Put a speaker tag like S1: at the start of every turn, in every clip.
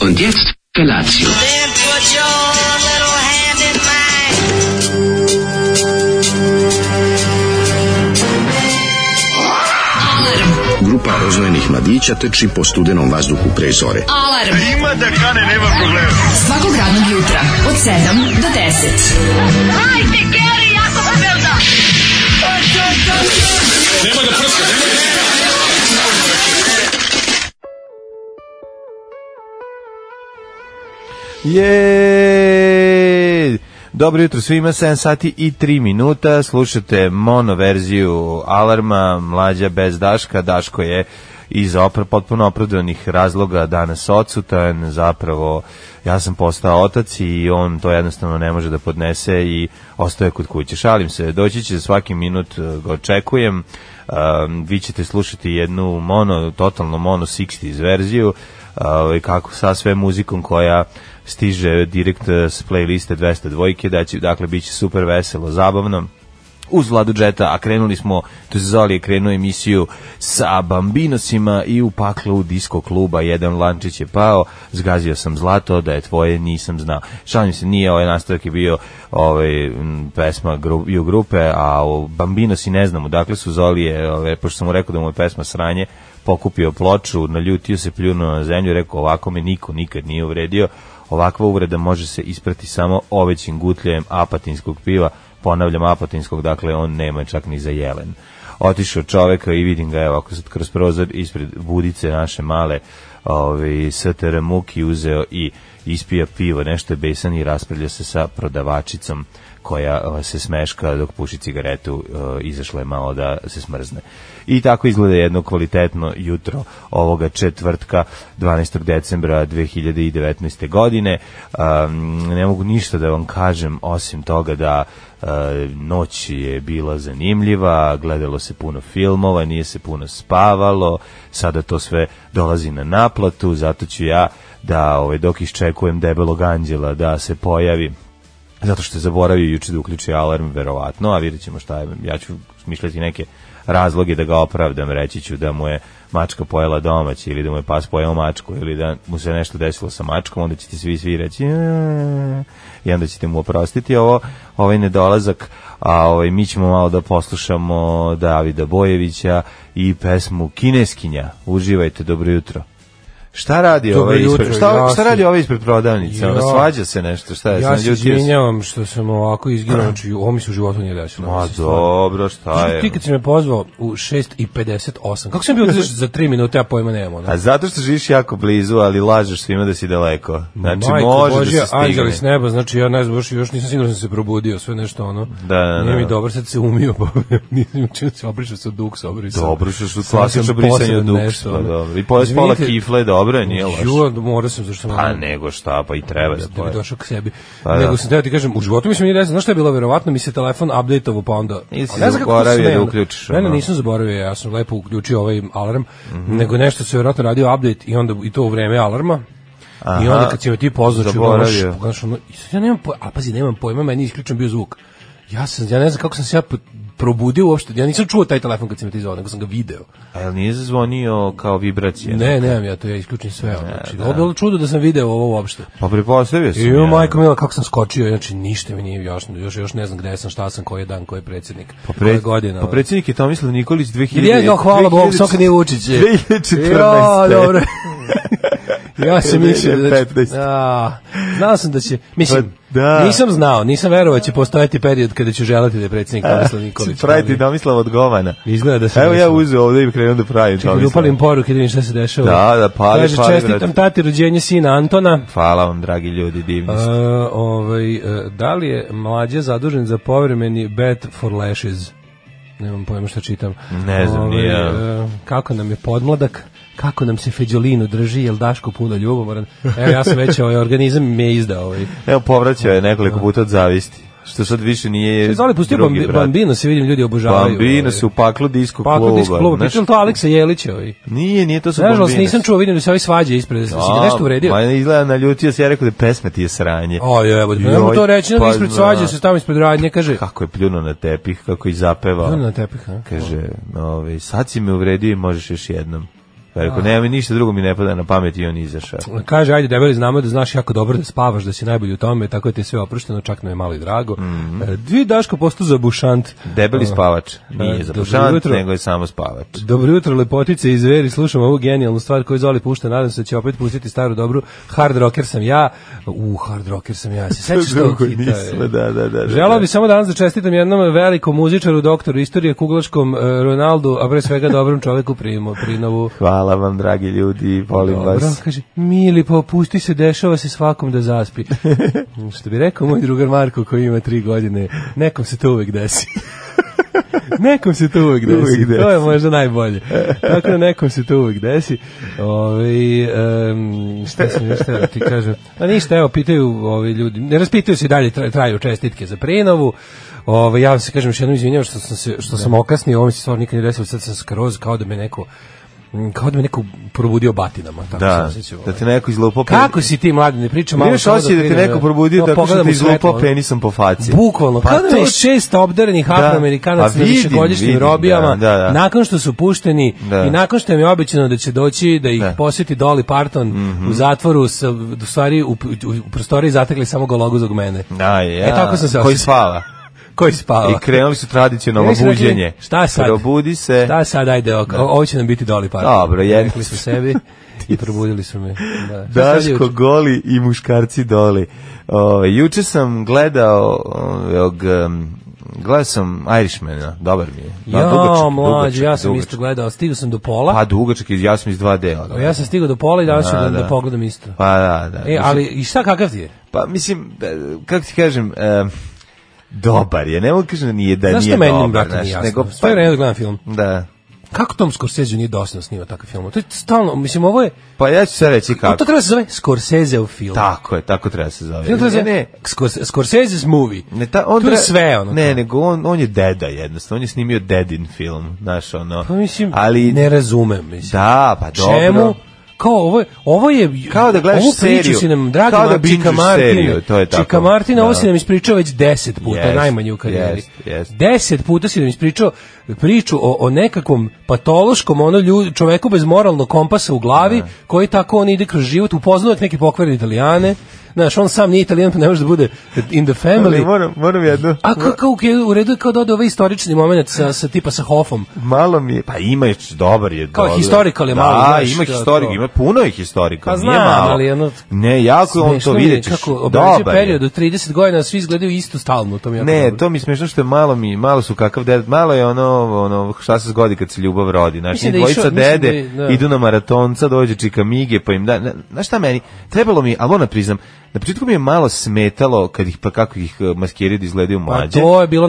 S1: Und jetzt Felatio.
S2: Then put your little hand in mine.
S3: Grupa rozvojenih mladića teči po studenom vazduhu pre zore.
S4: Alarm. Ima da kane, nema problema. Svakog radnog jutra, od 7 do 10.
S5: Je! Dobro jutro svima, 7 sati i 3 minuta, slušate mono verziju alarma, mlađa bez Daška, Daško je iz opra, potpuno opravdanih razloga danas odsutan, zapravo ja sam postao otac i on to jednostavno ne može da podnese i ostaje kod kuće. Šalim se, doći će svaki minut, eh, ga očekujem, Um, vi ćete slušati jednu mono, totalno mono 60s verziju, ovaj, kako sa sve muzikom koja stiže direkt eh, s playliste 202 da će, dakle, bit će super veselo, zabavno uz Vladu Džeta, a krenuli smo, to se Zoli je krenuo emisiju sa Bambinosima i u paklu disko kluba, jedan lančić je pao, zgazio sam zlato, da je tvoje nisam znao. Šalim se, nije ovaj nastavak je bio ovaj, m, pesma gru, i u grupe, a o Bambinosi ne znamo, dakle su Zoli je, ovaj, pošto sam mu rekao da mu je pesma sranje, pokupio ploču, naljutio se, pljunuo na zemlju, rekao ovako me niko nikad nije uvredio, Ovakva uvreda može se isprati samo ovećim gutljajem apatinskog piva, ponavljam apatinskog, dakle on nema čak ni za jelen. Otišao čoveka i vidim ga evo ovako sad kroz prozor ispred budice naše male ovaj, STR muki uzeo i ispija pivo, nešto je besan i raspravlja se sa prodavačicom koja eh, se smeška dok puši cigaretu, eh, izašla je malo da se smrzne. I tako izgleda jedno kvalitetno jutro ovoga četvrtka 12. decembra 2019. godine. Um, ne mogu ništa da vam kažem osim toga da eh, noć je bila zanimljiva, gledalo se puno filmova, nije se puno spavalo, sada to sve dolazi na naplatu, zato ću ja da ovaj, dok iščekujem debelog anđela da se pojavi zato što je zaboravio juče da uključi alarm, verovatno, a vidjet ćemo šta je. Ja ću smišljati neke razloge da ga opravdam, reći ću da mu je mačka pojela domaći ili da mu je pas pojeo mačku ili da mu se nešto desilo sa mačkom, onda ćete svi svi reći "Eee", i onda ćete mu oprostiti ovo, ovaj nedolazak, a ovaj, mi ćemo malo da poslušamo Davida Bojevića i pesmu Kineskinja. Uživajte, dobro jutro. Šta radi
S6: Dobro
S5: ovaj
S6: jutro,
S5: ispred, šta,
S6: ja
S5: šta
S6: se-
S5: radi ovaj ispred prodavnice? Ono,
S6: Ja.
S5: svađa se nešto, šta je?
S6: Ja
S5: se
S6: se
S5: naljutio si?
S6: izvinjavam što sam ovako izginuo, znači ovo mi se u životu nije desilo.
S5: Ma
S6: Mislim, stvarno.
S5: Pa dobro, šta je?
S6: Ti kad si me pozvao u 6.58, kako sam bio otišao za 3 minute, ja pojma nemam. Ono.
S5: A zato što živiš jako blizu, ali lažeš svima da si daleko. Znači, može da se
S6: anđeli s
S5: stigne.
S6: neba, znači ja ne znam, još, još nisam siguran da sam se probudio, sve nešto ono.
S5: Da, da,
S6: Nije
S5: da.
S6: mi dobro, sad se umio, pa nisam učinio se, obrišao se duks, obrišao.
S5: Dobro, što su
S6: Sam
S5: klasično
S6: sam
S5: brisanje
S6: poseban
S5: od duks,
S6: nešto,
S5: pa
S6: ono.
S5: dobro. I poješ pola
S6: Izvinite,
S5: kifle, dobro je, nije loš.
S6: Ju, morao sam zašto sam
S5: Pa
S6: ono-
S5: nego šta, pa i treba da
S6: da bi
S5: poješ.
S6: došao k sebi.
S5: Pa da.
S6: Nego sam teo ti kažem, u životu mi se nije desilo, znaš šta je bilo, verovatno mi se telefon update-ovo, pa onda...
S5: Ili si
S6: Ali ne znam kako
S5: zaboravio
S6: sam ja,
S5: da
S6: ono-
S5: uključiš,
S6: Ne, ne,
S5: ono. Mhm.
S6: nisam zaboravio, ja sam lepo uključio ovaj alarm, nego nešto se verovatno radio update i onda i to u vreme alarma. I
S5: Aha,
S6: onda kad si me ti pozvao, čuo ono,
S5: zaboravio.
S6: š- znaš, ono, i sad ja nemam pojma, a pazi, nemam pojma, meni je isključen bio zvuk. Ja sam, ja ne znam kako sam se ja po- probudio uopšte, ja nisam čuo taj telefon kad si me ti zvao, nego sam ga video.
S5: A jel nije zazvonio kao vibracija?
S6: Ne, nemam ja to, ja isključim sve. ono, Znači, ovo je bilo čudo da sam video ovo uopšte.
S5: Pa prepostavio sam.
S6: Jo,
S5: ja.
S6: majko mila, kako sam skočio, znači ništa mi nije jasno, još, još ne znam gde sam, šta sam, koji je dan, koji je predsjednik,
S5: Pa
S6: koja je
S5: pre,
S6: godina.
S5: pa predsjednik je Tomislav Nikolić 2000.
S6: Ili ja, jo, hvala Bogu,
S5: 2000
S6: samo kad nije Vučić.
S5: 2014.
S6: Jo, dobro. ja sam mislio da...
S5: 2015.
S6: A, znao sam da će, mislim,
S5: Pa da.
S6: nisam znao, nisam verovao da će postojati period kada ću želati da je predsjednik Tomislav Nikolić.
S5: E, Praviti
S6: ali
S5: Tomislav od govana.
S6: Izgleda da sam
S5: Evo ja
S6: mislio.
S5: uzeo ovde i krenuo da pravim
S6: Čekaj, da
S5: Tomislava.
S6: upalim poruke, da vidim šta se dešava.
S5: Da, da, pali,
S6: Kaže,
S5: pali,
S6: čestitam
S5: brate.
S6: tati rođenje sina Antona.
S5: Hvala vam, dragi ljudi, divni ste.
S6: E, ovaj, e, da li je mlađe zadužen za povremeni bet for lashes? Nemam pojma šta čitam.
S5: Ne znam,
S6: Ovaj,
S5: ni ja.
S6: e, kako nam je podmladak? Kako nam se Feđolino drži? Jel Daško puno ljubomoran? Evo ja sam već, ovaj organizam mi je izdao. Ovaj.
S5: Evo, povraćao je nekoliko puta od zavisti. Što sad više nije
S6: Zoli, pustio
S5: drugi
S6: bambi,
S5: brat.
S6: Bambino, se vidim, ljudi obožavaju. ovaj.
S5: Bambino se u paklu disko
S6: Pa
S5: kluba.
S6: kod disk kluba,
S5: znaš.
S6: pričali to Aleksa Jelića. Ovaj.
S5: Nije, nije, to su Bambino.
S6: Nažalost, nisam čuo, vidim da se ovi svađa ispred. Da, si ti nešto uvredio?
S5: Ma izgleda naljutio se, ja rekao da pesma ti je sranje.
S6: O, evo, ne
S5: Joj,
S6: mogu to reći, nego
S5: pa
S6: ispred
S5: zna.
S6: svađa se tamo ispred radnje, kaže...
S5: Kako je pljuno na tepih, kako i zapevao.
S6: Na tepih, a?
S5: Kaže, ovaj, sad si me uvredio i možeš još jednom. Pa je rekao, nema mi ništa drugo mi ne pada na pamet i on je izašao.
S6: Kaže, ajde, debeli, znamo da znaš jako dobro da spavaš, da si najbolji u tome, tako je ti je sve oprošteno, čak nam je malo i drago. Mm Dvi Daško postu za bušant.
S5: Debeli
S6: A,
S5: spavač.
S6: e,
S5: Nije za
S6: dobro
S5: pušant,
S6: jutro.
S5: nego je samo spavač.
S6: Dobro jutro, lepotice i zveri, slušam ovu genijalnu stvar koju Zoli pušta, nadam se da će opet pustiti staru dobru, hard rocker sam ja, u hard rocker sam ja, se sećaš tog
S5: Drugo
S6: hita?
S5: nismo,
S6: e?
S5: da, da, da, da, da.
S6: Želao bih samo danas da čestitam jednom velikom muzičaru, doktoru istorije, kuglaškom e, Ronaldu, a pre svega dobrom čoveku Primo, Prinovu.
S5: Hvala vam, dragi ljudi, volim
S6: Dobro,
S5: vas.
S6: kaže, mili, pa opusti se, dešava se svakom da zaspi. Što bi rekao moj drugar Marko koji ima tri godine, nekom se to uvek desi. nekom se to uvek desi.
S5: Uvek desi.
S6: To je možda najbolje. Tako da nekom se to uvek desi. Ove, um, šta sam još teo da ti kažem? A ništa, evo, pitaju ovi ljudi. Ne raspitaju se i dalje, tra- traju čestitke za prenovu. Ove, ja vam se kažem, još jednom izvinjavam što sam, se, što
S5: Da.
S6: sam okasnio, ovo mi se stvarno nikad ne desilo, sad sam skroz kao da me neko mm, kao da me neko probudio batinama. Tako
S5: Da,
S6: sam se osjećao. ovaj.
S5: da te neko izlupao pe-
S6: Kako si ti mladi, ne pričam malo.
S5: Imaš
S6: samo
S5: osjećaj da te
S6: krinem,
S5: neko probudio
S6: no,
S5: tako što
S6: pogledam
S5: te
S6: u svetlo,
S5: izlupao
S6: ono.
S5: penisom po faci.
S6: Bukvalno,
S5: Pa
S6: pa kada
S5: to
S6: je
S5: je-
S6: šest obdarenih da,
S5: Da.
S6: afroamerikanaca
S5: Pa
S6: na
S5: vidim,
S6: višegodišnjim
S5: vidim,
S6: robijama,
S5: da, da, da.
S6: nakon što su pušteni
S5: Da.
S6: i nakon što im je obećano da će doći da ih
S5: Da. Mhm.
S6: posjeti Dolly Parton u zatvoru, sa, u stvari u, u prostoriji zatekli samo gologuzog mene.
S5: Da, ja,
S6: E, tako sam se
S5: koji
S6: osjećao.
S5: spava.
S6: Koji spava.
S5: I krenuli su tradicionalno
S6: Ja sam rekli,
S5: buđenje.
S6: Šta sad?
S5: Probudi se.
S6: Šta Da, sad, ajde, ok, o- ovo će nam biti Dolly Parton.
S5: Da. Dobro, jedno.
S6: Rekli su sebi i probudili su me. Da. Šta sad je
S5: Daško
S6: juče?
S5: goli i muškarci doli. O, juče sam gledao ovog, um, gledao sam Irishmana, dobar mi je. Da,
S6: Ja,
S5: dugačak,
S6: mlađe,
S5: dugačak,
S6: ja sam
S5: dugačak.
S6: isto gledao, stigao sam do pola.
S5: Pa dugačak, je, ja sam iz dva dela.
S6: Evo, Ja sam stigao do pola i danas ću
S5: Da,
S6: da,
S5: da.
S6: da pogledam isto.
S5: Pa da, da.
S6: E,
S5: Mislim,
S6: ali i šta kakav ti je?
S5: Pa mislim, e, kako ti kažem, e, dobar je. Ne mogu kažem da nije, da
S6: Znaš
S5: nije
S6: što meni,
S5: dobar.
S6: brate, nije jasno?
S5: nego,
S6: Stoji vreme da gledam film.
S5: da.
S6: Kako Tom Scorsese nije dosadno snima takav film? To je stalno, mislim, ovo je,
S5: Pa ja ću sad reći kako.
S6: to treba da se zove Scorsese u film.
S5: Tako je, tako treba se zove.
S6: Film treba da se
S5: Ne, ne,
S6: zove Scors- Scorsese's movie.
S5: Ne, ta, on
S6: To je
S5: tra-
S6: sve, ono,
S5: Ne,
S6: kao.
S5: nego on, on je deda jednostavno, on je snimio dedin film, znaš, ono.
S6: Pa mislim,
S5: ali,
S6: ne razumem, mislim.
S5: da, pa dobro.
S6: Čemu? Kao ovo je, ovo je
S5: Kao da gledaš
S6: ovu priču
S5: seriju.
S6: si nam draga
S5: Kao da
S6: Mar- Čika
S5: binđuš
S6: Martina-
S5: seriju, to je tako.
S6: Čika Martina ovo
S5: Da.
S6: si nam ispričao već 10 puta
S5: Jest,
S6: najmanje u karijeri
S5: jest, jest.
S6: 10 puta si nam ispričao priču o, o nekakvom patološkom ono lju, čoveku bez moralnog kompasa u glavi
S5: Da.
S6: koji tako on ide kroz život upoznao je neke pokvarene Italijane znaš on sam nije Italijan pa ne može da bude in the
S5: Ali
S6: family
S5: moram, moram jedno,
S6: A kao, kao u redu je kao da ode ovaj istorični moment sa, sa tipa sa Hofom.
S5: malo mi je, pa ima je, dobar je.
S6: Kao
S5: dobar.
S6: historical je malo,
S5: Da,
S6: znaš,
S5: ima
S6: to-
S5: historical,
S6: to.
S5: ima puno je historical,
S6: Pa
S5: nije
S6: znam,
S5: malo.
S6: ali ono-
S5: Ne, jako je on to
S6: Smešno mi je
S5: vidjet ćeš,
S6: Kako obrađuje
S5: dobar je.
S6: period od 30 godina, svi izgledaju isto stalno. u Tom jako
S5: Ne,
S6: dobro.
S5: to mi je smešno što je malo mi, malo su kakav ded, malo je ono, ono šta se zgodi kad se ljubav rodi. Znači,
S6: Mislim
S5: da
S6: da je
S5: dvojica
S6: išao- mislim
S5: dede
S6: da je- da.
S5: idu na maratonca, dođe čika Mige, pa im da, na- znaš šta meni, trebalo mi, ali ona priznam, na početku mi je malo smetalo kad ih, pa kako ih eh, maskiridi izgledaju
S6: Pa
S5: mlađe.
S6: to je bilo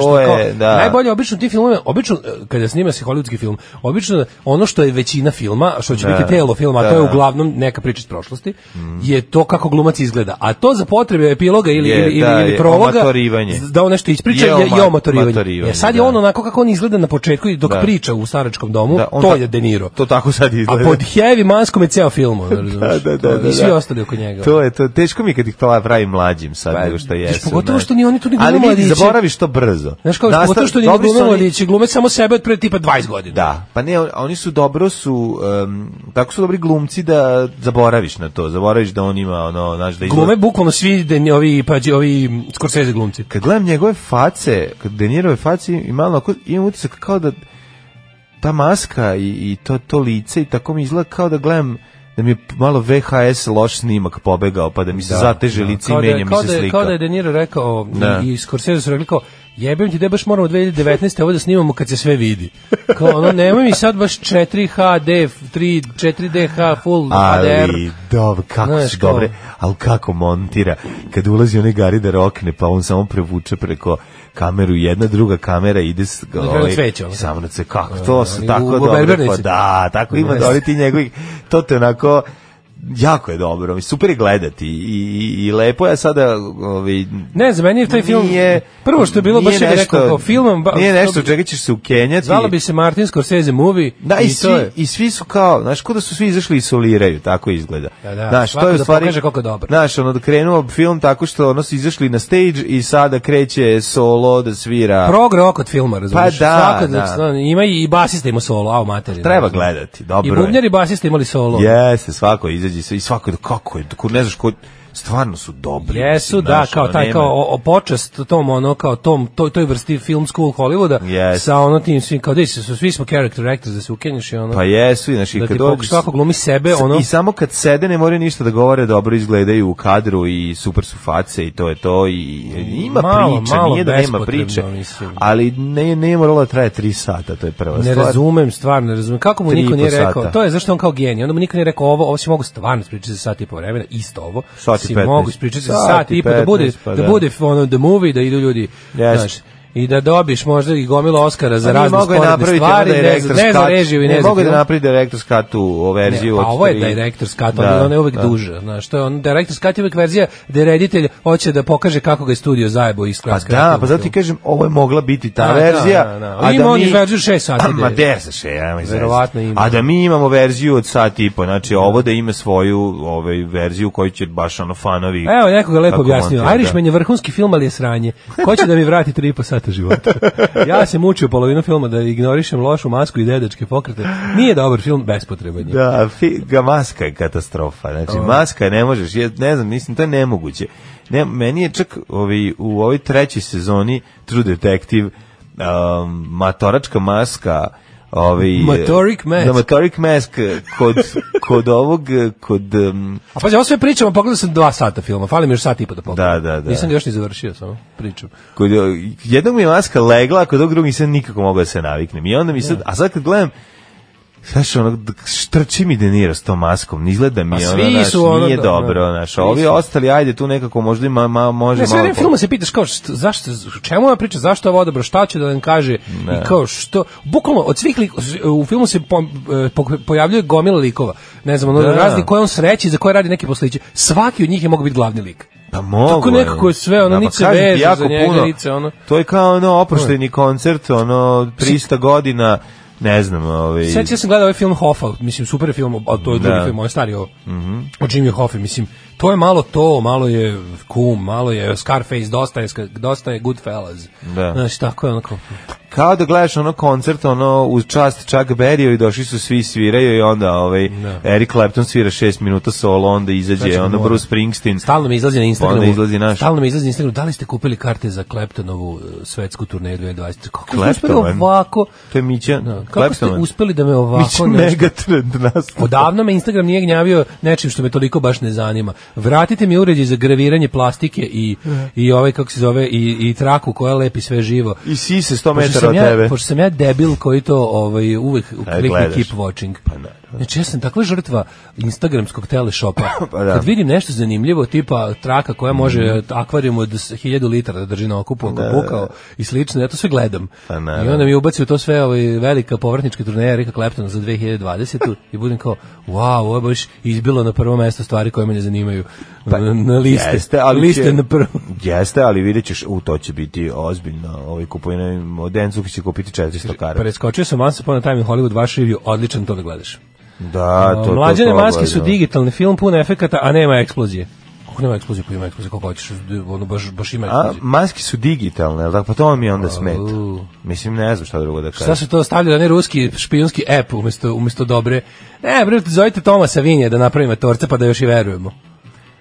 S5: To
S6: što kao,
S5: je, da.
S6: najbolje obično ti filmove, obično e, kada snima se hollywoodski film, obično ono što je većina filma, što će
S5: Da.
S6: biti telo filma, a
S5: Da,
S6: to je
S5: da.
S6: uglavnom neka priča iz prošlosti, je to kako glumac izgleda. A to za potrebe epiloga ili
S5: Je,
S6: ili ili,
S5: da,
S6: ili
S5: je
S6: prologa
S5: omatorivanje.
S6: da on nešto ispriča
S5: Je
S6: je, je
S5: oma-
S6: omatorivanje.
S5: omatorivanje,
S6: E sad je
S5: da.
S6: on onako kako on izgleda na početku i dok
S5: Da.
S6: priča u staračkom domu,
S5: Da, on
S6: to
S5: ta-
S6: je De Niro.
S5: To tako sad
S6: A
S5: izgleda.
S6: pod heavy maskom je ceo film, ono,
S5: da,
S6: razumeš?
S5: da,
S6: To-
S5: da, da,
S6: I svi
S5: da.
S6: ostali oko njega.
S5: To je to, teško mi je kad ih pla- pravi mlađim sad nego što
S6: Pa, vidiš,
S5: jesu.
S6: pogotovo
S5: znaš.
S6: što ni oni tu ni
S5: Ali
S6: glume
S5: vidi,
S6: mladiće.
S5: zaboraviš to brzo.
S6: Znaš kao,
S5: Nasta-
S6: pogotovo što nije
S5: dobri su
S6: glumilo,
S5: oni-
S6: ali će glume samo sebe od pre tipa 20 godina.
S5: Da, pa ne, on- oni su dobro su, em, tako su dobri glumci da zaboraviš na to, zaboraviš da on ima ono, znaš, da izgleda-
S6: Glume bukvalno svi de, ovi, pa, ovi Scorsese glumci.
S5: Kad gledam njegove face, kad De Nirove face i malo ako, imam utisak kao da ta maska i, i to, to lice i tako mi izgleda kao da gledam da mi je malo VHS loš snimak pobegao, pa da mi se zateže lice i
S6: Kao da je-
S5: menja mi
S6: kao
S5: se
S6: da je-
S5: slika.
S6: Kao da je De Niro rekao,
S5: Da.
S6: i, i Scorsese su rekli kao, jebem ti da baš moramo 2019. ovo da snimamo kad se sve vidi. Kao ono, nemoj mi sad baš 4HD, 3, 4DH, full er." HDR.
S5: ali dobro, kako
S6: Znaš,
S5: su
S6: kao-
S5: dobre, ali kako montira. Kad ulazi onaj gari da rokne, pa on samo prevuče preko kameru, jedna druga kamera ide s ovaj,
S6: kraju cveće, ono.
S5: samo na cve, kako to
S6: ali
S5: su
S6: u-
S5: tako
S6: u
S5: dobro, pa
S6: berbernici.
S5: da, tako ima
S6: Ne.
S5: da oni ti njegovih, to te onako jako je dobro, mislim, super je gledati i, i, i lepo je sada ovaj,
S6: Ne, za meni je taj film
S5: Nije-
S6: prvo što je bilo baš
S5: nije
S6: je da
S5: nešto-
S6: rekao kao filmom, ba-
S5: nije nešto
S6: to
S5: od čega ćeš se ukenjati.
S6: Zvalo bi se Martin Scorsese movie.
S5: Da, i, svi,
S6: to je.
S5: i svi su kao, znaš, kao da su svi izašli i soliraju, tako izgleda.
S6: Da, da,
S5: znaš,
S6: svako da pokaže koliko je dobar.
S5: Znaš, ono, da krenuo film tako što ono su izašli na stage i sada kreće solo da svira.
S6: Prog rock od filma, razumiješ? znači,
S5: Pa da, da.
S6: Ima i i basista ima solo, a u materiju.
S5: Treba gledati, dobro
S6: I
S5: je.
S6: bubnjar i basista imali solo.
S5: Jeste, svako izađe se i svako, da- kako je, ko, ne znaš, ko, stvarno su dobri.
S6: Jesu,
S5: mislim,
S6: da,
S5: znaš,
S6: kao
S5: ono,
S6: taj
S5: nema-
S6: kao o, o počast tom ono kao tom toj toj vrsti film school Hollywooda
S5: Yes.
S6: sa ono tim svim kao da su svi smo character actors da se ukenješ i ono
S5: Pa jesu, i znaš, i
S6: da
S5: kad
S6: ti
S5: dođu-
S6: pokuš, svako glumi sebe
S5: S-
S6: ono
S5: I samo kad sede ne moraju ništa da govore, dobro izgledaju u kadru i super su face i to je to i i ima
S6: Malo,
S5: priče,
S6: malo
S5: nije da nema
S6: bespotrebno,
S5: priče,
S6: mislim.
S5: ali ne, ne je moralo da traje tri sata, to je prva
S6: Ne
S5: Pa stvar.
S6: razumem, stvarno ne razumem. Kako mu
S5: Tri i
S6: niko
S5: po
S6: nije rekao?
S5: sata.
S6: To je zašto je on kao genij. Onda mu niko nije rekao ovo, ovo si mogu stvarno ispričati za sat i po vremena, isto ovo.
S5: Sat i
S6: si
S5: 15.
S6: mogu ispričati za
S5: Sat
S6: sat
S5: i
S6: i po, da bude,
S5: 15, pa
S6: da.
S5: da.
S6: bude ono, the movie, da idu ljudi,
S5: Jeste.
S6: znaš, i da dobiš možda i gomilo Oscara za
S5: A nije
S6: razne
S5: mogao je
S6: sporedne
S5: napraviti ono
S6: stvari, ne za,
S5: director's
S6: ne za
S5: cut.
S6: režiju i ne,
S5: Ne,
S6: za
S5: mogao je da
S6: film.
S5: napravi director's cut u o verziju.
S6: Ne,
S5: od
S6: a ovo je
S5: tri-
S6: director's cut, da, ona je uvek duža, znaš, to je on director's cut je uvek verzija gde reditelj hoće da pokaže kako ga je studio zajebo i
S5: Pa
S6: skratka.
S5: da, pa zato ti kažem, ovo je mogla biti ta
S6: Da, da,
S5: verzija.
S6: da, da.
S5: A
S6: Ima
S5: da
S6: on
S5: mi,
S6: i verziju šest sati
S5: A, Ma
S6: da je.
S5: deset še, ajmo izvesti.
S6: Verovatno ima.
S5: A da mi imamo verziju od sat i po, znači ovo da ima svoju ovaj, verziju koju će baš ono fanovi...
S6: Evo, neko ga lepo
S5: kako
S6: objasnio.
S5: montira, da.
S6: Irishman je vrhunski film, ali je sranje. Ko će da mi vrati tri i po sata života? Ja se mučio polovinu filma da ignorišem lošu masku i dedačke pokrete. Nije dobar film, bespotreban je.
S5: Da, fi, ga maska je katastrofa. Znači, maska ne možeš, ja, ne znam, mislim, to je nemoguće. Ne, meni je čak ovi, u ovoj trećoj sezoni True Detective um, matoračka maska Ovi,
S6: Motoric mask.
S5: Da, motoric mask kod, kod ovog, kod... Um,
S6: A pazi, ovo sve pričamo, pogledao sam dva sata filma, fali mi još sat i po da pogledam.
S5: Da, da, da.
S6: Nisam ga još ni završio, samo pričam.
S5: kod, jednog mi je maska legla, a kod ovog drugog nisam nikako mogao da se naviknem. I onda mi
S6: Da.
S5: sad, a sad kad gledam, Znaš, ono, d- štrči mi denira s tom maskom, ne izgleda mi,
S6: Pa
S5: ono,
S6: svi
S5: znaš,
S6: su ono,
S5: nije
S6: da,
S5: dobro,
S6: da.
S5: znaš,
S6: Svi
S5: ovi
S6: su.
S5: ostali, ajde, tu nekako možda ima, ma, može
S6: Ne, sve vreme
S5: po-
S6: filma se pitaš kao što, zašto, čemu ova priča, zašto je ovo odabro, šta će da nam kaže i kao što, bukvalno od svih lik, u filmu se po, e, po- pojavljuje gomila likova, ne znam, ono,
S5: Da.
S6: razni koje on sreći, za koje radi neke posliće, svaki od njih je mogao biti glavni lik.
S5: Pa mogu.
S6: Tako nekako je sve, ono,
S5: Da, pa
S6: nit se
S5: kažem ti,
S6: veže
S5: jako
S6: za njega,
S5: puno.
S6: nit se, ono.
S5: To je kao, ono, oprošteni koncert, ono, 300 godina, ne znam, ovi...
S6: Sveći ja sam gledao ovaj film Hoffa, mislim, super je film, a to je drugi
S5: Da. Mhm.
S6: film, on je stari ovo, o Jimmy Hoffa, mislim, to je malo to, malo je kum, malo je Scarface, dosta je, dosta je Goodfellas.
S5: Da.
S6: Znači, tako je onako.
S5: Kao da gledaš ono koncert, ono, uz čast Chuck Berry i došli su svi i sviraju i onda, ovaj,
S6: Da.
S5: Eric Clapton svira 6 minuta solo, onda izađe,
S6: Znači,
S5: ono,
S6: mora.
S5: Bruce Springsteen.
S6: Stalno mi izlazi na Instagramu.
S5: Pa Onda izlazi naš.
S6: Stalno mi izlazi na Instagramu. Da li ste kupili karte za Kleptonovu e, svetsku turneju 2020? Kako ste uspeli
S5: Kleptovan.
S6: ovako?
S5: To je Mića
S6: Da, kako
S5: Clapton.
S6: ste uspeli da me ovako
S5: Mića
S6: nešto...
S5: Megatrend nastupa.
S6: Odavno me Instagram nije gnjavio nečim što me toliko baš ne zanima. Vratite mi uređaj za graviranje plastike i, i ovaj, kako se zove, i, i traku koja lepi sve živo.
S5: I si se 100
S6: Pošto
S5: metara
S6: sam,
S5: od
S6: ja,
S5: tebe.
S6: pošto sam ja debil koji to ovaj, uvek klikne
S5: gledaš. Pa
S6: keep watching. Znači ja sam takva žrtva instagramskog teleshopa.
S5: Pa da. Mhm.
S6: Kad vidim nešto zanimljivo, tipa traka koja može akvarijum od s- 1000 litara da drži na okupu ako pukao i slično, ja to sve gledam.
S5: da. Pa
S6: I
S5: naravno.
S6: onda mi ubaci u to sve ovaj, velika povratnička turneja Erika Claptona za 2020. i budem kao, wow, ovo je baš izbilo na prvo mesto stvari koje me ne zanimaju. na, na liste.
S5: Pa, Jeste, ali
S6: liste
S5: će-
S6: na prvo.
S5: Jeste, ali vidjet ćeš, u, to će biti ozbiljno. Ovaj kupovina, Denzuki će kupiti 400 karata.
S6: Preskočio sam Once Upon a Time in Hollywood, vaš review, odličan to da gledaš.
S5: Da, to, to,
S6: Mlađane
S5: to
S6: maske su
S5: gledam.
S6: digitalni film pun efekata, a nema eksplozije. Kako nema eksplozije, pa ima eksplozije, kako hoćeš, ono baš, baš ima
S5: A,
S6: eksplozije.
S5: maske su digitalne, ali tako, pa to mi onda smeta.
S6: Au.
S5: Mislim, ne znam šta drugo da
S6: Šta
S5: kažem.
S6: se to stavlja na ne ruski špijunski app umesto, umesto dobre? Ne, bre, zovite Tomasa Vinje da napravimo torce pa da još i verujemo.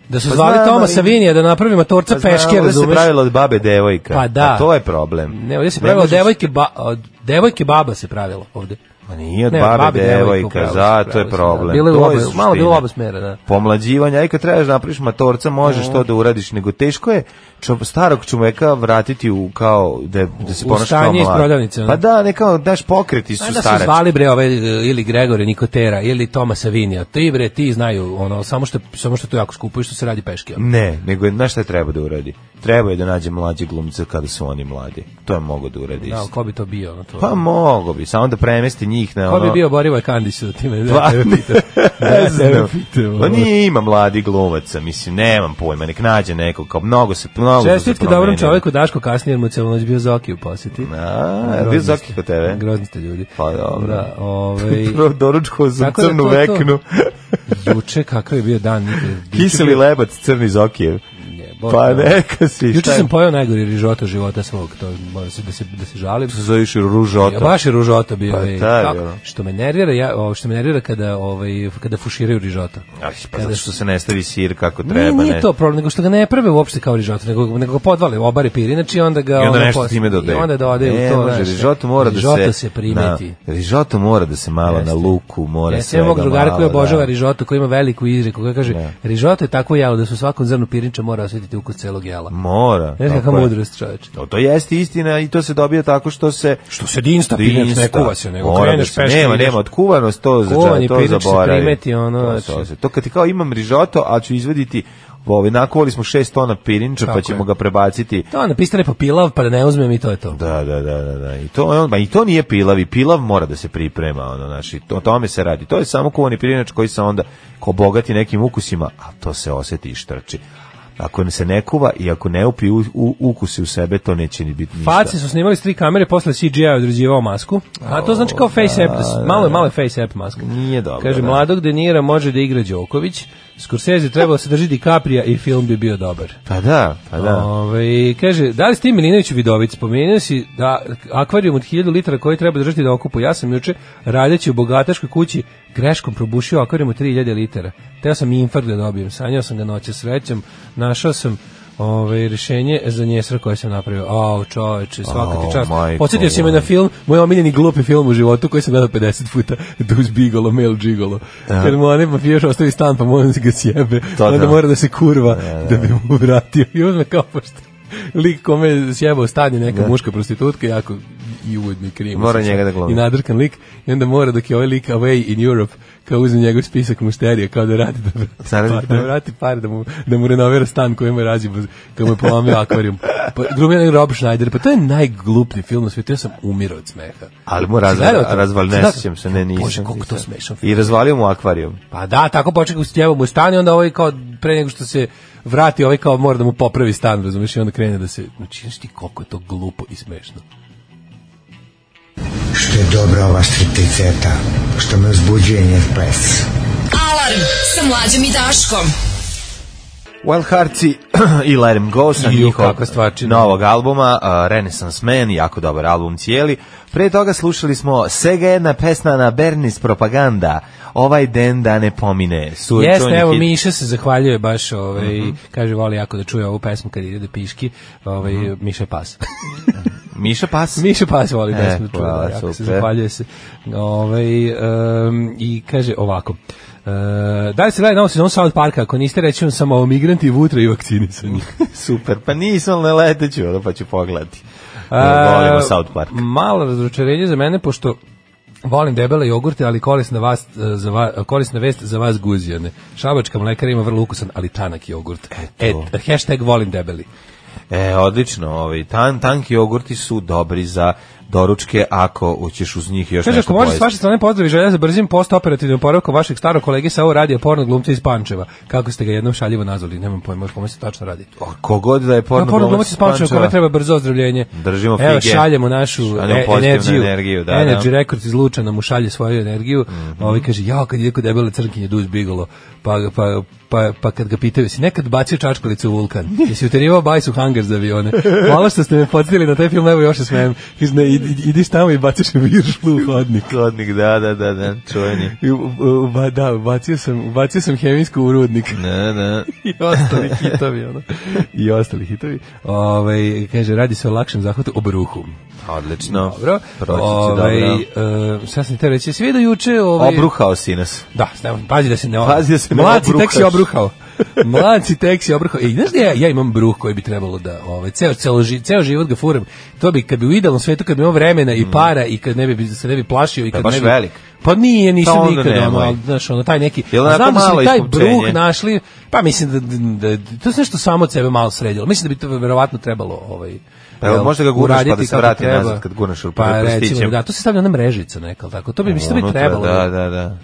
S6: Da su
S5: Pa
S6: zvali
S5: znam,
S6: Tomasa
S5: ali-
S6: Vinija da napravimo torce
S5: Pa znam,
S6: peške,
S5: ovdje se
S6: razumeš?
S5: pravilo od babe devojka.
S6: Pa da.
S5: A to je problem.
S6: Ne, ovdje se
S5: Ne
S6: pravilo
S5: možeš-
S6: devojke, ba, od devojke baba se pravilo ovdje.
S5: Ma Pa nije od
S6: Ne,
S5: babe,
S6: devojke,
S5: devojka,
S6: upravo si,
S5: zato je
S6: upravo si, da.
S5: problem.
S6: Bilo je u
S5: To
S6: oba-
S5: suština.
S6: malo je bilo u oba smera, da.
S5: Pomlađivanje, aj kad trebaš da napraviš matorca, možeš to da uradiš, nego teško je čo- starog čoveka vratiti u kao da, da se
S6: U
S5: ponaša kao
S6: stanje iz
S5: mlad.
S6: prodavnice, ono.
S5: Pa da, ne kao, daš pokreti su
S6: Pa da su
S5: starački.
S6: zvali bre ove e, ili Gregore Nikotera ili Tomasa Vinija. Ti bre ti znaju ono samo što samo što to jako skupo i što se radi peške. ono.
S5: Ne, nego je, znaš šta treba da uradi? Treba je da nađe mlađe glumce kada su oni mladi. To je mogo da uradi.
S6: Da,
S5: isto.
S6: ali ko bi to bio ono to?
S5: pa mogo bi, samo da premesti njih na
S6: Ko
S5: Pa, ono...
S6: bi bio Borivoj Kandić da time?
S5: Pa,
S6: Da, tebe pitam.
S5: ne
S6: Da, tebe
S5: znam.
S6: pitam,
S5: Pa
S6: ono.
S5: nije ima mladi glumaca, mislim, nemam pojma, nek nađe nekog, kao mnogo se, mnogo se
S6: Čestitke dobrom
S5: promenilo.
S6: čoveku Daško kasnije, jer mu je celu noć bio Zoki u posjeti.
S5: A,
S6: Grozni
S5: bio
S6: ste.
S5: Zoki kod tebe?
S6: Grozni ste ljudi.
S5: Pa dobro.
S6: Da, ovaj,
S5: Prvo doručko za
S6: Tako da
S5: crnu
S6: to je to.
S5: veknu,
S6: juče kakav je bio dan. nikad-
S5: kiseli lebac, crni Zokijev.
S6: Jebote.
S5: Pa neka si,
S6: da. Juče
S5: šta je?
S6: sam pojao najgori rižota života svog, to mora se da se da se žalim.
S5: se zoveš ružota.
S6: Ja baš je ružota bio.
S5: Pa,
S6: ej,
S5: da,
S6: kako-
S5: ja.
S6: što me nervira, ja, o, što me nervira kada, ovaj, kada fuširaju rižota.
S5: Aj, pa
S6: Kada
S5: zato što se ne stavi sir kako treba,
S6: Nije, nije
S5: ne.
S6: to problem, nego što ga ne prave uopšte kao rižota, nego, nego ga podvale, obare pir, inače onda ga...
S5: I onda
S6: ono
S5: nešto
S6: posle-
S5: time dodaje.
S6: I onda dodaje
S5: Ne,
S6: u to.
S5: može,
S6: znaš,
S5: rižoto mora da se...
S6: rižota se primeti.
S5: Na, rižoto mora da se malo na
S6: Jeste.
S5: luku, mora
S6: Ja
S5: ja,
S6: sam
S5: svega
S6: imao mog drugara koji
S5: malo,
S6: obožava
S5: da.
S6: rižotu, koji ima veliku izreku, koja kaže, rižoto je tako jelo da se u svakom zrnu pirniča mora osjetiti ukus celog jela.
S5: Mora.
S6: Znaš
S5: tako
S6: kakva
S5: je.
S6: mudrost čoveče.
S5: To, to jeste istina i to se dobija tako što se...
S6: Što se dinsta pirinac ne kuva se, nego
S5: Mora da
S6: kreneš
S5: se-
S6: peške i
S5: Nema,
S6: ideš.
S5: nema, otkuvanost to, za
S6: Kuvanje
S5: to
S6: pirinač se
S5: zaboravi.
S6: primeti, ono,
S5: To,
S6: znači-
S5: to, se- to kad ti kao imam rižoto, a ću izvaditi Ovaj nakuvali smo 6 tona pirinča,
S6: Tako
S5: pa ćemo
S6: je.
S5: ga prebaciti
S6: To onda pistane pa pilav, pa da ne uzmem i to je to.
S5: Da, da, da, da, da. I to, on, ba, i to nije pilav, i pilav mora da se priprema, ono, znači, to, o tome se radi. To je samo kuvani pirinač koji se onda ko bogati nekim ukusima, a to se oseti i štrči. Ako se ne kuva i ako ne upi u, u, ukusi u sebe, to neće ni biti ništa.
S6: Face su snimali s tri kamere, posle CGI je određivao masku. A to znači kao face app, malo je malo je face app maska.
S5: Nije dobro,
S6: Kaže,
S5: da.
S6: mladog Denira može da igra Đoković, Scorsese trebao se drži DiCapria i film bi bio dobar.
S5: Pa da, pa da.
S6: Ove, kaže, da li ste Milinović Vidović? Spomenuo si da akvarijum od 1000 litara koji treba držati da okupu. Ja sam juče, radeći u bogataškoj kući, greškom probušio akvarijum od 3000 litara. Teo sam infarkt da dobijem. Sanjao sam ga noće srećem. Našao sam Ove, rješenje za njesra koje sam napravio. Au, čoveče, svaka ti
S5: Au,
S6: čast.
S5: majko
S6: Podsjetio si me na
S5: moja.
S6: film, moj omiljeni glupi film u životu koji sam gledao 50 puta, Duz Bigolo, Mel Gigolo. Kad mu onaj mafijaš ostavi stan, pa mora da ga sjebe.
S5: To
S6: onda
S5: da.
S6: mora da se kurva da bi mu vratio. I uzme kao pošto lik kome je sjebao stan je neka muška prostitutka, jako i uvodno i krivo.
S5: Da. Mora
S6: Mislim,
S5: njega da glumi.
S6: I nadrkan lik. I onda mora dok je ovaj lik away in Europe, kao uzme njegov spisak mušterija, kao da radi da vrati,
S5: Zaradi
S6: par, da
S5: pare.
S6: vrati par, da mu, da mu renovira stan koji mu je razio, kao mu je polomio akvarijum. Pa, glumi onaj Rob Schneider, pa to je najgluplji film na svijetu, ja sam umirao od smeha.
S5: Ali mu raz,
S6: Si gledao to?
S5: razval,
S6: Si
S5: ne
S6: gledao?
S5: sjećam se, ne nisam.
S6: Bože, koliko to
S5: nisam.
S6: smešan film.
S5: I razvalio mu akvarijum.
S6: Pa da, tako počeka u stjevu mu stan i onda ovaj kao pre nego što se vrati, ovaj kao mora da mu popravi stan, razumiješ, i onda krene da se, znači, znaš ti koliko je to glupo i smešno.
S1: Što je dobra ova stripticeta, što me uzbuđuje njen ples.
S4: Alarm sa mlađom i Daškom.
S5: Wild Heartsi i Let 'em Go sa
S6: Ju,
S5: njihovog
S6: kakva stvarčina.
S5: novog albuma uh, Renaissance Man, jako dobar album cijeli. Pre toga slušali smo svega jedna pesma na Bernis Propaganda, ovaj den da ne pomine. Su
S6: Jeste, evo Miša se zahvaljuje baš, ovaj,
S5: Mhm.
S6: kaže voli jako da čuje ovu pesmu kad ide da piški, ovaj, Miša je pas.
S5: Miša Pas.
S6: Miša pas voli
S5: Mhm. E,
S6: pesmu, čuje,
S5: hvala,
S6: da, jako se
S5: super.
S6: zahvaljuje se. Ovaj, em, I kaže ovako, Uh, da li se gleda novu sezonu South Parka, ako niste reći vam samo o migranti, vutra i vakcinisani.
S5: Super, pa nisam ne leteću, ono, pa ću pogledati. Uh,
S6: A,
S5: volimo South Park.
S6: Malo razočarenje za mene, pošto volim debele jogurte, ali korisna, vas, e, za va, korisna vest za vas guzijane. Šabačka mlekara ima vrlo ukusan, ali tanak jogurt. Et, hashtag volim debeli.
S5: E, odlično, ovaj, tan, tanki jogurti su dobri za doručke ako hoćeš uz njih još
S6: Kaže,
S5: nešto
S6: Znači, ako može s
S5: pojesti.
S6: vaše strane pozdravi želja za brzim post-operativnim oporavkom vašeg starog kolege sa ovo radija porno glumca iz Pančeva. Kako ste ga jednom šaljivo nazvali, nemam pojma o kome se tačno radi.
S5: O, Kogod da je
S6: Porno,
S5: porno
S6: porno
S5: glumac
S6: glumac iz Pančeva kome treba brzo ozdravljenje.
S5: Držimo
S6: Evo,
S5: fige.
S6: šaljemo našu
S5: Šaljemo
S6: e-
S5: pozitivnu
S6: energiju.
S5: energiju, da, Mhm.
S6: Energy
S5: da.
S6: Records iz Lučana mu šalje svoju energiju. Ovi kaže, jao, kad ide kod debele crnkinje Duž Bigolo, pa, ga- pa, pa, pa kad ga pitaju, si nekad bacio čačkalicu u vulkan? Jesi uterivao bajs u hangar za avione? Hvala što ste me podsjetili na taj film, evo još se smijem. Iz ne, id- idiš tamo i baciš viršlu u hodnik.
S5: Kodnik, da, da, da, da, čujeni.
S6: I, u- u- ba, da, bacio sam, bacio sam hemijsku u rudnik.
S5: Ne, ne.
S6: i ostali hitovi ono. i ostali hitovi ovaj kaže radi se o lakšem zahvatu obruhu
S5: Odlično.
S6: dobro
S5: Proći će
S6: ovaj
S5: dobro.
S6: e, sad sam te reći svi do juče ovaj
S5: Obruhao si nas.
S6: da znam, pazi da se ne
S5: Pazi da se ne
S6: mlad si, tek
S5: obruhaš.
S6: si obruhao Mlaci teksi obrho. I znaš da ja, ja imam bruh koji bi trebalo da ovaj ceo ceo, ži, ceo život ga furam. To bi kad bi u idealnom svetu kad bi imao vremena i para i kad ne bi se ne bi plašio i kad
S5: Mhm. baš
S6: ne bi
S5: velik.
S6: Pa nije,
S5: Pa
S6: nisam
S5: onda
S6: nikada,
S5: nemoj.
S6: ali znaš, ono, taj neki...
S5: Jel onako
S6: Znam da su
S5: malo
S6: mi taj
S5: iskupljenje?
S6: bruh našli, pa mislim da, da, da to se nešto samo od sebe malo sredilo. Mislim da bi to verovatno trebalo ovaj,
S5: Pa evo,
S6: jel,
S5: možda ga gurnaš pa
S6: uraditi
S5: da se
S6: kako
S5: vrati
S6: treba.
S5: nazad kad gurnaš, pa
S6: Pa recimo,
S5: prstićem.
S6: da, to se stavlja na mrežica neka, ali tako? To bi, mislim, da bi
S5: Unutra,
S6: trebalo.
S5: Da, da, da.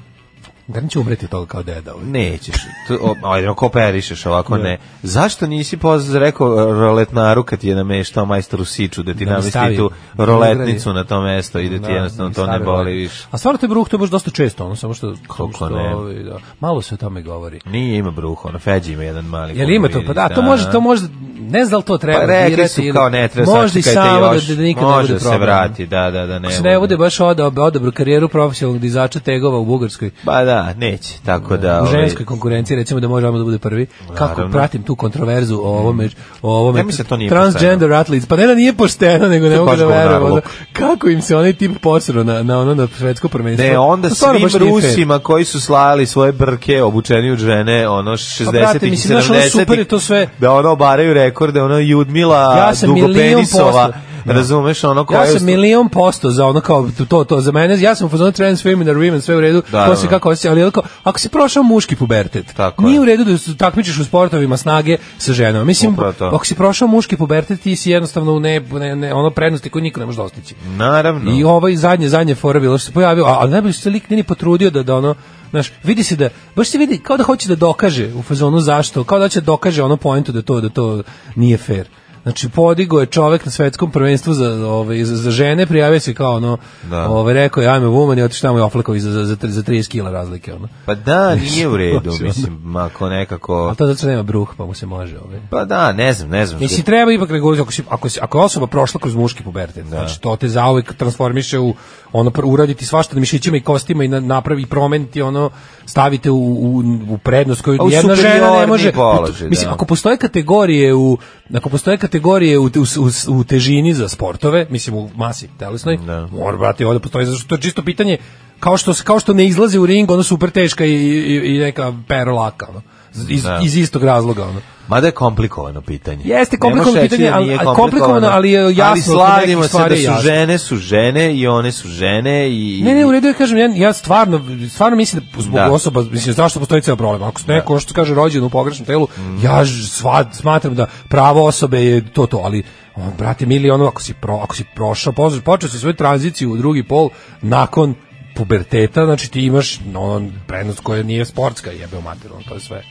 S6: Garant će umreti od toga kao deda. Ovaj.
S5: Nećeš. To, o, ajde, ako operišeš
S6: Da.
S5: ovako, ne. Zašto nisi poz rekao e, roletnaru kad je nameštao majstoru Siču da ti
S6: Da mi
S5: namesti
S6: stavi
S5: tu roletnicu na to mesto i da ti jednostavno
S6: i
S5: to ne
S6: stave
S5: boli
S6: ovaj.
S5: više.
S6: A stvarno te bruh, to je baš dosta često, ono, samo što... samo što,
S5: ne?
S6: ovaj, da, malo se o tome govori.
S5: Nije ima bruha, ono Feđi ima jedan mali.
S6: Jel
S5: koga
S6: ima to?
S5: vidiš,
S6: Pa da, to može, to može, ne znam da li to treba
S5: Pa rekli
S6: dirati
S5: su
S6: ili-
S5: kao ne treba,
S6: možda i
S5: sačekajte
S6: samo
S5: još,
S6: da, da nikad ne
S5: može
S6: bude
S5: da se
S6: problem.
S5: vrati, da, da, da, ne.
S6: Ako se
S5: bude.
S6: ne bude baš odob, odobru karijeru profesionalnog dizača tegova u Bugarskoj,
S5: Ba da, neće, tako da...
S6: u
S5: ovaj,
S6: ženskoj konkurenciji, recimo da možemo da bude prvi. Kako
S5: Naravno.
S6: pratim tu kontroverzu o ovome, o ovome
S5: Ja mislim da to nije
S6: transgender athletes. Pa ne da nije pošteno, nego
S5: To
S6: ne
S5: je
S6: mogu
S5: baš
S6: da verujem.
S5: govnarluk.
S6: ono, Kako im se onaj tip posro na, na ono na svetsko prvenstvo.
S5: Ne, onda
S6: To Pa stvarno
S5: svim
S6: baš nije fair.
S5: Rusima koji su slali svoje brke obučeni u žene, ono 60-ih,
S6: Pa, brate,
S5: 70-ih,
S6: mislim, znaš, ono super je to sve.
S5: da ono obaraju rekorde, ono Judmila
S6: Ja sam milion
S5: Dugopenisova, da.
S6: posto. da.
S5: razumeš, ono koja
S6: Ja
S5: je... u
S6: sam
S5: stu-
S6: milion posto za ono kao to, to za mene, ja sam u fazonu trans women, women, sve u redu,
S5: Da,
S6: da,
S5: da,
S6: to se
S5: da.
S6: kako osjeća, ali ako, ako si prošao muški pubertet,
S5: Tako je.
S6: nije u redu da se takmičiš u sportovima snage sa ženama. Mislim,
S5: Upravo to.
S6: ako si prošao muški pubertet, ti si jednostavno u ne, ne, ne ono prednosti koju niko ne može dostići.
S5: Naravno.
S6: I ovaj zadnje zadnje fora bilo što se pojavio, a, a najbolje što se lik nije ni potrudio da da ono Znaš, vidi se da baš se vidi kao da hoće da dokaže u fazonu zašto, kao da će da dokaže ono poentu da to da to nije fair. Znači podigo je čovek na svetskom prvenstvu za ovaj za, za žene, prijavio se kao ono,
S5: Da.
S6: ovaj rekao je I'm a woman i otišao tamo i oflakao i za za za, tri- za 30 kg razlike ono.
S5: Pa da, nije u redu,
S6: Znači, ono-
S5: mislim, ako nekako...
S6: Al to zato što nema bruh, pa mu se može ovaj.
S5: Pa da, ne znam, ne znam.
S6: Mislim treba ipak regulisati ako si ako si ako je osoba prošla kroz muški
S5: Da.
S6: pubertet. Znači to te zauvek transformiše u ono pr- uraditi svašta na mišićima i kostima i na, napravi promeniti ono stavite u u, u prednost koju
S5: A u
S6: jedna žena ne
S5: superiorni
S6: može.
S5: položaj,
S6: Mislim
S5: da.
S6: ako postoje kategorije u ako postoje kategorije u, te- u, u, u težini za sportove, mislim u masi telesnoj,
S5: Da.
S6: mora brati ovde postoji zato što to je čisto pitanje kao što kao što ne izlazi u ring ono super teška i, i, i neka pero laka ono. Iz,
S5: Da.
S6: iz istog razloga ono.
S5: Mada je komplikovano pitanje.
S6: Jeste
S5: Ne
S6: komplikovano
S5: možeš reći
S6: pitanje,
S5: da
S6: ali-
S5: nije
S6: ali komplikovano, ali je jasno
S5: Ali
S6: kod
S5: slavimo
S6: nekih
S5: se
S6: stvari
S5: da
S6: je
S5: su
S6: jasno.
S5: žene su žene i one su žene i...
S6: Ne, ne, u redu je, da kažem, ja, ja stvarno, stvarno mislim da zbog
S5: Da.
S6: osoba, mislim, zašto postoji ceo problem? Ako se neko, što kaže, rođen u pogrešnom telu, ja ž- sva, smatram da pravo osobe je to to, ali on, brate, mili, ono, ako si, pro, ako si prošao, poz- počeo si svoju tranziciju u drugi pol, nakon puberteta, znači ti imaš ono, prednost koja nije sportska, jebe u materijalno, to je sve.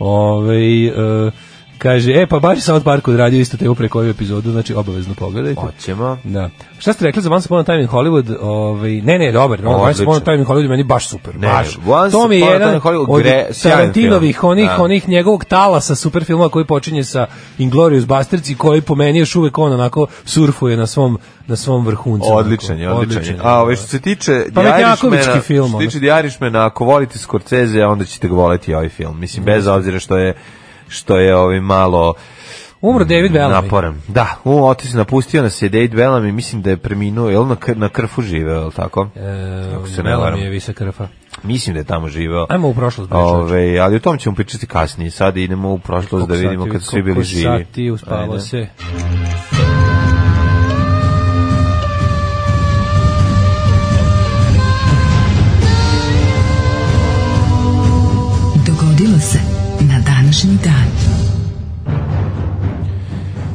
S6: Ove, e, kaže, e, pa baš je South Park odradio isto temu preko ovu epizodu, znači obavezno pogledajte.
S5: Hoćemo.
S6: Da. Šta ste rekli za Once Upon a Time in Hollywood? Ovaj ne, ne, dobar. No, Once Upon a
S5: Odlično.
S6: Time in Hollywood je meni baš super.
S5: Ne,
S6: baš.
S5: Once
S6: to mi je
S5: Upon a
S6: jedan
S5: Time in Hollywood,
S6: od
S5: gre- sjajan
S6: Tarantinovih
S5: film.
S6: onih
S5: Da.
S6: onih njegovog talasa super filmova koji počinje sa Inglorious Bastards i koji po meni još uvek on onako surfuje na svom na svom vrhuncu.
S5: Odličan je,
S6: Onako,
S5: odličan je.
S6: da,
S5: A ove, što se tiče
S6: Pametnjakovički
S5: Diarišmena,
S6: Pa film,
S5: što se
S6: ono.
S5: tiče Diarišmena, ako volite Scorsese, onda ćete ga voleti i ovaj film. Mislim, bez obzira što je što je ovaj malo
S6: Umro David Bellamy.
S5: Mm, naporan. Da, u otis napustio nas je David Bellamy, mislim da je preminuo, je li na, kr- na krfu živeo, je li tako?
S6: E,
S5: Ako se ne varam.
S6: Bellamy je visoka rfa.
S5: Mislim da je tamo živeo.
S6: Ajmo u prošlost, bre, čoveče.
S5: Ove, ali o tom ćemo pričati kasnije. Sada idemo u prošlost da
S6: Koliko
S5: vidimo
S6: sati,
S5: kad su svi bili
S6: koliko
S5: živi.
S6: Sati, uspavao E,
S5: Ajde.
S6: se.
S4: Dogodilo se na današnji dan.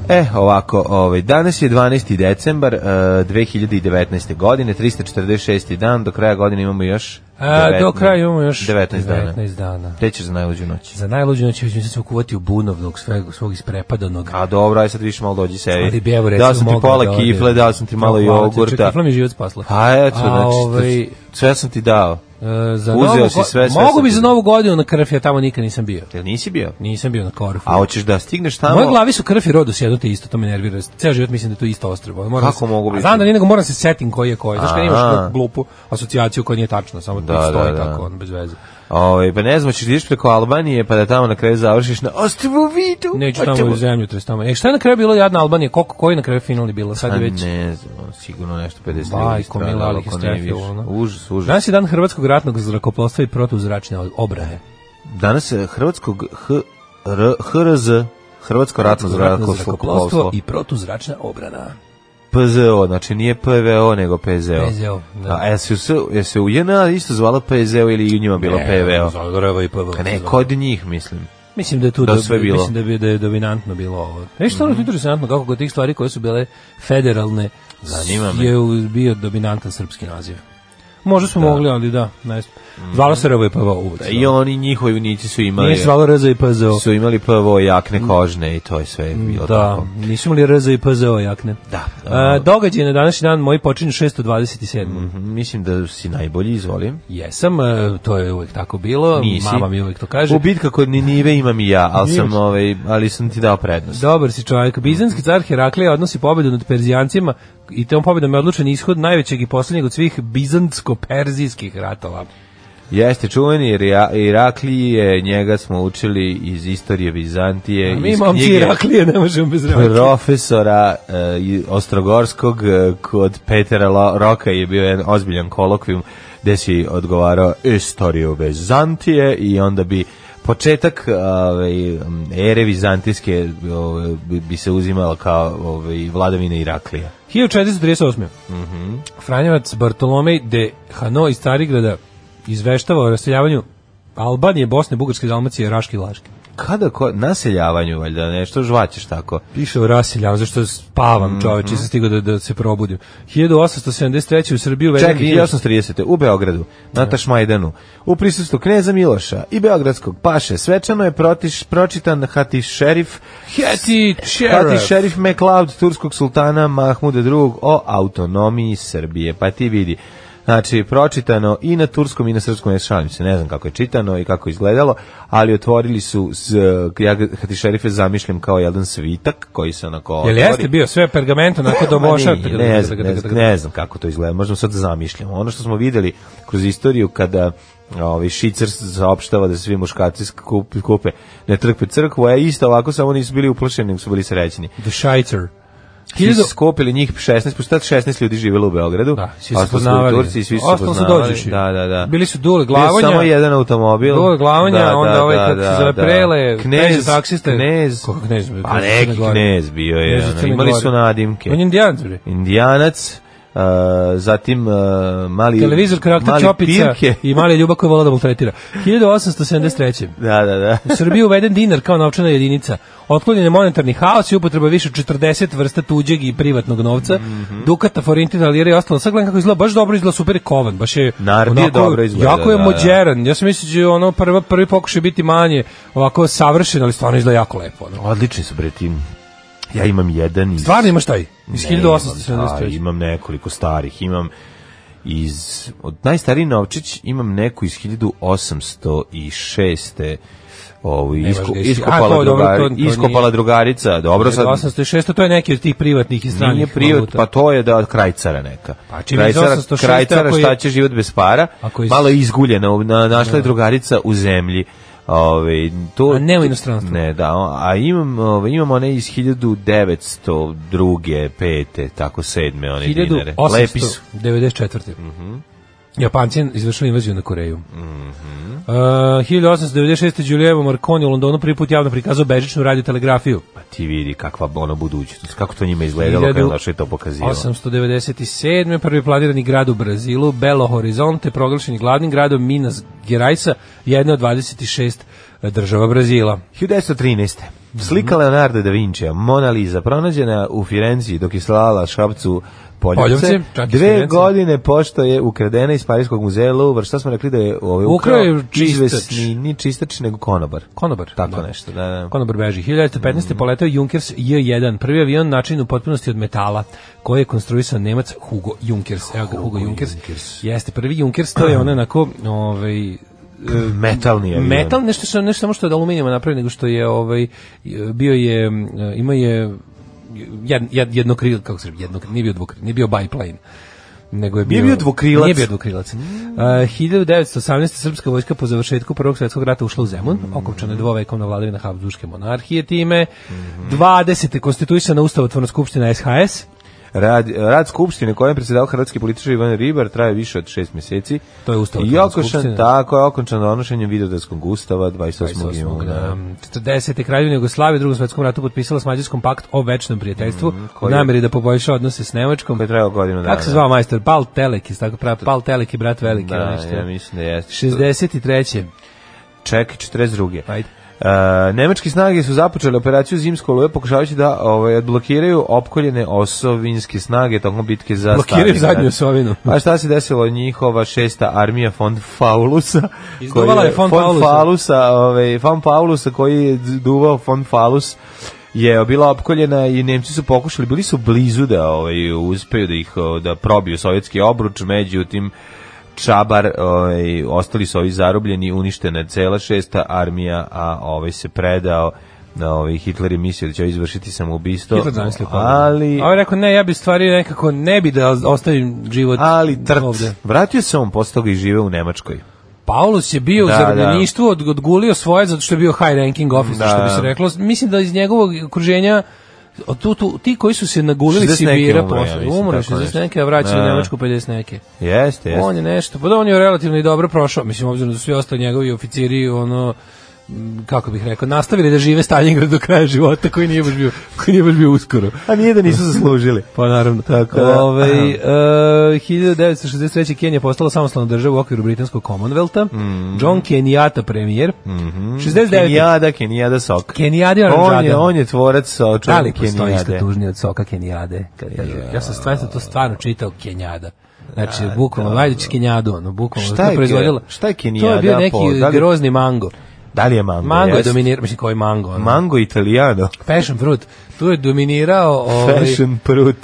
S5: E, ovako, ovaj, danas je 12. decembar eh, 2019. godine, 346. dan, do kraja godine imamo još...
S6: A, E, do
S5: 19
S6: kraja imamo još
S5: 19 dana.
S6: 19 dana.
S5: Te ćeš za najluđu noć.
S6: Za najluđu noć ću se ukuvati u bunovnog sveg, svog isprepadanog.
S5: A dobro, aj sad više malo dođi sebi.
S6: Ali bi evo recimo
S5: dao sam ti
S6: mogao
S5: pola
S6: da odem.
S5: kifle, dao sam ti malo
S6: Hvala ti, čekaj,
S5: jogurta.
S6: Kifla mi je život spasla.
S5: Pa eto,
S6: A,
S5: znači,
S6: ovaj,
S5: sve sam ti dao.
S6: e, za
S5: uzeo
S6: novu
S5: si
S6: go-
S5: sve, sve
S6: Mogu
S5: sam
S6: bi
S5: ti
S6: za
S5: dao.
S6: novu godinu na krf, ja tamo nikad nisam bio.
S5: Jel nisi bio?
S6: Nisam bio na korfu.
S5: A hoćeš da stigneš
S6: U
S5: tamo?
S6: mojoj glavi su krf i rodos jedno te isto, to me nervira. Ceo život mislim da je to isto ostrvo. Moram
S5: Kako
S6: se-
S5: mogu
S6: A
S5: biti?
S6: Znam da nije, nego moram se setim koji je koji. Znaš kad
S5: Aha.
S6: imaš neku glupu asocijaciju koja nije tačna, samo
S5: Da,
S6: da, stoji
S5: da, da.
S6: tako, on, bez veze.
S5: Ovaj, pa ne znam, ćeš da ideš preko Albanije, pa da tamo na kraju završiš na Ostrovu Vidu.
S6: Neću tamo
S5: Ostrovu-
S6: u zemlju, tres tamo. E, šta je na kraju bilo jadna Albanija? Koliko, koji je na kraju finalni bila? Sad
S5: A
S6: je već...
S5: Pa ne znam, sigurno nešto 50 ljudi
S6: Bajko,
S5: stradalo,
S6: mila, ali ih
S5: ako
S6: je
S5: ne
S6: strefilo,
S5: više.
S6: ono.
S5: Užas, užas.
S6: Danas je dan Hrvatskog ratnog zrakoplovstva i protuzračne obrane.
S5: Danas je hrvatskog h, R, HRZ, Hrvatsko ratno
S6: Ratno
S5: zrakoplovstvo,
S6: i protuzračna obrana.
S5: PZO, znači nije PVO nego PZO.
S6: PZO, da.
S5: A jesi se, jel se u JNA isto zvala PZO ili u njima bilo PVO?
S6: E, Zagoreva i PVO.
S5: Ne, kod njih mislim.
S6: Mislim da je tu
S5: Da
S6: da,
S5: sve bilo.
S6: mislim da je bio- da je dominantno bilo ovo. E što je interesantno kako kod tih stvari koje su bile federalne
S5: Zanima me.
S6: je u- bio dominantan srpski naziv. Možda smo mogli, ali da, ne. znam. Zvalo se RVPVO uvek.
S5: Da, I oni njihovi vojnici su imali
S6: da. Nije se zvalo RZ i PZO.
S5: su imali PVO jakne kožne i to je sve bilo
S6: Da,
S5: tako.
S6: nisu imali RZ i PZO jakne.
S5: Da.
S6: A, događaj na današnji dan moji počinju 627.
S5: Mhm, Mislim da si najbolji, izvolim.
S6: Jesam, e, to je uvek tako bilo,
S5: Nisi.
S6: mama mi uvek to kaže.
S5: U bitka kod Ninive imam i ja, ali sam,
S6: Imaš.
S5: ovaj, ali sam ti dao prednost.
S6: Dobar si čovjek. Bizanski car Heraklija odnosi pobjedu nad Perzijancima i tom pobjedom je odlučen ishod najvećeg i posljednjeg od svih bizantsko-perzijskih ratova.
S5: Jeste čuveni Ira- Iraklije, njega smo učili iz istorije Vizantije,
S6: A mi
S5: iz
S6: momci
S5: knjige
S6: Heraklije ne možemo bez Heraklija.
S5: profesora e, i- Ostrogorskog e, kod Petera Lo- Roka je bio jedan ozbiljan kolokvijum gde si odgovarao istoriju Vizantije i onda bi početak ovaj, ere Vizantijske ovaj, bi, bi se uzimala kao ovaj, vladavina Iraklija.
S6: 1438. Mhm. Franjevac Bartolomej de Hano iz Carigrada izveštava o raseljavanju Albanije, Bosne, Bugarske, Dalmacije, Raške i Laške.
S5: Kada ko, naseljavanju valjda nešto žvaćeš tako.
S6: Piše o raseljavanju, zašto spavam čoveče, nisam stigao da, da se probudim. 1873. u Srbiju uveden
S5: Čekaj,
S6: virus-
S5: 1830. u Beogradu,
S6: Da.
S5: na Tašmajdanu, u prisustvu kneza Miloša i beogradskog paše, svečano je protiš, pročitan Hatiš šerif,
S6: Heti
S5: Hatiš
S6: Sheriff.
S5: šerif McLeod, turskog sultana Mahmuda II o autonomiji Srbije. Pa ti vidi, znači, pročitano i na turskom i na srpskom, ja šalim se, ne znam kako je čitano i kako je izgledalo, ali otvorili su, s, ja Hatiš šerif je zamišljam kao jedan svitak koji se onako
S6: Jel
S5: otvori.
S6: jeste bio sve pergament onako do
S5: Ma
S6: moša?
S5: nije, Ne znam, ne znam, ne znam kako to izgleda. Možemo sad da zamišljamo. Ono što smo videli kroz istoriju kada ovaj šicer saopštava da svi muškarci skup- kupe ne trpe crkvu, a isto ovako samo nisu bili uplašeni, nego su bili srećni.
S6: The Shicer.
S5: Svi su
S6: Hiljadu-
S5: skupili njih 16, pošto tad 16 ljudi živelo u Beogradu.
S6: Da, svi
S5: a
S6: su
S5: ostali u
S6: poznavali.
S5: Turci i svi su
S6: Ostalo su
S5: poznavali.
S6: dođeši.
S5: Da, da, da.
S6: Bili su Dule
S5: Bio je
S6: Glavonja.
S5: samo jedan automobil. Da,
S6: Dule Glavonja, onda ovaj, kako se zove, Prele,
S5: knez,
S6: Peđa taksiste.
S5: Knez.
S6: Kako knez?
S5: Pa neki knez bio je.
S6: Knez iz
S5: ono,
S6: Crne
S5: Imali
S6: Gore.
S5: su nadimke.
S6: On je indijanac, bre.
S5: Indijanac, uh, zatim uh, mali
S6: Televizor karakter
S5: mali
S6: Čopica
S5: pirke.
S6: i male ljubav koja vola da maltretira. 1873.
S5: Da, da, da.
S6: U Srbiji je uveden dinar kao novčana jedinica. Otklonjen je monetarni haos i upotreba više od 40 vrsta tuđeg i privatnog novca.
S5: Mhm.
S6: Dukata, forintina, lira i ostalo. Sad gledam kako izgleda, baš dobro izgleda, super je kovan. Baš je
S5: Nardi je dobro izgleda,
S6: Jako je
S5: da, da.
S6: mođeran. Ja sam mislio da će ono prva, prvi pokušaj biti manje ovako savršen, ali stvarno izgleda jako lepo. Ono.
S5: Odlični su bre ti. Ja imam jedan iz...
S6: Stvarno imaš taj? Iz
S5: Ne, imam, da,
S6: 1873.
S5: imam nekoliko starih. Imam iz... Od najstariji novčić imam neku iz 1806. Ovo,
S6: Nemaš
S5: isku,
S6: ga iz- da A,
S5: iskopala,
S6: to je dobro,
S5: drugari-
S6: to- to nije-
S5: iskopala drugarica. Dobro, sad
S6: 1806. To je neki od tih privatnih i stranih
S5: Nije prijat,
S6: valuta.
S5: pa to je da od krajcara neka.
S6: Pa čim je iz
S5: krajcara,
S6: 806
S5: krajcara
S6: ako je-
S5: šta će život bez para,
S6: Ako je iz-
S5: malo je izguljena, na, našla je drugarica u zemlji. Ove, to,
S6: A ne u inostranstvu.
S5: Ne, da, o- a imam, ove, imam one iz 1902. pete, tako sedme, one dinare. Lepi su.
S6: 1894. Japanci izvršili invaziju na Koreju. Mm uh, 1896. Giuliano Marconi u Londonu prvi put javno prikazao bežičnu radiotelegrafiju.
S5: Pa ti vidi kakva ona budućnost, kako to njima izgledalo kad je
S6: Hiljadu-
S5: došlo i to pokazivalo.
S6: 897. prvi planirani grad u Brazilu, Belo Horizonte, proglašen je glavnim gradom Minas Geraisa, jedna od 26 država Brazila.
S5: 1913. Slika Leonarda da Vincija, Mona Lisa, pronađena u Firenci dok je slala Šapcu Poljubce.
S6: Poljupce, čak i
S5: Dve
S6: Firenci.
S5: godine pošto je ukradena iz Parijskog muzeja Louvre, šta smo rekli da je ovaj ukrao?
S6: Ukrao je čistač.
S5: Izvesni, ni čistač, nego konobar.
S6: Konobar.
S5: Tako nešto, da, Mm. da.
S6: Konobar beži. 1915. poletao Junkers J1, prvi avion način u potpunosti od metala, koji je konstruisao Nemac Hugo Junkers. Evo ga, Hugo, Junkers.
S5: Junkers.
S6: Jeste, prvi Junkers, to je onaj onako, ovaj,
S5: E, Metalni avion.
S6: metal, nešto što, nešto samo što je od aluminijuma napravio, nego što je, ovaj, bio je, m, imao je jed, jed, jednokril, kako se rekao, jednokril, nije bio dvokril, nije bio biplane nego je bio,
S5: Nije bio dvokrilac. Mm.
S6: Nije bio dvokrilac. Uh, 1918. srpska vojska po završetku Prvog svjetskog rata ušla u Zemun,
S5: Mm.
S6: okončana je dvovekovna vladavina
S5: Mhm.
S6: Habsburgske monarhije time. 20. konstituisana ustavotvorna skupština SHS.
S5: Rad, rad Skupštine kojem predsjedao hrvatski političar Ivan Ribar traje više od šest mjeseci.
S6: To je ustav
S5: I
S6: Hrvatske
S5: okončan,
S6: skupštine.
S5: tako je okončan donošenjem Vidodeskog ustava 28.
S6: 28.
S5: juna.
S6: Da. 40. kraljevina Jugoslavije u drugom svetskom ratu potpisala s Mađarskom pakt o večnom prijateljstvu u
S5: Mhm, koji je-
S6: nameri da poboljša odnose s Nemačkom.
S5: Koji je trajao godinu dana.
S6: Kako se zvao majstor? Pal Teleki, tako pravi Pal Teleki, brat veliki.
S5: Da,
S6: ili nešto.
S5: ja mislim da jeste.
S6: 63.
S5: Ček, 42.
S6: Ajde.
S5: E, nemačke snage su započele operaciju Zimsko oluje pokušavajući da ovaj, odblokiraju opkoljene osovinske snage tokom bitke za
S6: Blokiraju
S5: Stalingrad.
S6: zadnju osovinu.
S5: A šta se desilo? Njihova šesta armija von Faulusa.
S6: Izduvala
S5: koji
S6: je von
S5: Faulusa.
S6: Faulusa.
S5: ovaj, von Faulusa koji je duvao von Faulus je bila opkoljena i Nemci su pokušali, bili su blizu da ovaj, uspeju da ih o, da probiju sovjetski obruč, međutim Čabar, ovaj, ostali su ovi zarobljeni, uništena je cela šesta armija, a ovaj se predao na ovaj Hitler je mislio da će ovaj izvršiti samoubistvo.
S6: Hitler zamislio pobedu.
S5: ali
S6: pa da. A on je rekao, ne, ja bi stvari nekako, ne bi da ostavim život
S5: ali trt.
S6: ovde.
S5: Vratio se on posle toga i žive u Nemačkoj.
S6: Paulus je bio
S5: Da,
S6: u
S5: da.
S6: zarobljeništvu, od, odgulio svoje zato što je bio high ranking officer,
S5: Da.
S6: što bi se reklo. Mislim da iz njegovog okruženja od tu, tu, ti koji su se nagulili
S5: 60 neke
S6: Sibira
S5: umro, ja
S6: posle,
S5: mislim,
S6: umro
S5: tako
S6: 60
S5: nešto.
S6: neke, a vraćaju
S5: Da.
S6: u Nemačku 50 neke.
S5: Jeste, jeste.
S6: On je nešto, pa da on je relativno i dobro prošao, mislim obzirom da su svi ostali njegovi oficiri ono m, kako bih rekao, nastavili da žive Stalingrad do kraja života koji nije baš bio, koji nije baš bio uskoro.
S5: A nije da nisu zaslužili.
S6: Pa naravno.
S5: Tako da.
S6: Ove, e, 1963. Kenija postala samostalna država u okviru britanskog Commonwealtha.
S5: Mhm.
S6: John Kenyatta premijer. Mm 69.
S5: Kenijada, Kenijada sok.
S6: Kenijadi
S5: Mhm. On je,
S6: oranžada.
S5: on je tvorac čovjek
S6: Da li
S5: Kenijade.
S6: postoji išta tužnije od soka Kenijade? Kad kažu- Ja sam stvarno to stvarno čitao Kenjada. Znači, bukvalno, Vajdić Kenjadu, ono, bukvalno,
S5: Da, Šta
S6: to
S5: je ke-
S6: proizvodila.
S5: šta je
S6: To
S5: Kenjada
S6: je bio neki
S5: po- da li-
S6: grozni mango.
S5: Da li je mango?
S6: Mango je
S5: Jeste.
S6: dominirao, mislim, koji mango? Ono.
S5: Mango italiano.
S6: Fashion fruit. Tu je dominirao... Ovaj,
S5: Fashion prut.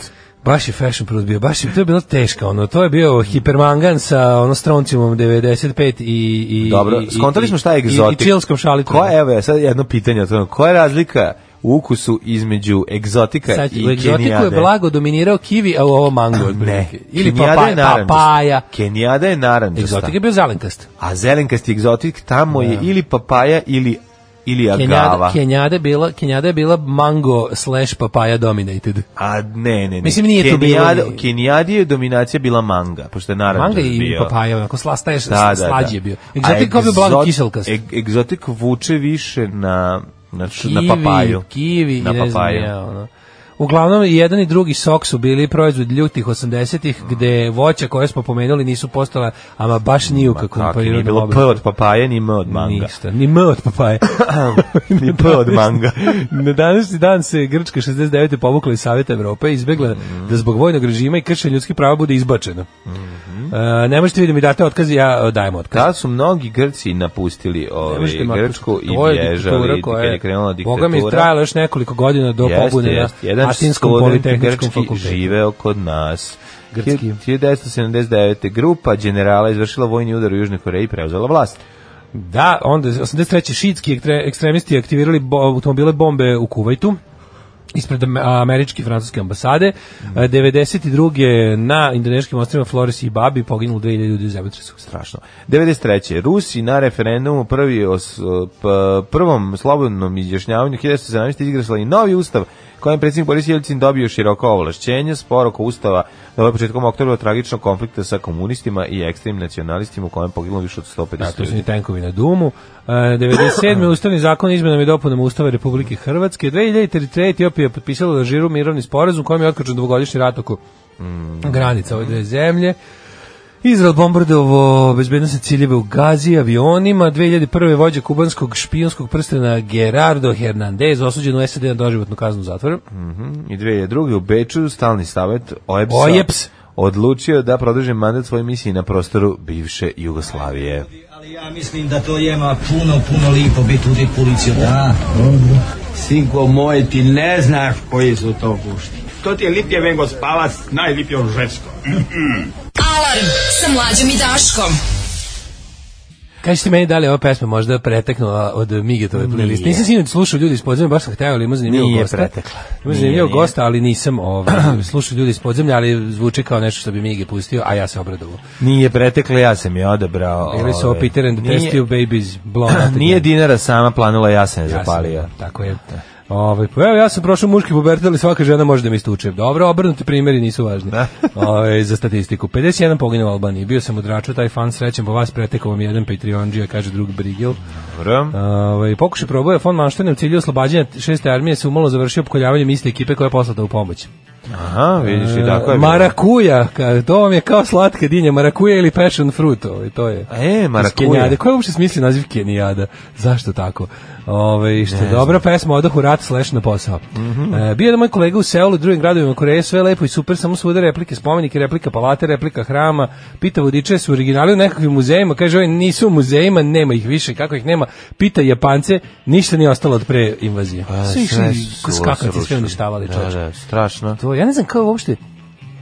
S6: Baš je fashion prut bio, baš je, to je bilo teško, ono, to je bio hipermangan sa ono stronciumom 95 i... i
S5: Dobro,
S6: i- i-
S5: skontali smo šta je
S6: i-
S5: egzotik.
S6: I, i čilskom šalikom.
S5: Koja, evo, ja sad jedno pitanje. o tome. Koja je razlika u ukusu između egzotika
S6: Sad,
S5: i
S6: u egzotiku
S5: Kenijade?
S6: je blago dominirao kivi, a u ovo mango.
S5: Ne.
S6: otprilike. Ili
S5: Kenijada je
S6: papaja.
S5: narandžasta.
S6: papaja.
S5: Kenijada je naranđasta.
S6: Egzotik je bio zelenkast.
S5: A zelenkasti egzotik tamo
S6: Da.
S5: je ili papaja ili ili
S6: Kenjada,
S5: agava.
S6: Kenjada, je bila, Kenjada je bila mango slash papaja dominated.
S5: A ne, ne, ne.
S6: Mislim, nije to bilo
S5: Kenijada-
S6: ni-
S5: Kenijadi je dominacija bila manga, pošto da je naranđas
S6: Manga
S5: bio.
S6: i papaja, onako slasta je,
S5: Da, da, da.
S6: slađi je bio.
S5: A
S6: Egzotik kao bio blago
S5: egzot-
S6: kiselkast.
S5: eg- egzotik vuče više na, na, č-
S6: kivi,
S5: na papaju.
S6: Kivi,
S5: na
S6: i ne znam
S5: papaju.
S6: ja, ono. Uglavnom, i jedan i drugi sok su bili proizvod ljutih 80-ih,
S5: Mm.
S6: gde voća koje smo pomenuli nisu postala, ama baš ni u kakvom
S5: Tako, nije
S6: prirodnom
S5: bilo P
S6: obliku.
S5: od papaje, ni M od manga.
S6: Ništa, ni Da, M od papaje.
S5: ni P od manga.
S6: Na današnji dan se Grčka 69. povukla iz Saveta Evrope i izbegla
S5: Mm.
S6: da zbog vojnog režima i kršenja ljudskih prava bude izbačena.
S5: Mhm.
S6: E, ne možete vidjeti mi date otkaz, ja e, dajem otkaz.
S5: Kada Da su mnogi Grci napustili ovaj,
S6: Možete makar-
S5: Grčku i
S6: to je
S5: bježali,
S6: diktatura
S5: kad
S6: koja
S5: je krenula diktatura.
S6: Boga mi trajala još nekoliko godina do pobune na
S5: Jedan
S6: Atinskom
S5: student
S6: politehničkom
S5: grčki
S6: fakultetu.
S5: živeo kod nas.
S6: Grčki.
S5: 1979. grupa generala izvršila vojni udar u Južnoj Koreji i preuzela vlast.
S6: Da, onda je 83. šitski ekstre- ekstremisti aktivirali bo- automobile bombe u Kuvajtu ispred am- američke i francuske ambasade.
S5: Mm.
S6: E, 92. na indoneškim ostrima Flores i Babi poginulo 2000 ljudi u zemljotresu.
S5: Strašno. 93. Rusi na referendumu prvi os, p, prvom slobodnom izjašnjavanju 1917. izglasali novi ustav kojem predsjednik Boris Jelcin dobio široko ovlašćenje, sporoko ustava da je početkom oktobra tragičnog konflikta sa komunistima i ekstremnim nacionalistima u kojem poginulo više od 150
S6: Da, to su
S5: ljudi.
S6: ni tenkovi na Dumu. E, 97. Ustavni zakon o izmenama i dopunama Ustava Republike Hrvatske. 2003. Etiopija je potpisala da žiru mirovni sporazum kojim je otkočen dvogodišnji rat oko granica ove dve zemlje. Izrael bombardovo bezbednostne ciljeve u Gazi avionima. 2001. vođa kubanskog špijunskog prstena Gerardo Hernandez osuđen u SAD na doživotnu kaznu zatvora.
S5: Mhm. I 2002. u Beču stalni savet OEPS,
S6: OEPS.
S5: odlučio da produži mandat svoje misije na prostoru bivše Jugoslavije.
S7: Ali ja mislim da to jema puno, puno lipo biti uvijek policiju. Da, dobro. Sinko moj, ti ne znaš koji su to gušti.
S8: To ti je lipje vengo spavac, najlipje žensko.
S4: Alarm sa mlađom i Daškom.
S6: Kažete meni da li je ova pesma možda preteknula od Migetove playlist. Nisam sinoć slušao ljudi iz podzemlja, baš sam hteo, ali ima zanimljivog
S5: Nije
S6: gosta.
S5: pretekla.
S6: Ima
S5: Nije,
S6: zanimljivog
S5: nije.
S6: gosta, ali nisam ovaj, slušao ljudi iz podzemlja, ali zvuči kao nešto što bi Mige pustio, a ja se obradovao.
S5: Nije pretekla, ja sam je odabrao.
S6: Ili su
S5: ovaj,
S6: ovo Peter and the
S5: nije-
S6: Test Tube Babies, Blown Out
S5: Nije
S6: Again.
S5: dinara sama planula, ja sam je
S6: Ja sam,
S5: zapalio.
S6: Tako je. Ovaj, pa evo, ja sam prošao muški pubertet, ali svaka žena može da me istuče. Dobro, obrnuti primjeri nisu važni.
S5: Da.
S6: Ovaj, za statistiku. 51 poginuo u Albaniji. Bio sam u Draču, taj fan srećan po vas, pretekao vam jedan Patreonđija, kaže drug Brigel.
S5: Dobro.
S6: Ovaj, pokušaj proboja von Manštene u cilju oslobađanja šeste armije se umalo završio pokoljavanjem iste ekipe koja je poslata u pomoć.
S5: Aha, vidiš i tako je. bilo.
S6: Marakuja, ka- to vam je kao slatka dinja, marakuja ili passion fruit, ovaj, to je.
S5: E, marakuja.
S6: Iz Kenijade. Ko je uopšte smisli naziv Kenijada? Zašto tako? Ove, što je dobra pesma, odah u rat slash na posao.
S5: Mhm.
S6: e, bio je jedan moj kolega u Seulu i drugim gradovima Koreje, sve lepo i super, samo svuda replike spomenike, replika palate, replika hrama, pita vodiče su originali u nekakvim muzejima, kaže ovi nisu u muzejima, nema ih više, kako ih nema, pita Japance, ništa nije ostalo od pre invazije.
S5: Pa,
S6: Sve išli, ko skakanci, sve uništavali
S5: Da,
S6: čoveče.
S5: da, strašno.
S6: To ja ne znam kao uopšte.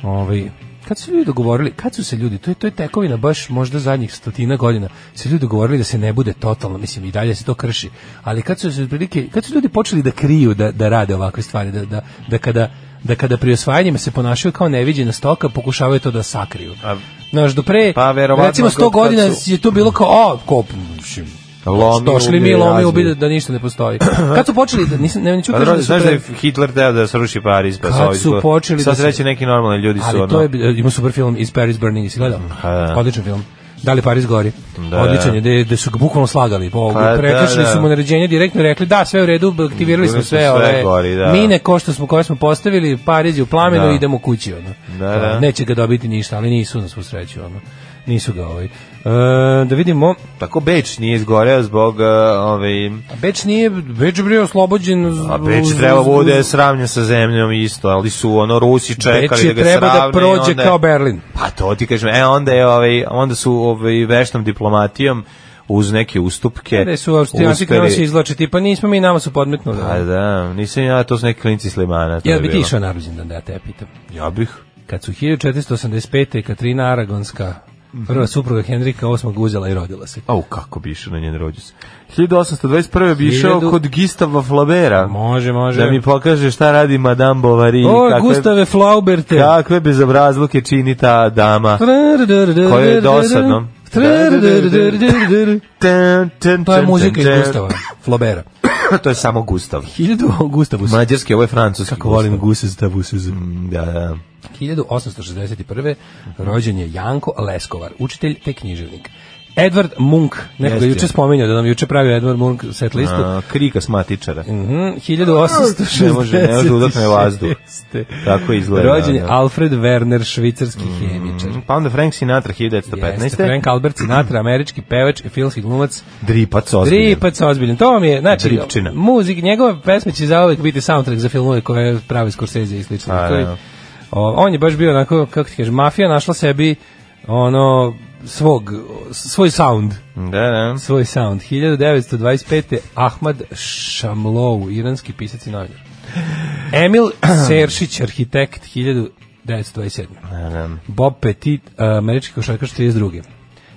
S6: Ovaj kad su ljudi dogovorili, kad su se ljudi, to je to je tekovina baš možda zadnjih stotina godina, se ljudi dogovorili da se ne bude totalno, mislim i dalje se to krši. Ali kad su se otprilike, kad su ljudi počeli da kriju da da rade ovakve stvari, da da da kada da kada pri osvajanjima se ponašaju kao neviđena stoka, pokušavaju to da sakriju.
S5: A-
S6: Znaš, do pre,
S5: Pa, verovatno,
S6: recimo 100
S5: kad
S6: godina
S5: su-
S6: je to bilo kao, a, kop, mislim,
S5: Lomi,
S6: došli mi,
S5: ubili,
S6: lomi,
S5: razbili.
S6: ubili, da ništa ne postoji. Kad su počeli, da, nisam, ne, neću
S5: Pa
S6: kažem
S5: dobro,
S6: da su
S5: znaš da
S6: pre-
S5: je Hitler teo da sruši Pariz, pa
S6: Kad
S5: sa ovim
S6: su
S5: izgo-
S6: počeli da
S5: Sad
S6: se-
S5: sreće neki normalni ljudi su
S6: Ali
S5: ono...
S6: to je bi- ima super film Is Paris Burning, si gledao?
S5: da.
S6: Odličan film. Da li Paris gori?
S5: Da.
S6: Odličan je, gde, gde su ga bukvalno slagali. Po,
S5: Pa da,
S6: prekršili
S5: da.
S6: su mu naređenje, direktno rekli da, sve u redu, aktivirali smo
S5: Bili smo
S6: sve,
S5: sve
S6: ove
S5: gori, da.
S6: mine ko što smo, koje smo postavili, Pariz je u plamenu,
S5: Da.
S6: idemo kući. Ono. Pa,
S5: Da, da.
S6: Neće ga dobiti ništa, ali nisu na svu sreću. Ono. Nisu ga ovaj. E, da vidimo,
S5: Tako Beč nije izgoreo zbog uh, ove...
S6: Beč nije, Beč je bio oslobođen. z-
S5: A Beč
S6: uz-
S5: treba
S6: uz-
S5: bude
S6: uz-
S5: sravnjen sa zemljom isto, ali su ono Rusi čekali
S6: Beč
S5: da
S6: je
S5: ga
S6: treba da
S5: sravne i
S6: prođe
S5: onda je-
S6: kao Berlin.
S5: Pa to ti kažem, e onda je ovaj onda su ovaj veštom diplomatijom uz neke ustupke.
S6: Da su Austrijanci
S5: uspeli-
S6: krenuli se izlačiti, pa nismo mi, nama su podmetnuli.
S5: Pa da, nisam ja, to su neki klinci Slimana. to
S6: Jel
S5: je
S6: bi ti
S5: bilo.
S6: išao na rođendan da ja te pitam?
S5: Ja bih.
S6: Kad su 1485. Katarina Aragonska,
S5: Mhm.
S6: prva supruga Henrika VIII. uzela i rodila se.
S5: Au, kako bi išao na njen rođus. 1821. bi išao
S6: Hiljadu-
S5: kod Gistava Flabera.
S6: Može, može.
S5: Da mi pokaže šta radi Madame Bovary.
S6: o,
S5: kakve-
S6: Gustave Flauberte.
S5: Kakve bezobrazluke čini ta dama.
S6: Koje
S5: Koje je dosadno. Ten, ten,
S6: To je
S5: ten,
S6: muzika iz
S5: ten, ten.
S6: Gustava, Flaubera.
S5: to je samo Gustav.
S6: 1000 Gustavus.
S5: Mađarski, ovo je francuski.
S6: Kako volim
S5: Guse Stavuseze. Da, da.
S6: 1861. rođen je Janko Leskovar, učitelj te književnik. Edward Munk, neko ga
S5: Jeste.
S6: juče spominjao da nam juče pravio Edward Munk set listu.
S5: A, krika s matičara.
S6: Mhm, 1866.
S5: Ne može- ne može da udahne vazduh. Tako izgleda,
S6: Rođen je
S5: da.
S6: Alfred Werner, švicarski hemičar.
S5: Pa onda Frank Sinatra
S6: Jeste,
S5: 1915.
S6: Frank Albert Sinatra, američki pevač i filmski glumac.
S5: Dripac ozbiljan.
S6: Dripac ozbiljan. To vam je, znači,
S5: Dripčina.
S6: muzik, njegove pesme će zauvek biti soundtrack za filmove koje pravi Scorsese i slično.
S5: A,
S6: To je-
S5: da.
S6: O, on je baš bio onako, kako ti kažeš, mafija našla sebi ono svog, svoj sound.
S5: Da, da.
S6: Svoj sound. 1925. Ahmad Shamlou, iranski pisac i novinar. Emil Seršić, arhitekt, 1927.
S5: Da, da.
S6: Bob Petit, eh, američki košarkaš 32.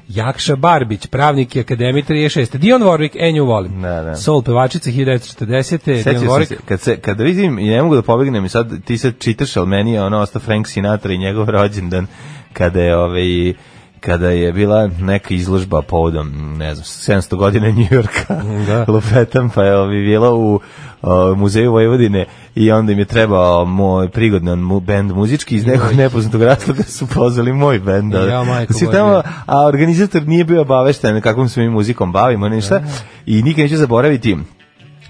S6: Jakša Barbić, pravnik i akademik 36. Dion Warwick, e nju volim.
S5: Da, da.
S6: Sol pevačica 1940. Dion
S5: Sećam
S6: Warwick,
S5: se, kad, se, kad vidim i ne mogu da pobegnem i sad ti sad čitaš, ali meni je ono ostao Frank Sinatra i njegov rođendan kada je ovaj kada je bila neka izložba povodom, ne znam, 700 godina Njujorka,
S6: Da.
S5: lupetam, pa je ovi bila u o, muzeju Vojvodine i onda im je trebao moj prigodan mu, bend muzički iz nekog nepoznatog razloga su pozvali moj bend. da-
S6: Ja, majko
S5: Svi
S6: Božja.
S5: tamo, a organizator nije bio obavešten kakvom se mi muzikom bavimo, ništa,
S6: Da.
S5: i nikad neću zaboraviti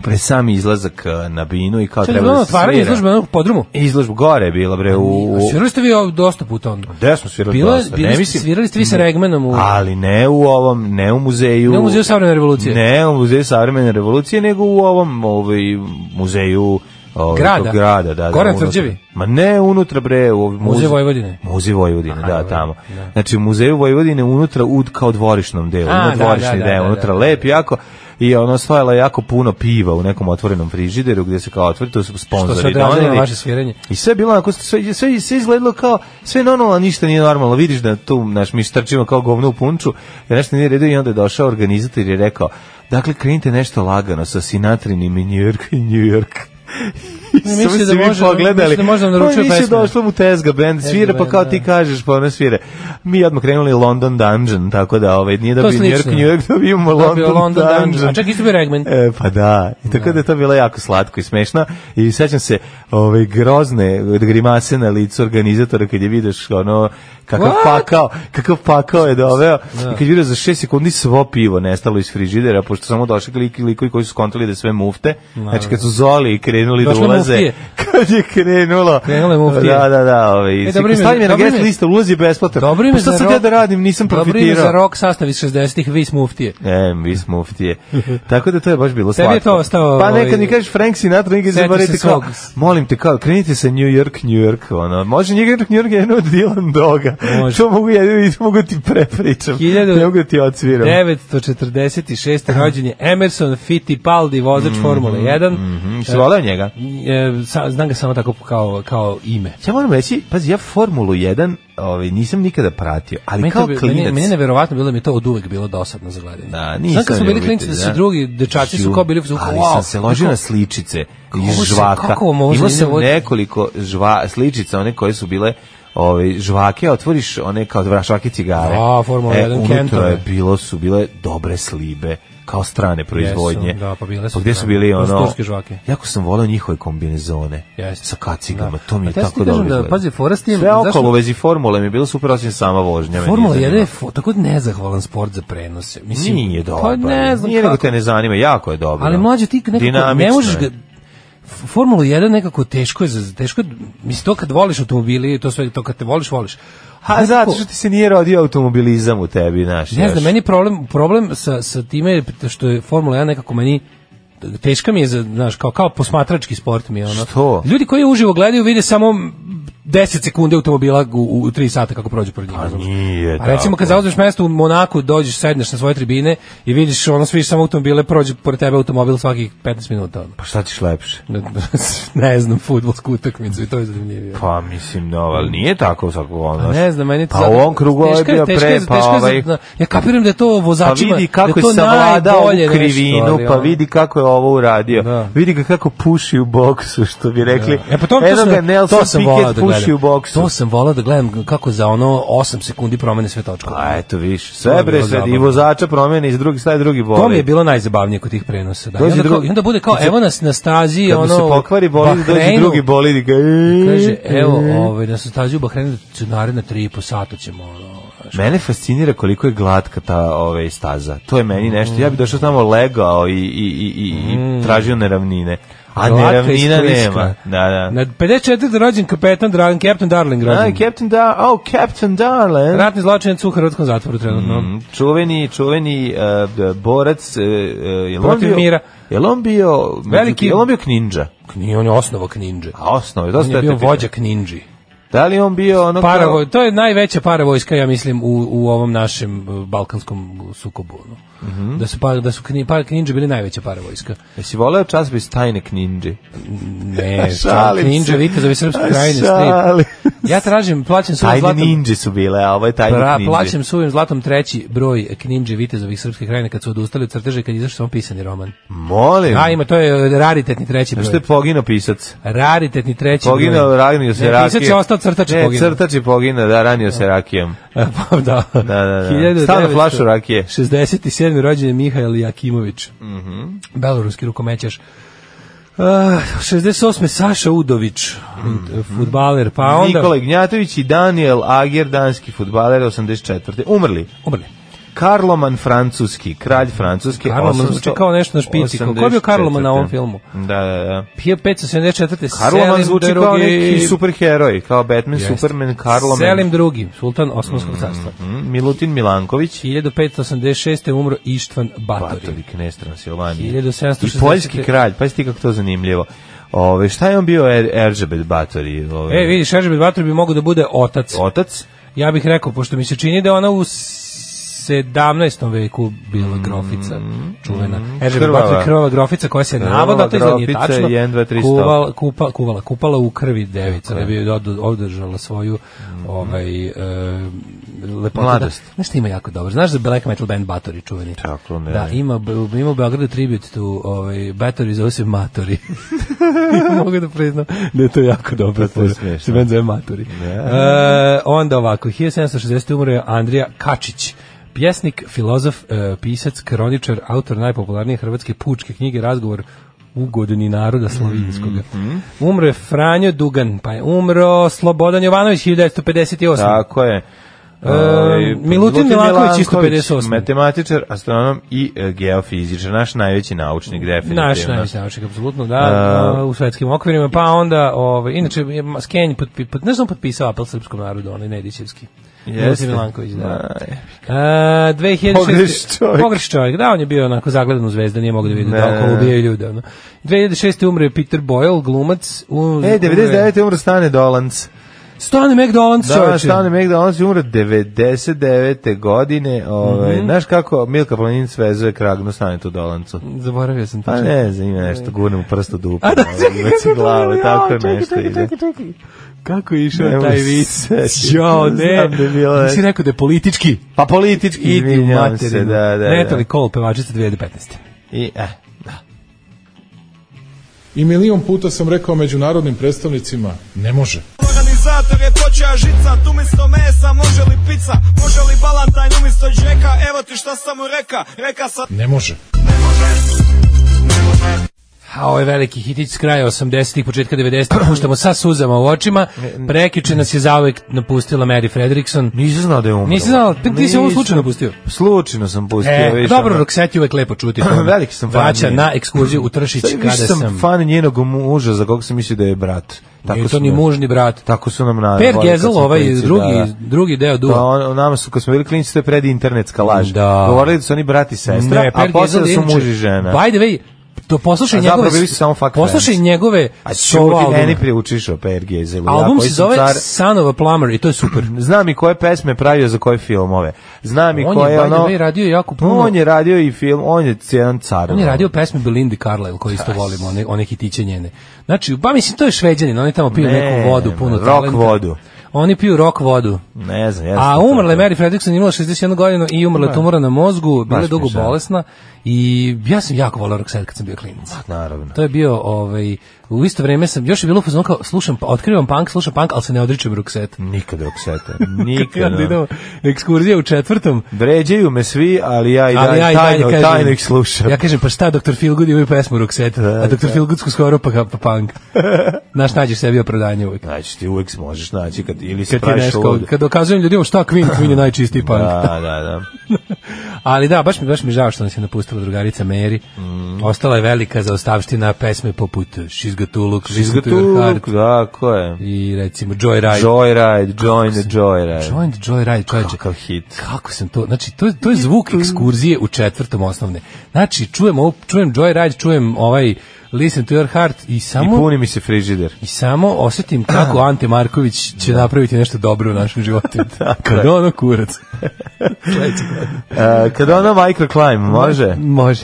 S5: pre sami izlazak e, na binu i kao
S6: Čekaj,
S5: treba
S6: ono
S5: da se svira.
S6: otvaranje izložbe pa onog podrumu.
S5: Izložba gore je bila bre u... u
S6: Svirali ste vi ovo dosta puta onda?
S5: gde smo svirali
S6: Bilo,
S5: dosta?
S6: bili
S5: ne
S6: ste-
S5: mislim.
S6: svirali ste vi sa Regmanom u...
S5: Ali ne u ovom, ne u muzeju...
S6: Ne u Muzeju savremene revolucije.
S5: Ne u muzeju savremene revolucije, nego u ovom ovaj, muzeju... Ovaj,
S6: Grada.
S5: tog grada, da. da,
S6: Goran
S5: unutra.
S6: Tvrđevi?
S5: Ma ne unutra bre, u ovom
S6: Muzej
S5: muze-
S6: Vojvodine.
S5: Muzej Vojvodine, da, tamo. Znači u muzeju Vojvodine unutra u kao dvorišnom delu,
S6: A,
S5: ima
S6: da,
S5: dvorišni
S6: da, da,
S5: deo,
S6: da,
S5: unutra
S6: da.
S5: lep jako i ono stojalo je jako puno piva u nekom otvorenom frižideru gdje se kao otvori, to su
S6: što se
S5: sponzori da,
S6: odrazilo na
S5: doneli.
S6: vaše sviranje.
S5: I sve je bilo onako, sve, sve, sve izgledalo kao, sve je normalno, a ništa nije normalno. Vidiš da tu, naš, mi štrčimo kao govno u punču, da nešto nije redu i onda je došao organizator i je rekao, dakle, krenite nešto lagano sa Sinatrinim i New York i New York. Samo
S6: misli
S5: se
S6: da
S5: mi
S6: može-
S5: pogledali.
S6: misli da može da nam naručuje
S5: Pa nisi
S6: pesme.
S5: došlo mu Tezga band, svira, pa
S6: band,
S5: kao
S6: da.
S5: ti kažeš, pa ona svira. Mi odmah krenuli London Dungeon, tako da ovaj, nije da bi New York,
S6: slično.
S5: New York, da bi imamo London,
S6: London Dungeon.
S5: Dungeon.
S6: A čak isto bio Ragman.
S5: E, pa da, i tako da je to bilo jako slatko i smešno i sećam se ove grozne grimase na licu organizatora kad je vidiš ono kakav
S6: What? Da.
S5: pakao, kakav pakao je doveo i kad je vidio za 6 sekundi svo pivo nestalo iz frižidera pošto samo došli lik, likovi koji su skontali da je sve mufte, znači kad su zoli i krenuli da
S6: da. Došle
S5: ulaze,
S6: muftije.
S5: kad je krenulo,
S6: Krenule muftije.
S5: da, da, da, ove,
S6: E,
S5: e,
S6: dobro ime-
S5: stavim je na
S6: dobro
S5: guest
S6: ime-
S5: lista, ulaz je besplatan,
S6: Dobro ime
S5: pa šta
S6: za
S5: sad
S6: rock-
S5: ja da radim, nisam
S6: Dobro ime za
S5: profitirao.
S6: rok sastav iz 60-ih, vi smuftije.
S5: E, mi smo muftije. Tako da to je baš bilo
S6: Tebi je
S5: slatko.
S6: to ostao,
S5: Pa nekad
S6: ovaj,
S5: mi kažeš Frank Sinatra, nikad
S6: setiš
S5: zaboravite
S6: se
S5: kao,
S6: svog.
S5: molim te kao, krenite sa New York, New York, ono, može New York, New York je jedno od Dylan Doga.
S6: Može.
S5: To mogu, ja, mogu ti prepričam.
S6: Hiljadu-
S5: Ne mogu da ti odsviram.
S6: 946. rođen je Emerson Fittipaldi, vozač Formule 1.
S5: Mhm, si voleo njega?
S6: E, sa, znam ga samo tako kao, kao ime.
S5: Ja moram reći, pazi, ja Formulu 1 ovaj, nisam nikada pratio, ali
S6: Meni, to
S5: kao
S6: bi-
S5: klinac...
S6: meni, meni je neverovatno bilo da mi je to od uvek bilo dosadno za gledanje.
S5: Da, nisam
S6: Znam kad smo bili
S5: ljubitelj,
S6: klinci da su
S5: da.
S6: drugi dečaci su
S5: Ju,
S6: kao bili u fazonu,
S5: Ali
S6: wow,
S5: sam se ložio
S6: kako-
S5: na sličice
S6: se-
S5: iz žvaka.
S6: kako vam ovo da
S5: Imao sam
S6: zanimljivo?
S5: nekoliko žva, sličica, one koje su bile ove, žvake, a otvoriš one kao dva žvake cigare. E,
S6: A, Formula 1
S5: unutra
S6: Kentove.
S5: je bilo su bile dobre slibe kao strane proizvodnje.
S6: da, pa bile su
S5: gde su
S6: strane.
S5: bili
S6: To su
S5: ono?
S6: turske žvake.
S5: Jako sam voleo njihove kombinezone.
S6: Jeste.
S5: Sa kacigama,
S6: Da.
S5: to mi
S6: A
S5: je
S6: te ja
S5: tako
S6: ti kažem
S5: dobro.
S6: da,
S5: izgleda.
S6: pazi, fora s tim,
S5: Sve
S6: znaš
S5: okolo
S6: što-
S5: u vezi formule mi je bilo super, osim sama vožnja. me nije
S6: Formula 1 je
S5: zanimala.
S6: fo, tako nezahvalan sport za prenose. Mislim,
S5: Nije dobro.
S6: Pa ne znam
S5: Nije nego
S6: kako.
S5: te ne zanima, jako je dobro.
S6: Ali mlađe ti nekako ne
S5: Da. Dinamično
S6: možeš
S5: je.
S6: ga F- Formulu 1 nekako teško je za teško je, mislim to kad voliš automobili to sve to kad te voliš voliš.
S5: A
S6: nekako-
S5: zato što ti se nije rodio automobilizam u tebi, znaš.
S6: Ne
S5: još.
S6: znam, meni problem, problem sa, sa time je što je Formula 1 nekako meni teška mi je za, znaš, kao, kao posmatrački sport mi je ono.
S5: Što?
S6: Ljudi koji uživo gledaju vide samo 10 sekunde automobila u, u 3 sata kako prođe pored njih. razumeš?
S5: Pa nije
S6: Pa A recimo
S5: tako.
S6: kad zauzmeš mesto u Monaku, dođeš, sedneš na svoje tribine i vidiš ono sviš samo automobile, prođe pored tebe automobil svakih 15 minuta. Ono.
S5: Pa šta ćeš lepše?
S6: ne znam, fudbalsku utakmicu i to je zanimljivije.
S5: Pa mislim, no, ali nije tako u svakom ono.
S6: Pa ne znam, meni to
S5: Pa u ovom krugu ovo je bio pre, pa ovaj...
S6: ja kapiram da je to
S5: Pa
S6: vozačima,
S5: vidi kako
S6: da
S5: je
S6: to
S5: savladao
S6: najbolje
S5: u
S6: nešto,
S5: krivinu,
S6: ali
S5: pa
S6: ono.
S5: vidi kako je ovo uradio.
S6: Da.
S5: Vidi ga kako puši u boksu, što bi rekli.
S6: E pa to, to,
S5: Eno
S6: sam,
S5: ga Nelson
S6: to sam volao
S5: Piquet
S6: da
S5: puši
S6: gledam.
S5: u boksu.
S6: To sam volao da gledam kako za ono 8 sekundi promene sve točkove.
S5: Pa eto, viš,
S6: To
S5: sve
S6: je bilo
S5: bre, sve, i
S6: zabavno.
S5: vozača promeni, iz drugi, staje drugi boli.
S6: To mi je bilo najzabavnije kod tih prenosa. Da. I,
S5: Dođe
S6: onda kao,
S5: drugi-
S6: I onda bude kao,
S5: kad se-
S6: evo nas na stazi,
S5: Kad mu
S6: ono,
S5: se pokvari bolid, dođe
S6: Bahreinu.
S5: drugi Mm-hmm. bolid i ga...
S6: Kaže, evo, ovaj, na stazi u Bahreinu, ću naredna 3,5 sata ćemo, ono, znaš,
S5: Mene fascinira koliko je glatka ta ove staza. To je meni nešto. Ja bih došao tamo legao i, i, i, i, i tražio neravnine. A
S6: Mm. glatka
S5: neravnina
S6: i skliska.
S5: nema. Da, da.
S6: Na 54. rođen kapetan Dragan, Captain Darling
S5: A,
S6: rođen.
S5: Captain Dar oh, Captain Darling.
S6: Ratni zločinac u hrvatskom zatvoru trenutno.
S5: Mm, Čuveni, čuveni uh, b- borac uh, uh, je
S6: Protiv mira.
S5: Je on bio
S6: Veliki-
S5: veliki, je on bio kninđa.
S6: Nije on je osnovak ninja.
S5: A osnov,
S6: On
S5: dosta
S6: je
S5: te
S6: bio
S5: pitam.
S6: vođak ninji.
S5: Da li je on bio ono kao-
S6: Paravoj, to je najveća paravojska, ja mislim, u, u ovom našem uh, balkanskom sukobu. No.
S5: Mhm.
S6: Da su, pa, da su kni, par kninđe bili najveća paravojska.
S5: Jesi voleo časopis tajne kninđe?
S6: Ne,
S5: Šalim
S6: kninđe,
S5: se.
S6: vitezovi srpske
S5: A,
S6: krajine,
S5: šalim
S6: strip. Ja tražim, plaćam svojim
S5: Tajne
S6: zlatom,
S5: ninđe su bile, a ovaj ovo je tajne
S6: pra,
S5: kninđe.
S6: plaćam svojim zlatom treći broj kninđe vitezovih srpske krajine kad su odustali od crteže i kad je izašao samo pisani roman.
S5: Molim.
S6: A ima, to je uh, raritetni treći broj.
S5: E, Što je poginuo pisac?
S6: Raritetni treći
S5: Poginuo,
S6: broj.
S5: ranio se
S6: Ne,
S5: rakijom.
S6: pisac je ostao, crtač je
S5: ne,
S6: poginuo.
S5: crtač je poginuo, da, ranio se rakijom.
S6: pa da. Da,
S5: da, da. Stavno flašu rakije.
S6: 67. rođen je Mihajl Jakimović. Mhm. Beloruski rukomećaš. Uh, 68. Saša Udović,
S5: Mhm.
S6: futbaler, pa onda...
S5: Nikolaj Gnjatović i Daniel Ager, danski futbaler, 84. Umrli.
S6: Umrli.
S5: Karloman Francuski, kralj Francuski.
S6: Karloman zvuči kao nešto na špici. Ko je bio Karloman na ovom filmu?
S5: Da, da, da.
S6: 1574.
S5: Karloman
S6: Selim
S5: zvuči
S6: drugi,
S5: kao neki superheroj, kao Batman,
S6: Jeste.
S5: Superman, Karloman.
S6: Selim drugi, sultan Osmanskog carstva.
S5: Mm, Milutin Milanković.
S6: 1586. umro Ištvan Batorik.
S5: Batorik, ne Transilvanije.
S6: 1760.
S5: I poljski kralj, pa ti kako to zanimljivo. Ove, šta je on bio er, Eržebet Batori? Ove,
S6: E, vidiš, Eržbet Bator bi mogao da bude otac.
S5: Otac?
S6: Ja bih rekao, pošto mi se čini da je ona u 17. veku bila grofica čuvena. Eržbet
S5: Mm-hmm. Krvava.
S6: Bator je krvava grofica koja se
S5: Krvava
S6: navodno, to izgleda nije
S5: grofica,
S6: tačno,
S5: 1, 2, 3,
S6: kuvala, kupa, kuvala, kupala u krvi devica, da bi od- održala svoju ovaj, e, lepota.
S5: Mhm. Mladost.
S6: Da, znaš šta ima jako dobro? Znaš za black metal band Bathory čuveni?
S5: Tako, ne.
S6: Da, ima, u- ima u Beogradu tribut tu ovaj, Bathory zove se Matori. Mogu da priznam da je to jako dobro.
S5: To je smešno. Da.
S6: Se band zove Matori. E, onda ovako, 1760. umro je Andrija Kačić. Pjesnik, filozof, e, pisac, kroničar, autor najpopularnije hrvatske pučke knjige Razgovor ugodni naroda slovinskoga.
S5: Mhm.
S6: Umro je Franjo Dugan, pa je umro Slobodan Jovanović 1958.
S5: Tako je.
S6: E, Milutin Milanković, isto 58.
S5: Matematičar, astronom i e, geofizičar, naš najveći naučnik, definitivno. Uh,
S6: Naš najveći naučnik, apsolutno, da, u svetskim okvirima, pa onda, ovaj, inače, je ma- Skenj, pot, pot, ne znam, potpisao apel srpskom narodu, onaj Nedićevski.
S5: Jeste.
S6: Milutin Milanković, da.
S5: Aj.
S6: E, 2006.
S5: Pogreš čovjek.
S6: Pogreš čovjek, da, on je bio onako zagledan u zvezda, nije mogao da vidi
S5: Ne.
S6: da okolo ubijaju ljude. Ono. 2006. umre je Peter Boyle, glumac. U,
S5: E, 99. umro Stane Dolanc.
S6: Stane McDonald's,
S5: Da, Stane Meg Dolanc je umro 99. godine. Ovaj,
S6: Mhm.
S5: Znaš kako Milka Planin svezuje kragnu Stane tu Dolancu?
S6: Zaboravio sam to.
S5: Pa ne znam, ima nešto, gurnem u prstu dupa.
S6: A da,
S5: ovaj,
S6: čekaj,
S5: ubaci
S6: čekaj,
S5: glavu,
S6: čekaj,
S5: tako
S6: čekaj,
S5: nešto
S6: čekaj,
S5: ide.
S6: čekaj, čekaj. Kako je išao
S5: Ne mogu
S6: taj
S5: se
S6: vis?
S5: setiti.
S6: Jo, ne.
S5: Znam da je bilo
S6: Ti si
S5: nešto.
S6: rekao da je politički.
S5: Pa politički,
S6: Idi u
S5: izvinjavam
S6: materinu.
S5: se, da, da.
S6: Natalie
S5: da.
S6: Cole, pevačica 2015.
S5: I, eh,
S9: I milion puta sam rekao međunarodnim predstavnicima, ne može.
S10: Organizator je počeo žica, tu umjesto mesa može li pizza, može li balantajn umjesto džeka, evo ti šta sam mu reka, reka sam
S9: Ne može.
S6: A ovo je veliki hitić s kraja 80-ih, početka 90-ih, puštamo sa suzama u očima. Prekiče nas je zauvek napustila Mary Fredrickson.
S5: nisam znao da je umro.
S6: Nisi znala, ti- ti si ovo
S5: Nisam.
S6: slučajno pustio?
S5: Slučajno sam pustio.
S6: E,
S5: vidiš,
S6: dobro,
S5: ono.
S6: Roxette je uvek lepo čuti.
S5: Veliki sam fan
S6: Vraća
S5: nje.
S6: na ekskurziju u Tršić
S5: Sad
S6: kada
S5: više sam,
S6: sam...
S5: fan njenog muža za kog sam mislio da je brat.
S6: Nije to
S5: su
S6: ni
S5: nam-
S6: mužni brat.
S5: Tako su nam na
S6: Per
S5: voli kad
S6: Gezel,
S5: smo
S6: ovaj
S5: klinci,
S6: drugi,
S5: da.
S6: drugi deo duo.
S5: Pa on, nama su, kad smo bili klinici, to je pred internetska laž.
S6: Da.
S5: Govorili da su oni brat i sestra,
S6: Ne,
S5: a
S6: Per
S5: posle da su
S6: Gezel inače-
S5: muž i žena.
S6: By the way, to poslušaj
S5: A zapravo
S6: njegove...
S5: bili su samo fuck
S6: Poslušaj
S5: friends.
S6: njegove
S5: A
S6: solo
S5: čuti, meni
S6: albume.
S5: priučiš o Per Gezelu.
S6: Album
S5: ja, koji
S6: se
S5: sam
S6: zove
S5: car-
S6: Son of a Plumber i to je super.
S5: Znam i koje pesme pravio za koje filmove. Znam i
S6: On
S5: koje
S6: je, by the
S5: ono...
S6: way, radio jako puno-
S5: On je radio i film, on je cijedan car.
S6: On je radio pesme Belinde Carlisle koje isto volimo, one, one hitiće njene. Znači, pa mislim, to je šveđanin, oni tamo piju
S5: Ne,
S6: neku vodu, puno
S5: rock
S6: talenta.
S5: vodu.
S6: Oni piju rock vodu.
S5: Ne znam, ja
S6: A
S5: sam to-
S6: umrla je Mary Fredrickson, imala 61 godinu i umrla je tumora na mozgu, bila je
S5: Da. Baš da.
S6: dugo
S5: mi žao.
S6: bolesna i ja sam jako volao Roxette kad sam bio klinac.
S5: Da, Naravno.
S6: To je bio, ovaj, u isto vreme sam, još je bilo fazon kao, slušam, pa, otkrivam punk, slušam punk, ali se ne odričem Roxette.
S5: Nikada okseta.
S6: Kad onda
S5: Nikada. da.
S6: idemo na ekskurzije u četvrtom,
S5: Vređaju me svi, ali ja i
S6: ali
S5: dalje,
S6: ja i dalje
S5: tajno,
S6: kažem,
S5: tajno ih slušam.
S6: Ja kažem, pa šta, Dr. Feelgood je ovaj pesmu Roxette, a Dr. Feelgoodsku skoro pa, pa punk. Znaš, nađeš sebi opravdanje uvijek.
S5: Znači, ti uvek možeš naći kad, ili se
S6: Kad, ti je
S5: praviš
S6: neško,
S5: lud.
S6: kad dokazujem ljudima šta Queen, Queen je najčistiji punk.
S5: Da, da, da.
S6: Ali da, baš mi, baš mi žao što nas je napustila drugarica Mary. Ostala je velika zaostavština pesme poput She's Got To Look, She's Got To Your Heart
S5: Tu, da, ko je?
S6: i recimo Joyride.
S5: Joyride, Join the Joyride.
S6: Join the Joyride, čovječe.
S5: Kakav hit.
S6: Kako sam to, znači to, je- to je zvuk ekskurzije u četvrtom osnovne. Znači čujem, ovo, čujem Joyride, čujem ovaj Listen to your heart i
S5: I
S6: samo...
S5: puni mi se frižider.
S6: I samo osjetim kako Ante Marković će napraviti nešto dobro u našem životu. Kad
S5: Da. je.
S6: ono kurac.
S5: E, kad ono microclimb, može?
S6: Može.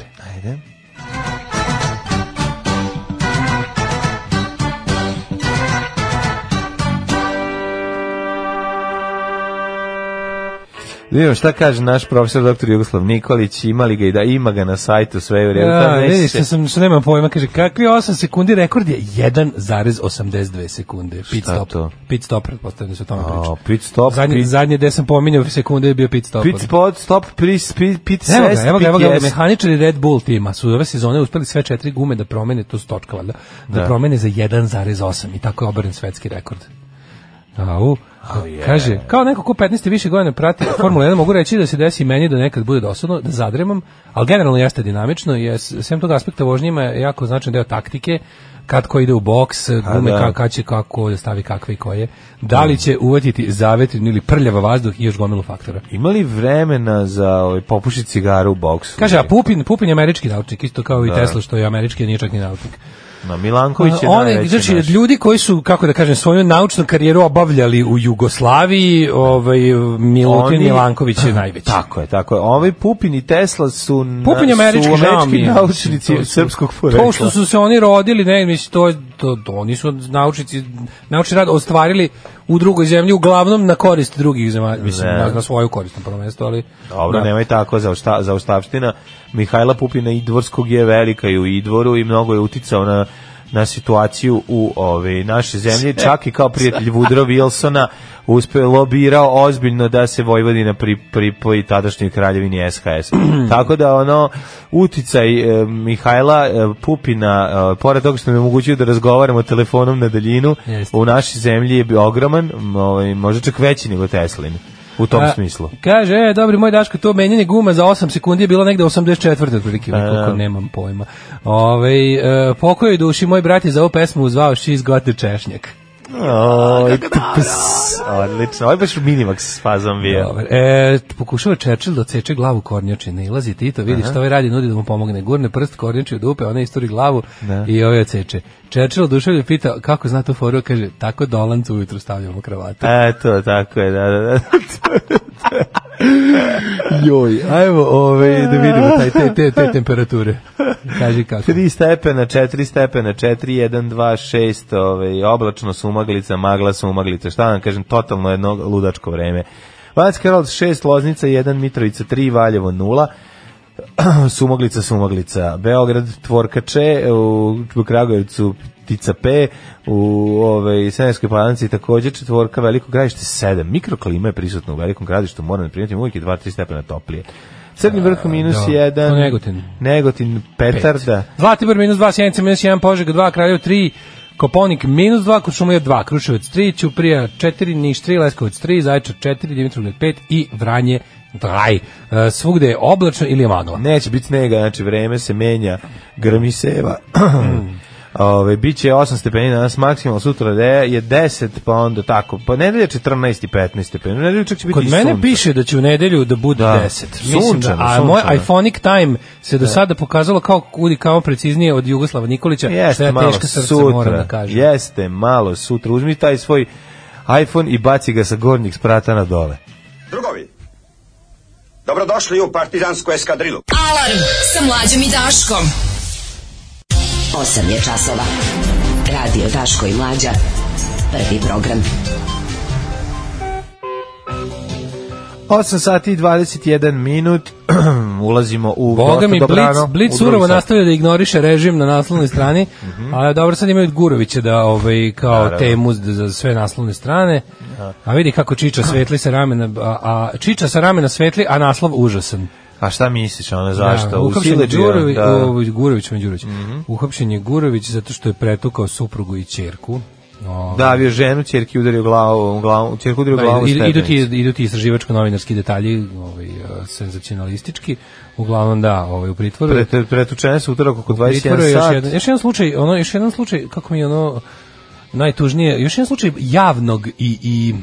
S5: Da vidimo šta kaže naš profesor doktor Jugoslav Nikolić, imali ga i da ima ga na sajtu sve u redu.
S6: Ja,
S5: Tad neće
S6: vidiš,
S5: se-
S6: što, sam, što nemam pojma, kaže, kakvi 8 sekundi rekord je 1,82 sekunde. Pit
S5: Šta
S6: stop.
S5: to?
S6: Pit stop, pretpostavljam da se o tome priča.
S5: A, pit stop,
S6: zadnje,
S5: pit-
S6: zadnje gde sam pominjao sekunde je bio pit stop.
S5: Pit spot, stop, pris, pit, pit sest,
S6: Evo ga, evo ga, evo ga,
S5: pit jest.
S6: mehaničari Red Bull tima su ove sezone uspeli sve četiri gume da promene, to su točka valjda, da,
S5: Da.
S6: promene za 1,8 i tako je obren svetski rekord. Au, kaže, kao neko ko 15 i više godina prati Formula 1, mogu reći da se desi i meni da nekad bude dosadno, da zadremam, ali generalno jeste dinamično, je s- sem tog aspekta vožnjima je jako značan deo taktike, kad ko ide u boks, gume
S5: da.
S6: ka, kad će kako da stavi kakve i koje, da li će uvatiti zavetrin ili prljava vazduh i još gomilu faktora.
S5: Ima li vremena za ovaj, popušiti cigaru u boksu?
S6: Kaže, a Pupin, Pupin je američki naučnik, isto kao i
S5: Da.
S6: Tesla što je američki, a nije čak ni naučnik.
S5: Na Milanković je
S6: On je,
S5: najveći
S6: znači,
S5: naš.
S6: ljudi koji su, kako da kažem, svoju naučnu karijeru obavljali u Jugoslaviji, ovaj, Milutin
S5: Oni-
S6: Milanković je najveći.
S5: Tako je, tako je. Ovi Pupin i Tesla su, na,
S6: Pupin je američki,
S5: su
S6: žao mi
S5: američki
S6: je.
S5: naučnici
S6: To su-
S5: srpskog
S6: To
S5: porekla.
S6: što su se oni rodili, ne, mislim, to je to, to oni su naučnici, naučni rad ostvarili u drugoj zemlji, uglavnom na korist drugih zemalja, mislim,
S5: Ne.
S6: na, na svoju korist na prvo mesto, ali...
S5: Dobro,
S6: da.
S5: nemoj tako za ušta, za uštavština. Mihajla Pupina Idvorskog je velika i u Idvoru i mnogo je uticao na na situaciju u ove naše zemlje, čak i kao prijatelj Woodrow Wilsona uspeo je lobirao ozbiljno da se Vojvodina pri, pripoji tadašnjoj kraljevini SHS. Tako da ono uticaj e, Mihajla e, Pupina e, pored toga što nam je omogućio da razgovaramo telefonom na daljinu
S6: Jeste.
S5: u našoj zemlji je bio ogroman, m, ovaj možda čak veći nego Teslin u tom
S6: A,
S5: smislu.
S6: Kaže, e, dobri moj Daško, to menjanje guma za 8 sekundi je bilo negde 84. otprilike, koliko nemam pojma. Ove, e, pokoj duši, moj brat je za ovu pesmu zvao She's got the češnjak.
S5: Oj, ps, odlično. Ovo je baš minimax fazom bio.
S6: Dobar. E, pokušava Churchill da odseče glavu kornjače, ne ilazi Tito, vidi što ovaj radi, nudi da mu pomogne. Gurne prst kornjače u dupe, ona isturi glavu i ovaj odseče. Churchill duševlje pita kako zna tu foru, kaže, tako dolancu ujutru stavljamo kravatu.
S5: Eto, tako je, da, da, da.
S6: Joj, ajmo ovaj, da vidimo taj, te, te, te temperature. Kaži kako.
S5: 3 stepena, 4 stepena, 4, 1, 2, 6, ovaj, oblačno sumaglica, magla sumaglica, šta da vam kažem, totalno jedno ludačko vreme. Vanac Karolac 6, Loznica 1, Mitrovica 3, Valjevo 0, Sumaglica, Sumaglica, Beograd, Tvorka Če, u Kragujevcu Ptica P, u ovaj, Senevskoj palanci takođe četvorka, Veliko gradište 7. Mikroklima je prisutna u Velikom gradištu, moram da primetim, uvijek je 2-3 stepena toplije. Crni vrh minus
S6: da.
S5: 1,
S6: U Negotinu.
S5: Negotin Petarda,
S6: da. Zlatibor minus 2, Sjenica minus 1, Požega 2, Kraljevo 3, Koponik minus 2, Košumlija 2, Kruševac 3, Ćuprija 4, Niš 3, Leskovac 3, Zaječar 4, Dimitrovgrad 5 i Vranje 2. E, Svugde je oblačno ili je magla.
S5: Neće biti snega, znači vreme se menja, grmi seva. Ove, biće 8 stepeni danas maksimalno, sutra de- je 10, pa onda tako, pa nedelja 14 i 15 stepeni, nedelja čak će biti
S6: Kod
S5: i
S6: mene
S5: sunce.
S6: piše da će u nedelju da bude
S5: Da.
S6: 10. Mislim
S5: Sunčano,
S6: da, a moj
S5: sunčano. Da.
S6: iPhonic time se do sada pokazalo kao kudi kao preciznije od Jugoslava Nikolića, što
S5: Jeste
S6: ja
S5: malo
S6: teška srca moram
S5: sutra,
S6: da kažem.
S5: jeste malo sutra, uzmi taj svoj iPhone i baci ga sa gornjih sprata na dole.
S10: Drugovi, dobrodošli u partizansku eskadrilu.
S4: Alarm sa mlađom i Daškom.
S2: 8 je časova. Radio Daško i Mlađa. Prvi program.
S5: 8 sati i 21 minut, ulazimo u
S6: Boga
S5: dosta
S6: mi,
S5: dobrano,
S6: Blic,
S5: u
S6: Blic
S5: drugi
S6: surovo
S5: sat. Mhm.
S6: nastavlja da ignoriše režim na naslovnoj strani, ali dobro sad imaju Gurovića da ovaj, kao
S5: Naravno. Da.
S6: temu za- za sve naslovne strane, a vidi kako Čiča svetli sa ramena, a, a Čiča sa ramena svetli, a naslov užasan.
S5: A šta misliš, ono, zašto?
S6: Da,
S5: u
S6: uhapšen je
S5: Sileđiju,
S6: Đurovi-
S5: da. Mhm.
S6: o, Gurović, ne Đurović. Uhapšen je Gurović zato što je pretukao suprugu i čerku. O,
S5: Davio Da, ženu, ćerki udario glavu, glavu, ćerku udario
S6: Da,
S5: glavu. u
S6: idu, idu ti,
S5: stepenicu.
S6: idu ti istraživačko-novinarski detalji, ovaj, eh, senzacionalistički, uglavnom da, ovaj, u pritvoru. je-
S5: Pre, pretučene su utorak oko
S6: pritvoru je
S5: 21
S6: još
S5: sat.
S6: jedan, još jedan slučaj, ono, još jedan slučaj, kako mi je ono, najtužnije, još jedan slučaj javnog i, i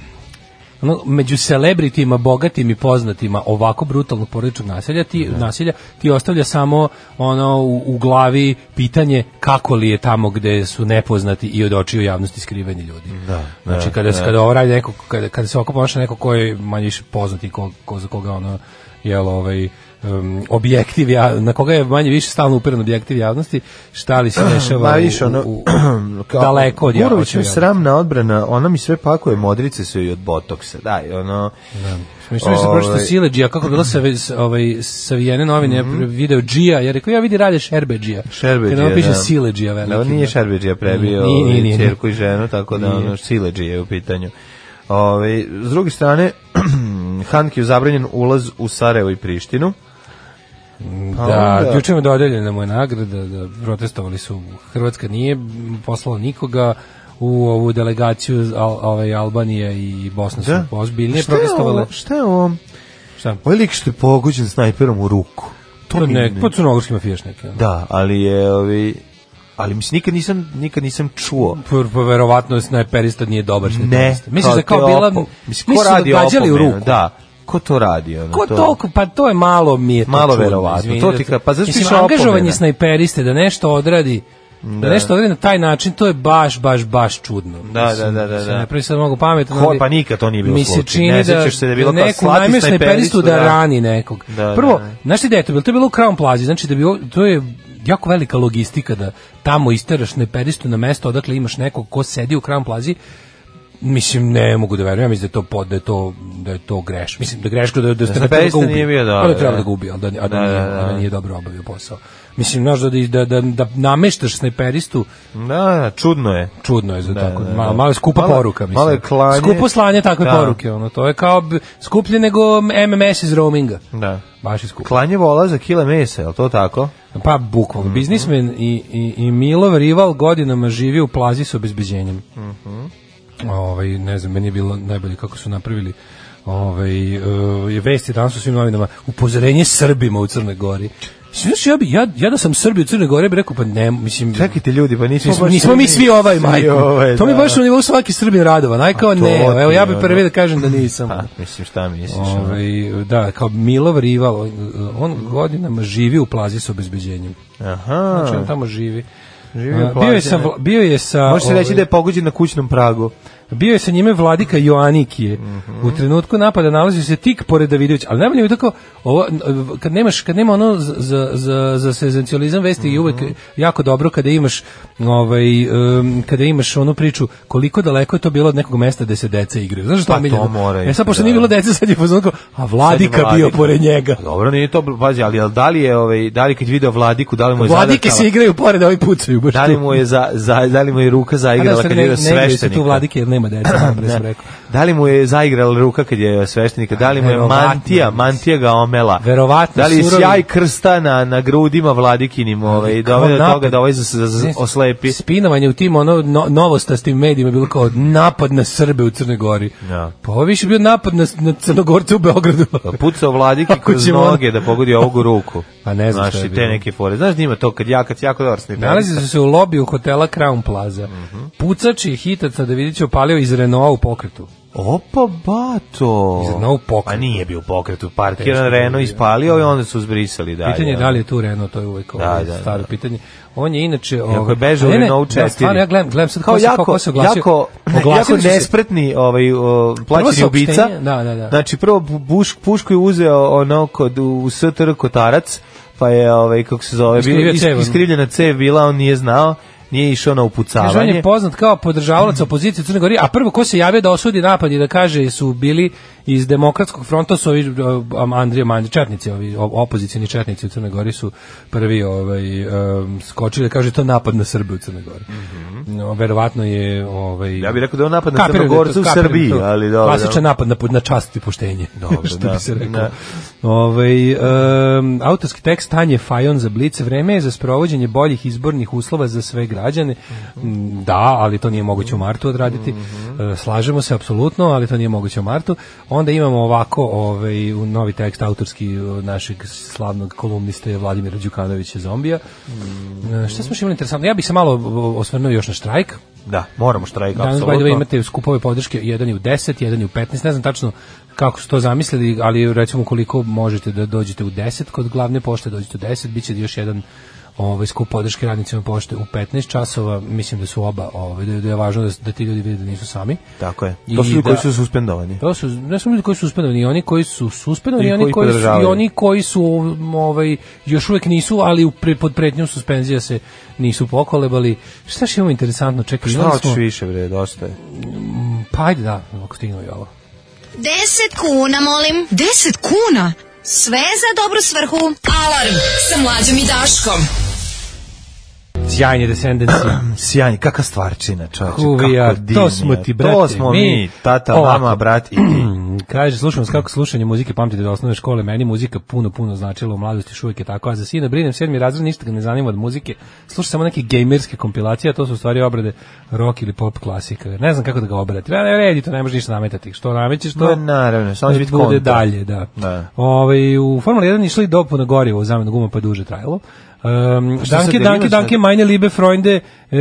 S6: ono, među celebritima, bogatim i poznatima ovako brutalnog porodičnog nasilja, ti, nasilja, ti ostavlja samo ono u, u glavi pitanje kako li je tamo gde su nepoznati i od očiju javnosti skriveni ljudi. Da, znači kada se kada ovo radi neko kada, kada se ovako ponaša neko ko je manje više poznati ko, ko za koga ono jel ovaj um, objektiv ja, na koga je manje više stalno upiran objektiv javnosti, šta li se dešava
S5: Ma
S6: u-
S5: više, ono,
S6: u, u, daleko od
S5: Gurović
S6: javnosti.
S5: je sramna odbrana, ona mi sve pakuje, modrice su i od botoksa, daj, ono...
S6: Mislim Da, se
S5: Ovaj. Mhm.
S6: prošlo Sileđija kako je bilo sa ovaj savijene novine mm video Džija, ja rekao ja vidi rade Šerbeđija.
S5: Šerbeđija,
S6: Kada ono piše
S5: da.
S6: Sileđija veliki.
S5: Da, on nije
S6: da.
S5: Šerbeđija prebio
S6: Nije, nije, nije, nije.
S5: ćerku i ženu, tako da
S6: Nije.
S5: ono Sileđija je u pitanju. Ove, s druge strane, Hanki je zabranjen ulaz u Sarajevo i Prištinu. Pa
S6: Da,
S5: onda-
S6: juče mu dodeljena mu je nagrada, da protestovali su, Hrvatska nije poslala nikoga u ovu delegaciju Al, ovaj Albanije i Bosna
S5: Da.
S6: su ozbiljnije
S5: Šta je
S6: protestovale.
S5: ovo? Šta je ovo?
S6: Šta?
S5: Ovaj lik što je pogođen snajperom u ruku. To
S6: To
S5: mi
S6: ne, pod crnogorski mafijaš neki. ono.
S5: Da, ali je ovi ali mislim nikad nisam nikad nisam čuo.
S6: Pa, pa verovatno snajperista nije dobar
S5: Ne.
S6: snajperista. Misliš da je kao
S5: te
S6: bila...
S5: opo-
S6: Mislim
S5: ko
S6: da
S5: radi
S6: gađali u
S5: opomenu?
S6: ruku.
S5: Da. Ko to radi ono?
S6: Ko toliko, pa to je malo mi je to
S5: Malo
S6: čudno,
S5: verovatno.
S6: izvini,
S5: To
S6: da
S5: ti ka- pa zašto
S6: Mislim,
S5: više opomena?
S6: angažovanje snajperiste da nešto odradi, da. nešto odradi na taj način, to je baš, baš, baš čudno.
S5: Da, da, da, da, da.
S6: Ne pravi sad mnogo pametno.
S5: Ko-
S6: ali
S5: pa nikad to nije bilo
S6: Mi se
S5: slučaj.
S6: čini
S5: Ne
S6: da,
S5: sećaš se da je bilo kao
S6: neku
S5: slati
S6: najmeš
S5: snajperistu,
S6: snajperistu da,
S5: da.
S6: rani nekog.
S5: Da,
S6: Prvo,
S5: da, da.
S6: znaš ti gde je to bilo? To je bilo u Crown Plaza, znači da bi, o- to je jako velika logistika da tamo isteraš neperistu na mesto odakle imaš nekog ko sedi u Crown Plazi mislim ne mogu da verujem ja mislim da je to pod da je to da je to greš mislim da je greška da da, da,
S5: Da Stefan
S6: da,
S5: nije bio dobar,
S6: da, da treba
S5: da.
S6: da ga ubi ali da, a da,
S5: Da,
S6: nije,
S5: da, da.
S6: a da nije dobro obavio posao mislim znaš da, da, da, da nameštaš snajperistu
S5: Da, čudno je.
S6: čudno je za tako.
S5: da, da.
S6: Malo, malo je skupa
S5: Malo-
S6: poruka, mislim.
S5: malo je klanje.
S6: Skupo slanje takve
S5: Da.
S6: poruke, ono, to je kao b- skuplje nego MMS iz roaminga.
S5: Da.
S6: Baš je skupo.
S5: Klanje vola za kile mesa, je li to tako?
S6: Pa, bukvalno.
S5: Mhm.
S6: Biznismen i, i, i Milov rival godinama živi u plazi s obezbeđenjem.
S5: Mhm.
S6: ovaj, ne znam, meni je bilo najbolje kako su napravili ovaj, e, vesti danas u svim novinama, upozorenje Srbima u Crnoj Gori. Mislim, Znaš, ja, bi, ja, ja da sam Srbi u Crnoj Gori, bi rekao, pa ne, mislim...
S5: Čekajte ljudi, pa nismo,
S6: Nismo,
S5: baš
S6: nismo mi svi ovaj, majko.
S5: ovaj,
S6: to mi
S5: da.
S6: baš na nivou svaki Srbin radovan. Aj kao
S5: A to
S6: ne,
S5: ti,
S6: evo ja bih
S5: ono.
S6: prvi da kažem da nisam.
S5: Pa, mislim, šta misliš? ono?
S6: Ovaj, da, kao Milov rival, on- on godinama živi u plazi s obezbeđenjem.
S5: Aha.
S6: Znači on tamo živi.
S5: Živi u
S6: A,
S5: plazi,
S6: bio je sa
S5: ne.
S6: vla- bio je sa
S5: Može se reći
S6: ovaj,
S5: da je pogođen na kućnom pragu.
S6: bio je sa njime vladika Joanikije.
S5: Mhm.
S6: U trenutku napada nalazi se tik pored Davidovića, ali najbolje mi je tako ovo, n- v- kad nemaš kad nema ono za za za, za senzacionalizam vesti
S5: Mhm.
S6: je uvek jako dobro kada imaš ovaj em, kada imaš onu priču koliko daleko je to bilo od nekog mesta gde se deca igraju. Znaš što
S5: Pa,
S6: je omiljeno?
S5: to mora i-
S6: E sad pošto
S5: da.
S6: nije bilo deca sad je fazon kao, a vladika,
S5: Sad je
S6: bio
S5: Vladika.
S6: pored njega.
S5: Pa Dobro, nije to, pazi, ali ali da li je, ovaj, da li kad video Vladiku, da li mu je
S6: Vladike
S5: zadrkala-
S6: se igraju pored, a ovi pucaju baš
S5: Da
S6: tu.
S5: li mu je, za, za, da li mu je ruka
S6: A
S5: zaigrala
S6: da,
S5: kad je
S6: ne-
S5: video
S6: ne igraju se tu
S5: sveštenika?
S6: vladike jer nema deca, dobro sam rekao.
S5: Da li mu je zaigrala ruka kad je sveštenika? Da li mu je
S6: Verovatno.
S5: mantija, mantija ga omela?
S6: Verovatno,
S5: Da li je
S6: surovi-
S5: sjaj krsta na, na grudima vladikinim ovaj,
S6: Kao
S5: dovede do toga
S6: napad.
S5: da ovaj za, za, za,
S6: Ne,
S5: oslepi?
S6: Spinovanje u tim ono no, novostastim medijima je bilo kao napad na Srbe u Crnoj Gori.
S5: Ja.
S6: Pa ovo je više bio napad na, na Crnogorce u Beogradu.
S5: Pucao vladiki
S6: Ako
S5: kroz
S6: ćemo ono-
S5: noge da pogodi ovogu ruku.
S6: Pa ne znam
S5: Znaš,
S6: šta je
S5: i te
S6: bilo.
S5: neke fore. Znaš da ima to kad ja, kad si jako dobar snajper.
S6: Nalazi su se u lobiju hotela Crown Plaza.
S5: Mhm.
S6: Pucač je hitac na Davidića opalio iz Renaulta u pokretu.
S5: Opa, bato.
S6: Iz Renault pokretu.
S5: Pa nije bio u pokretu.
S6: Teško
S5: Parkiran
S6: je
S5: Renault
S6: bio.
S5: ispalio i onda su zbrisali dalje.
S6: Pitanje je da li je tu Renault, to je uvek ovaj
S5: da,
S6: staro
S5: da.
S6: pitanje. On je inače...
S5: Iako je bežao
S6: Ne, ne,
S5: Renault
S6: da,
S5: 4.
S6: Stvarno, ja gledam, gledam sad
S5: kao
S6: ko se,
S5: jako,
S6: kako se oglasio.
S5: jako, jako
S6: Oglasili su se-
S5: nespretni ovaj, o, plaćeni
S6: saopštenje,
S5: ubica.
S6: da, da, da.
S5: Znači, prvo buš, pušku je uzeo ono kod, u STR kotarac, pa je, ovaj, kako se zove,
S6: Iskrivio
S5: bio, is,
S6: cev, ono.
S5: iskrivljena cev bila, on nije znao, nije išao na
S6: Kaže, on
S5: upucavanje.
S6: je poznat kao podržavalac
S5: Mm.
S6: opozicije u Crnoj Gori, a prvo ko se javio da osudi napad i da kaže su bili iz demokratskog fronta su ovi um, Andrija Mandić, četnici, ovi o- opozicijni četnici u Crnoj Gori su prvi ovaj, um, skočili da kaže to je napad na Srbe u Crnoj Gori. no, verovatno je... Ovaj,
S5: Mhm. Ja bih rekao da je on napad na
S6: kapiram da je to-
S5: Crnogorce u
S6: kapiram
S5: Srbiji,
S6: da je to
S5: ali dobro,
S6: Klasičan
S5: da.
S6: napad na, na čast i poštenje. Dobro, što
S5: da,
S6: bi se rekao.
S5: da.
S6: Ovaj em, autorski tekst Tanje Fajon za Blic. Vreme je za sprovođenje boljih izbornih uslova za sve građane.
S5: Mhm.
S6: Mm, Da, ali to nije moguće u martu odraditi. E, Slažemo se apsolutno, ali to nije moguće u martu. Onda imamo ovako ovaj, u novi tekst autorski e, našeg slavnog kolumniste Vladimira Đukanovića Zombija.
S5: Mhm.
S6: E, Šta smo još imali interesantno? Ja bih se malo o, osvrnuo još na štrajk.
S5: Da, moramo štrajk,
S6: Danas by the way,
S5: apsolutno.
S6: imate skupove podrške, jedan je u 10, jedan je u 15, ne znam tačno kako su to zamislili, ali recimo koliko možete da dođete u 10 kod glavne pošte, dođete u 10, bit će još jedan ovaj skup podrške radnicima pošte u 15 časova, mislim da su oba, ovaj da, da je važno da, da ti ljudi vide da nisu sami.
S5: Tako je.
S6: I
S5: To su ljudi koji
S6: da-
S5: su suspendovani.
S6: To su ne samo ljudi koji su suspendovani, i oni koji su suspendovani,
S5: I
S6: i
S5: koji
S6: oni koji su i
S5: podržavaju.
S6: oni koji su um, ovaj još uvek nisu, ali u pre, pod pretnjom suspenzija se nisu pokolebali. Šta što imamo interesantno, čekaj,
S5: Pa Šta
S6: imali
S5: hoćeš
S6: Pa smo-
S5: više, bre, dosta je.
S6: pa ajde da, ako stignu i ovo.
S4: 10 kuna, molim. 10 kuna? Sve za dobru svrhu. Alarm sa mlađom i Daškom.
S6: Sjajni descendenci.
S5: Sjajni, kakva stvarčina, čovječe,
S6: Who we
S5: kako
S6: are,
S5: divni
S6: to smo
S5: je. To
S6: ti, brate,
S5: smo
S6: mi.
S5: mi, tata,
S6: Ovako.
S5: mama, brat i ti.
S6: Kaže, slušam vas kako slušanje muzike pamtite da osnovne škole, meni muzika puno, puno značila u mladosti, još uvijek je tako, a za sina brinem sedmi razred, ništa ga ne zanima od muzike, sluša samo neke gejmerske kompilacije, a to su u stvari obrade rock ili pop klasika, ne znam kako da ga obratim, ja ne vredi, to ne može ništa nametati, što namećeš,
S5: Ma,
S6: to...
S5: naravno, samo će biti
S6: bude
S5: kontra.
S6: dalje, da.
S5: Da.
S6: Ovaj, u Formuli 1 išli dopu na gorivo u zamenu guma, pa je duže trajalo.
S5: šta
S6: Um,
S5: sad,
S6: danke,
S5: jel
S6: danke,
S5: imaš
S6: danke, meine liebe Freunde, eh,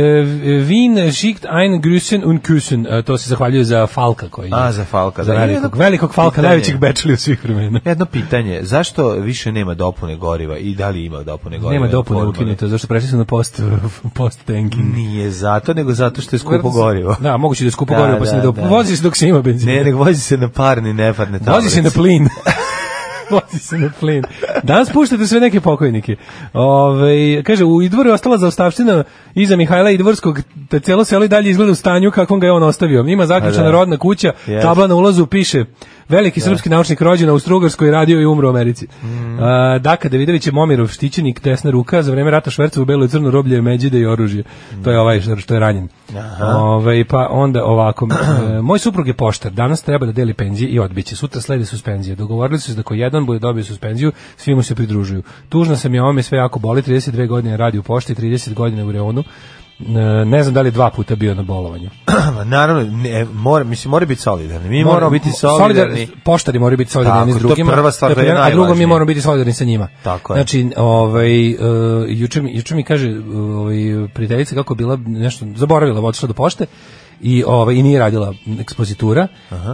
S6: Wien schickt ein Grüßen und Küssen. Eh, to se zahvaljuje za Falka koji je-
S5: A, za Falka,
S6: Za
S5: da.
S6: velikog, velikog Falka,
S5: Pitanje.
S6: najvećeg bečelja u svih vremena.
S5: Jedno pitanje, zašto više nema dopune goriva i da li ima dopune goriva?
S6: Nema
S5: na
S6: dopune
S5: Formuli?
S6: ukinuto, zašto prešli su na post, post tanking.
S5: Nije zato, nego zato što je skupo gorivo.
S6: Da, moguće da je skupo
S5: Da,
S6: gorivo, pa se
S5: da,
S6: ne dopu-
S5: da.
S6: Vozi se dok se ima benzina.
S5: Ne, nego vozi se na parni, neparne tablice.
S6: Vozi se na plin. Vozi se na plin. Danas puštate sve neke pokojnike. Ove, kaže, u Idvoru je ostala zaostavština iza Mihajla Idvorskog, te celo selo i dalje izgleda u stanju kakvom ga je on ostavio. Ima zaključena
S5: A da.
S6: rodna kuća,
S5: Yes.
S6: tabla na ulazu piše Veliki srpski naučnik rođen u Austrougarskoj radio i umro u Americi. A, Daka Davidović je Momirov štićenik, desna ruka, za vreme rata Šverca u belo i crno roblje je međide i oružje. To je ovaj što- što je ranjen. Ove, pa onda ovako, e, moj suprug je poštar, danas treba da deli penzije i odbiće, sutra sledi suspenzije. Dogovorili su se da ko jedan bude dobio suspenziju, svi mu se pridružuju. Tužno sam je ovome sve jako boli, 32 godine radi u pošti, 30 godina u Reonu. E, Ne znam da li je dva puta bio na bolovanju.
S5: Ma, Naravno, ne, mora, mislim, mora biti solidarni. Mi
S6: Mora-
S5: moramo biti solidarni.
S6: Poštari moraju biti solidarni
S5: Tako,
S6: jedni s
S5: to je
S6: drugima.
S5: prva stvar, to je
S6: A drugo mi
S5: najvažnije.
S6: moramo biti solidarni sa njima.
S5: Tako je.
S6: Znači, ovaj, uh, juče, mi, juče mi kaže uh, ovaj, prijateljica kako je bila nešto, zaboravila, otišla do pošte i ovaj i nije radila ekspozitura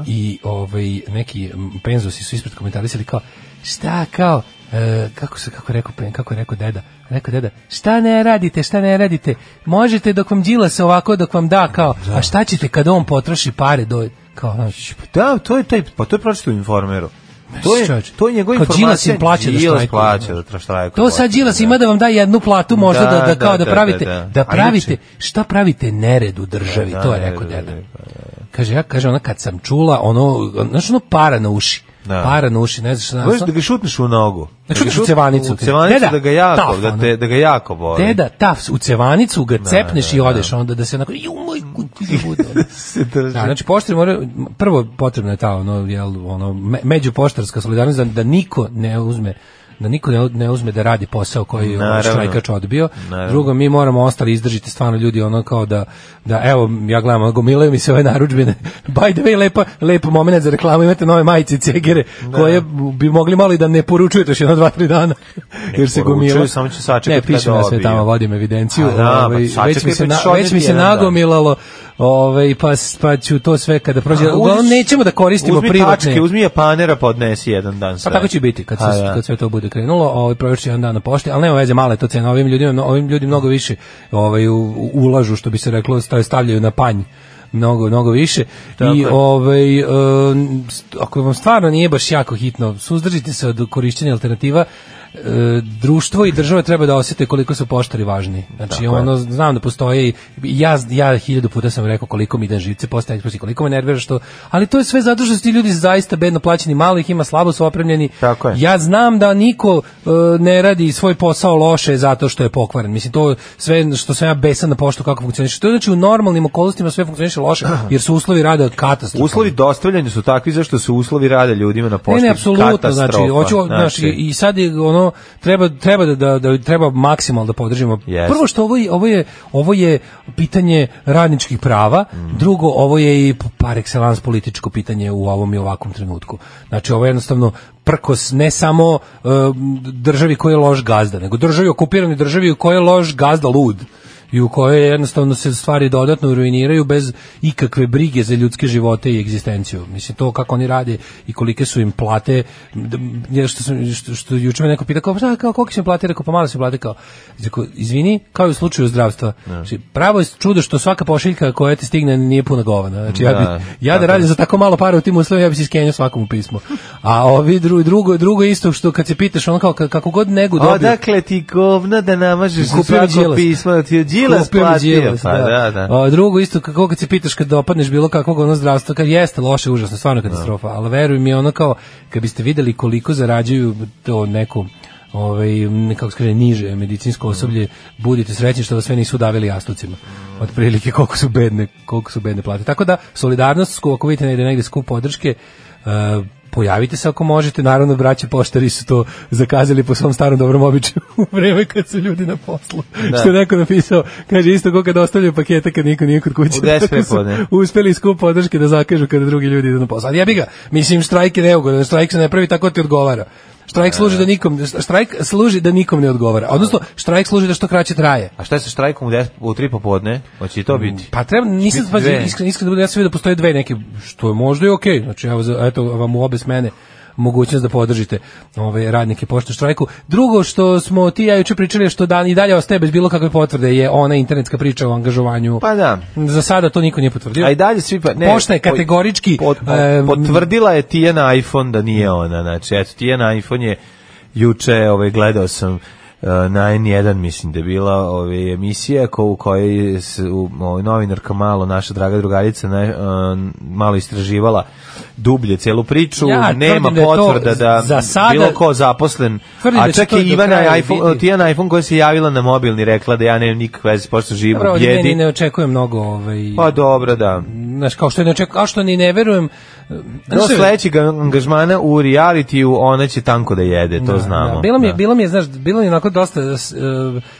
S6: i ovaj neki mm, penzusi su ispred komentarisali kao šta kao e, kako se kako je rekao pen kako je rekao deda rekao deda šta ne radite šta ne radite možete dok vam đila se ovako dok vam da kao a šta ćete kad on potroši pare do kao znaš,
S5: Da, to je taj, pa to je pročito u informeru. To je,
S6: Čovječe,
S5: to je njegova
S6: kao
S5: informacija.
S6: Đilas im plaća da
S5: Đilas
S6: štrajkuju,
S5: plaća
S6: znaš.
S5: da štrajkuje.
S6: To sad Đilas ima da vam da jednu platu možda da, da, kao da, pravite, da,
S5: A
S6: pravite,
S5: inače-
S6: šta pravite nered u državi,
S5: Da,
S6: to je
S5: nered
S6: rekao
S5: u
S6: deda.
S5: državi,
S6: Kaže, ja, kaže, ona kad sam čula, ono, znaš, ono para na uši,
S5: Da.
S6: para na uši, ne znaš šta,
S5: Možeš
S6: znaš,
S5: da ga šutneš u nogu. ga
S6: Da šutneš u
S5: šut-
S6: cevanicu.
S5: U cevanicu
S6: Deda,
S5: da ga jako,
S6: taf,
S5: da, te, da ga jako boli.
S6: deda, tafs, u cevanicu
S5: Da,
S6: ga cepneš i odeš, onda da se onako, ju moj kući da bude. ono.
S5: Se drži.
S6: Da, znači poštari moraju prvo potrebna je ta ono jel ono me- međupoštarska solidarnost da, da niko ne uzme da niko ne, ne uzme da radi posao koji je
S5: Naravno.
S6: štrajkač odbio.
S5: Naravno.
S6: Drugo, mi moramo ostali izdržite stvarno ljudi ono kao da, da evo, ja gledam, ono, gomilaju mi se ove narudžbine. By the way, lepa, lep moment za reklamu, imate nove majice cegere
S5: Da.
S6: koje bi mogli malo i da ne poručujete još jedno dva, tri dana. jer se
S5: poručuju,
S6: gomila.
S5: samo ću sačekati
S6: Ne, pišem
S5: kad
S6: ja sve
S5: dobiju.
S6: tamo, vodim evidenciju.
S5: A da, pa
S6: ovaj, već mi
S5: sačekaj, pa
S6: se, na,
S5: ćeš odneti
S6: već mi se
S5: jedan dan.
S6: nagomilalo, ovaj, pa, s- pa ću to sve kada prođe. Uglavnom, nećemo da koristimo
S5: uzmi
S6: privatne.
S5: Tačke, uzmi japanera, podnesi jedan dan sve.
S6: Pa tako će biti kad
S5: A,
S6: se
S5: da.
S6: kad sve to bude krenulo, ovaj provest ću jedan dan na pošti, ali nema veze, mala je to cena ovim ljudima, no- ovim ljudi mnogo više ovaj u- u- ulažu što bi se reklo, stav- stavljaju na panj mnogo mnogo više
S5: Tako
S6: i
S5: je.
S6: ovaj em, st- ako vam stvarno nije baš jako hitno suzdržite se od korišćenja alternativa e, društvo i država treba da osete koliko su poštari važni. Znači
S5: Tako je.
S6: ono znam da postoje i ja ja hiljadu puta sam rekao koliko mi ide živce postaje eksplozija, koliko me nervira što ali to je sve zato što su ti ljudi zaista bedno plaćeni, malo ih ima, slabo su opremljeni.
S5: Tako je.
S6: Ja znam da niko e, ne radi svoj posao loše zato što je pokvaren. Mislim to sve što sam ja besan na poštu kako funkcioniše. To znači u normalnim okolnostima sve funkcioniše loše jer su uslovi rada katastrofalni.
S5: Uslovi dostavljanja su takvi zašto su uslovi rada ljudima na pošti.
S6: Ne, ne, apsolutno, znači,
S5: katastrofa.
S6: hoću, znači, i sad je ono treba treba da da, da treba maksimalno da podržimo.
S5: Jeste.
S6: Prvo što ovo je, ovo je ovo je pitanje radničkih prava, drugo ovo je i par excellence političko pitanje u ovom i ovakvom trenutku. Znači, ovo je jednostavno prkos ne samo e, državi koja je loš gazda, nego državi okupiranoj državi u kojoj je loš gazda lud i u kojoj jednostavno se stvari dodatno ruiniraju bez ikakve brige za ljudske živote i egzistenciju. Mislim, to kako oni rade i kolike su im plate, d- je što, sam, što, što juče me neko pita, kao, šta, kao, koliko su im plate? Rekao, pa malo su im plate, kao, Rekao, izvini, kao i u slučaju zdravstva.
S5: Da.
S6: Znači, pravo je čudo što svaka pošiljka koja ti stigne nije puna govana. Znači, ja,
S5: Da,
S6: bi, ja da
S5: tako
S6: radim za tako malo para u tim uslovima, ja bi se iskenio svakom u pismo. A ovi dru, drugo, drugo je isto što kad se pitaš, ono kao, ka- kako god negu
S5: da,
S6: dobiju,
S5: Odakle ti govna da namažeš
S6: Kupio mi
S5: svako
S6: Đilas.
S5: pismo, da ti je Đilas
S6: Kupio mi
S5: platio.
S6: Đilas,
S5: Pa, da, da.
S6: A, drugo, isto kako kad se pitaš kad dopadneš bilo kakvog ono zdravstva, kad jeste loše, užasno, stvarno
S5: Da.
S6: katastrofa, ali veruj mi ono kao, kad biste videli koliko zarađuju to neko ovaj, m, kako se kaže, niže
S5: Mhm.
S6: medicinsko osoblje, budite srećni što vas sve nisu davili jastucima.
S5: Mhm.
S6: Otprilike koliko su bedne, koliko su bedne plate. Tako da, solidarnost, ako vidite negde, negde skup podrške, e, pojavite se ako možete, naravno braće poštari su to zakazali po svom starom dobrom običaju u vreme kad su ljudi na poslu. Što je neko napisao, kaže isto ko kad ostavljaju pakete kad niko nije kod kuće.
S5: U deset
S6: Tako su
S5: prepodne.
S6: Uspeli skup podrške da zakažu kada drugi ljudi idu na posao. Ali jebi ga, mislim štrajk je neugodan, štrajk se ne pravi tako da ti odgovara. Štrajk služi da nikom štrajk služi da nikom ne odgovara. Odnosno štrajk služi da što kraće traje.
S5: A šta je sa štrajkom u, des, u tri popodne? Hoće i to biti?
S6: Pa treba, nisam
S5: biti
S6: pa
S5: dve.
S6: iskreno iskreno da budem, ja sam vidio da postoje dve neke što je možda i okej. Znači evo za- eto vam u obe smene mogućnost da podržite ove radnike pošte u štrajku. Drugo što smo ti i ja juče pričali što dan i dalje ostaje bez bilo kakve potvrde je ona internetska priča o angažovanju.
S5: Pa da.
S6: Za sada to niko nije potvrdio.
S5: A i dalje svi pa ne.
S6: Pošta je
S5: po-
S6: kategorički, e,
S5: pot-
S6: em,
S5: potvrdila je Tijena iPhone da nije ona. Znači eto Tijena iPhone je juče ovaj gledao sam eh, na N1 mislim da je bila ove emisija ko, u kojoj se u, ovaj, novinarka malo naša draga drugarica na, em, malo istraživala dublje celu priču
S6: Ja tvrdim
S5: nema
S6: da je to
S5: potvrda da
S6: za sada-
S5: bilo ko zaposlen
S6: Tvrdim da
S5: a
S6: će
S5: čak
S6: to
S5: i
S6: do
S5: Ivana
S6: kraja
S5: iPhone
S6: biti.
S5: Tijena iPhone koja se javila na mobilni rekla da ja nemam nikakve veze pošto živim
S6: Dobro,
S5: u
S6: od meni
S5: bijedi
S6: ne očekujem mnogo ovaj,
S5: pa dobro da
S6: znaš, kao što ne očekujem, a što ni ne verujem.
S5: Do sledećeg angažmana u realitiju ona će tanko da jede, to znamo.
S6: Da, bilo mi je,
S5: Da.
S6: bilo mi je, znaš, bilo mi je onako dosta s- e,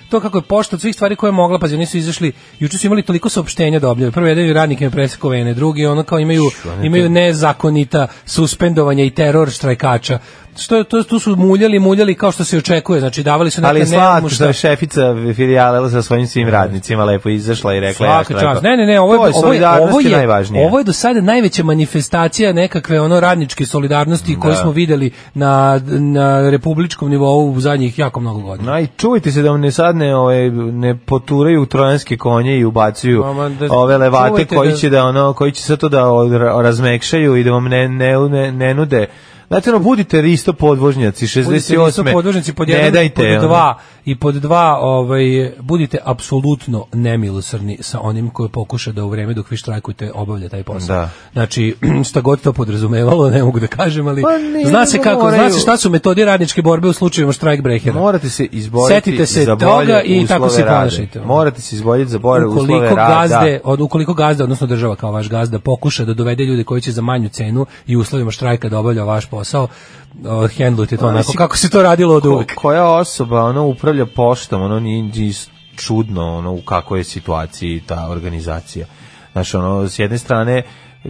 S6: to kako je pošta od svih stvari koje je mogla, pazi, oni su izašli, juče su imali toliko saopštenja da objave. Prvo jedan radnik im presekovene, drugi ono kao imaju imaju nezakonita suspendovanja i teror štrajkača. Što je to tu su muljali, muljali kao što se i očekuje, znači davali su neka
S5: Ali je slatko
S6: neumušna-
S5: što je šefica filijale sa svojim svim radnicima lepo izašla i rekla ja
S6: Svaka
S5: štrajkujem.
S6: čast. Ne, ne, ne, ovo je,
S5: To
S6: ovo je, ovo
S5: solidarnost je
S6: je,
S5: najvažnije.
S6: ovo je do sada najveća manifestacija nekakve ono radničke solidarnosti
S5: Da.
S6: koju smo videli na, na republičkom nivou u zadnjih jako mnogo godina.
S5: Aj, čujte se da vam ne sad ne, ovaj, ne poturaju trojanske konje i ubacuju
S6: Mama, da-
S5: ove levate
S6: čuvajte
S5: koji
S6: da-
S5: će da ono koji će sve to da odra- razmekšaju i da vam ne, ne, ne, ne nude Znate, ono, budite risto podvožnjaci, 68.
S6: Budite nisu podvožnjaci pod
S5: ne
S6: jedan,
S5: dajte,
S6: pod
S5: ono.
S6: dva i pod dva ovaj, budite apsolutno nemilosrni sa onim koji pokuša da u vreme dok vi štrajkujete obavlja taj posao.
S5: Da.
S6: Znači, šta god to podrazumevalo, ne mogu da kažem, ali
S5: Pa ne,
S6: zna se
S5: nego
S6: kako, zna
S5: moraju-
S6: se šta su metodi radničke borbe u slučajevima štrajk brehera.
S5: Morate se izboriti
S6: Setite se
S5: za
S6: toga
S5: bolje
S6: i
S5: uslove
S6: tako se
S5: rada.
S6: ponašajte.
S5: Morate se izboriti za bolje uslove
S6: ukoliko
S5: rada.
S6: gazde, od, ukoliko gazda, odnosno država kao vaš gazda, pokuša da dovede ljude koji će za manju cenu i u uslovima štrajka da obavlja vaš posao, uh, hendlujte to
S5: Pa,
S6: onako
S5: mislim,
S6: kako se to radilo od
S5: Ko-
S6: uvek.
S5: koja osoba ono upravlja poštom, ono nije nije čudno ono u kakvoj je situaciji ta organizacija. Znaš, ono, s jedne strane e,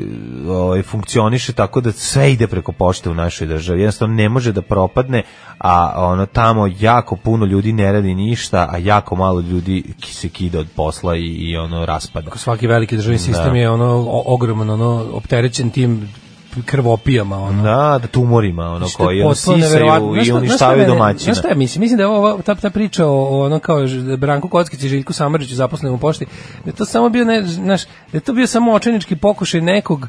S5: ovaj, funkcioniše tako da sve ide preko pošte u našoj državi. Jednostavno ne može da propadne, a ono tamo jako puno ljudi ne radi ništa, a jako malo ljudi ki- se kida od posla i, i ono raspada.
S6: svaki veliki
S5: Da.
S6: državni sistem je ono o- ogroman ono opterećen tim krvopijama ono
S5: Da, da tumorima, ono,
S6: Što Znači,
S5: koji
S6: je
S5: ono,
S6: potpuno
S5: sisaju
S6: neverovatno. Znaš
S5: i
S6: šta- znaš šta
S5: uništavaju
S6: mene-
S5: domaćina.
S6: Znaš šta ja mislim? Mislim da je ovo, ta, ta priča o, o ono kao Ž- Branku Kockić i Željku Samariću zaposlenom u pošti, da je to samo bio, ne, znaš, da je to bio samo očajnički pokušaj nekog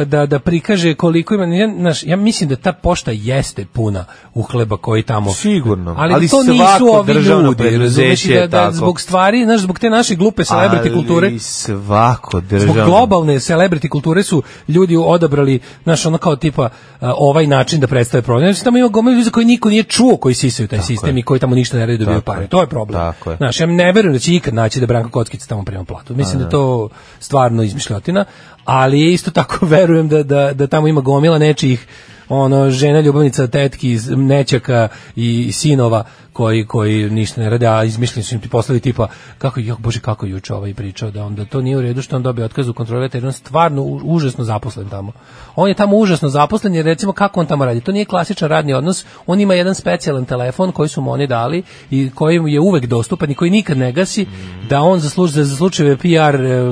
S6: e, da da prikaže koliko ima ja, znaš, ja mislim da ta pošta jeste puna uhleba koji tamo
S5: Sigurno.
S6: ali,
S5: Ali
S6: to nisu
S5: svako
S6: ovi
S5: državno
S6: ljudi razumeš
S5: preduzeće
S6: i
S5: je
S6: da, da
S5: tako.
S6: zbog stvari znaš zbog te naše glupe celebrity kulture
S5: Ali svako državno.
S6: Zbog globalne celebrity kulture su ljudi odabrali, znaš, ono kao tipa a, ovaj način da predstave problem. Znači, tamo ima gomilu ljudi za koje niko nije čuo koji sisaju taj sistem i koji tamo ništa ne radi i dobiju
S5: Tako je.
S6: pare. To je problem.
S5: Tako je.
S6: Znaš, ja ne verujem da će ikad naći da Branko Kockic tamo prima platu. Mislim da je to stvarno izmišljotina, ali je isto tako verujem da, da, da tamo ima gomila nečijih ono žena ljubavnica tetki nećaka i sinova koji koji ništa ne rade a izmišljeni su im ti poslovi tipa kako jok bože kako je juče ovaj pričao da onda to nije u redu što on dobio otkaz u kontroli veterina, on je stvarno u- užasno zaposlen tamo on je tamo užasno zaposlen jer recimo kako on tamo radi to nije klasičan radni odnos on ima jedan specijalan telefon koji su mu oni dali i koji mu je uvek dostupan i koji nikad ne gasi da on za slučaj za slučajeve PR e,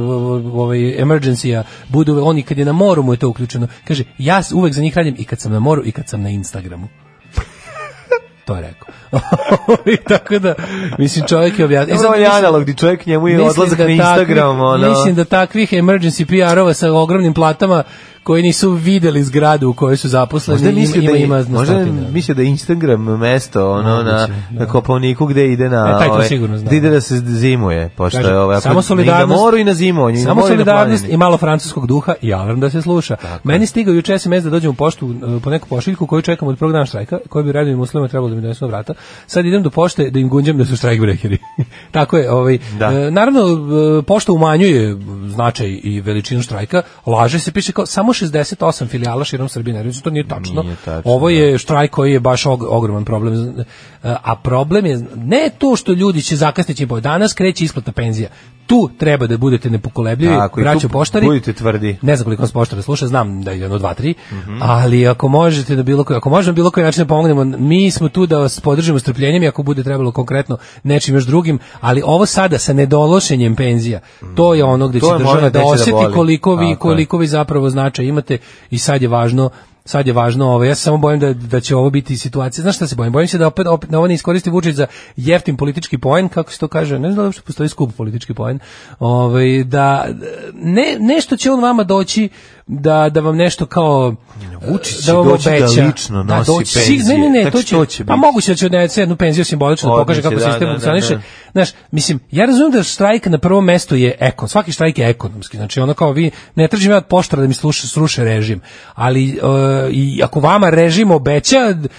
S6: ovaj emergencija budu oni kad je na moru mu je to uključeno kaže ja s- uvek za njih radim i kad sam na moru i kad sam na Instagramu to je rekao. I tako da, mislim, čovjek je objasnio. E,
S5: Dobro,
S6: sad
S5: on je
S6: mislim-
S5: analog, di čovjek njemu je
S6: Mislim
S5: odlazak
S6: da
S5: na Instagram,
S6: takvi-
S5: ono.
S6: Mislim da takvih emergency PR-ova sa ogromnim platama koji nisu videli zgradu u kojoj su zaposleni,
S5: Možda
S6: ima,
S5: misli
S6: ima,
S5: da,
S6: ima, na
S5: možda
S6: stotine.
S5: misli da je Instagram mesto ono
S6: Moguće,
S5: na,
S6: da.
S5: na kopalniku gde ide na
S6: E, taj to
S5: ove,
S6: sigurno zna,
S5: gde ide
S6: da.
S5: da se zimuje pošto
S6: Kažem,
S5: je ovaj
S6: samo
S5: i na
S6: solidarnost-
S5: moru i na zimovanju i na
S6: Samo
S5: moru i na
S6: solidarnost
S5: planini.
S6: i malo francuskog duha i alarm da se sluša. Meni stigao juče SMS da dođem u poštu e, po neku pošiljku koju čekam od prvog dana štrajka, koju bi radnim uslovima trebalo da mi donesu na vrata. Sad idem do pošte da im gunđam da su štrajk brekeri. Tako je, ovaj
S5: Da.
S6: e, naravno e, pošta umanjuje značaj i veličinu štrajka, laže se piše kao samo 68 filijala širom Srbije, ne znam, to nije tačno.
S5: Nije tačno, da.
S6: Ovo je štrajk koji je baš og- ogroman problem. Z- A problem je ne to što ljudi će zakasniti, bo danas kreće isplata penzija. Tu treba da budete nepokolebljivi,
S5: Tako, i tu
S6: braćo poštari.
S5: budite tvrdi.
S6: Ne znam koliko nas poštara sluša, znam da je jedno, dva, tri, ali ako možete da bilo koji, ako možemo bilo koji način da pomognemo, mi smo tu da vas podržimo strpljenjem i ako bude trebalo konkretno nečim još drugim, ali ovo sada sa nedološenjem penzija, to je ono gde
S5: To
S6: će
S5: je
S6: država
S5: moment gde
S6: da
S5: će da
S6: osjeti
S5: boli.
S6: koliko vi,
S5: Tako je.
S6: koliko vi zapravo značaj imate i sad je važno sad je važno ovo, ja se samo bojim da, da će ovo biti situacija, znaš šta se bojim, bojim se da opet, opet ovo ne iskoristi Vučić za jeftin politički poen, kako se to kaže, ne znam da li uopšte postoji skup politički poen, ovaj, da ne, nešto će on vama doći da, da vam nešto kao
S5: Vučić će doći da lično nosi
S6: doći-
S5: penzije.
S6: sig- Ne, ne, ne,
S5: Tak
S6: to
S5: što
S6: će,
S5: će
S6: pa
S5: biti.
S6: moguće da će odneti jednu penziju simbolično da pokaže
S5: Odneće,
S6: kako
S5: da,
S6: sistem
S5: da, da,
S6: funkcioniše.
S5: da.
S6: Znaš, mislim, ja razumem da štrajk na prvom mestu je ekon, svaki štrajk je ekonomski, znači ono kao vi, ne tražim ja od poštara da mi sluša, sruše režim, ali e, i ako vama režim obeća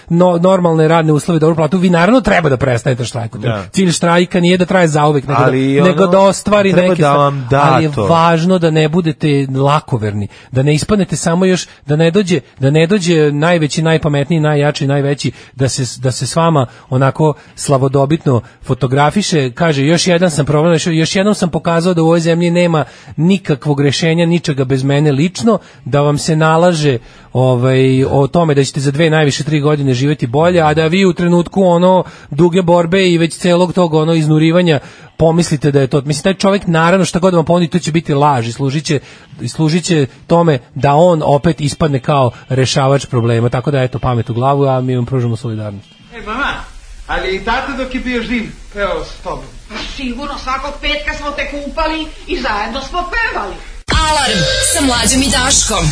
S6: no, normalne radne uslove, dobru platu, vi naravno treba da prestanete štrajku.
S5: Da.
S6: Cilj štrajka nije da traje zauvek, nego,
S5: Ali
S6: da,
S5: ono,
S6: nego da ostvari
S5: treba
S6: neke
S5: da
S6: stvari.
S5: vam da
S6: ali je
S5: to.
S6: važno da ne budete lakoverni, da ne ispadnete samo još da ne dođe da ne dođe najveći, najpametniji, najjači, najveći da se da se s vama onako slavodobitno fotografiše, kaže još jedan sam problem, rešio, još jednom sam pokazao da u ovoj zemlji nema nikakvog rešenja, ničega bez mene lično, da vam se nalaže ovaj o tome da ćete za dve najviše tri godine živeti bolje, a da vi u trenutku ono duge borbe i već celog tog ono iznurivanja pomislite da je to mislim taj čovjek naravno šta god da vam ponudi to će biti laž i služiće i služiće tome da on opet ispadne kao rešavač problema tako da eto pamet u glavu a mi vam pružamo solidarnost
S7: E, mama, ali i tata dok je bio živ, evo s tobom.
S2: Sigurno svakog petka smo te kupali i zajedno smo pevali.
S4: Alarm sa mlađom i Daškom.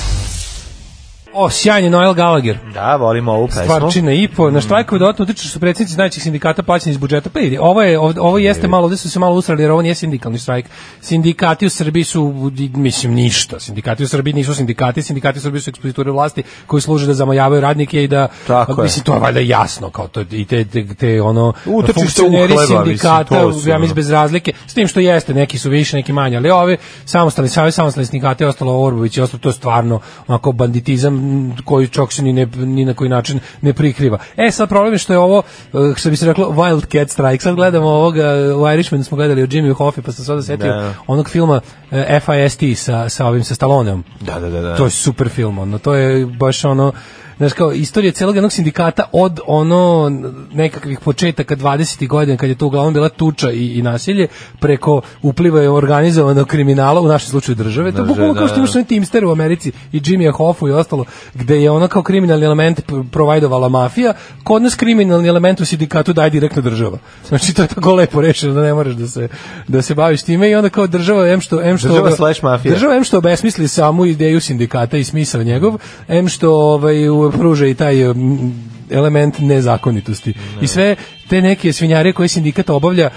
S6: o sjajni Noel Gallagher
S5: Da, volimo ovu pesmu.
S6: stvarčina i po na štrajkove dodatno utiču su predsjednici najvećih sindikata plaćeni iz budžeta pa vidi ovo je ovdje- ovo jeste malo ovde su se malo usrali jer ovo nije sindikalni štrajk sindikati u Srbiji su mislim ništa sindikati u Srbiji nisu sindikati sindikati u Srbiji su ekspoziture vlasti koji služe da zamajavaju radnike i da
S5: Tako je.
S6: mislim to je valjda jasno kao to i te te, te ono
S5: Utrčište u
S6: funkcioneri
S5: hleba, mislim,
S6: sindikata
S5: to su,
S6: ja
S5: ono.
S6: mislim bez razlike s tim što jeste neki su više neki manje ali ovi samostalni savez samostalni sindikati je ostalo Orbović i ostalo to je stvarno onako banditizam m, koji čak se ni, ne, ni na koji način ne prikriva e sad problem je što je ovo eh, što bi se reklo Wildcat Strike sad gledamo ovoga u Irishmanu smo gledali o Jimmy Hoffi pa sam sada setio
S5: Da.
S6: onog filma eh, FIST sa, sa ovim sa Stalloneom
S5: Da, da, da, da.
S6: to je super film, ono, to je baš ono, znaš kao, istorija celog jednog sindikata od ono nekakvih početaka 20. godina kad je to uglavnom bila tuča i, i nasilje preko upliva je organizovanog kriminala u našem slučaju države, to je
S5: Države,
S6: bukvalno kao što
S5: da,
S6: imaš
S5: da.
S6: onaj Teamster u Americi i Jimmy Hoffu i ostalo, gde je ono kao kriminalni element p- provajdovala mafija, kod nas kriminalni element u sindikatu daje direktno država. Znači to je tako lepo rešeno da ne moraš da se, da se baviš time i onda kao država, em što, em što
S5: Država slash mafija.
S6: Država em što obesmisli samu ideju sindikata i smisao njegov, em što ovaj u- pruža i taj mm, element nezakonitosti. I sve te neke svinjare koje sindikat obavlja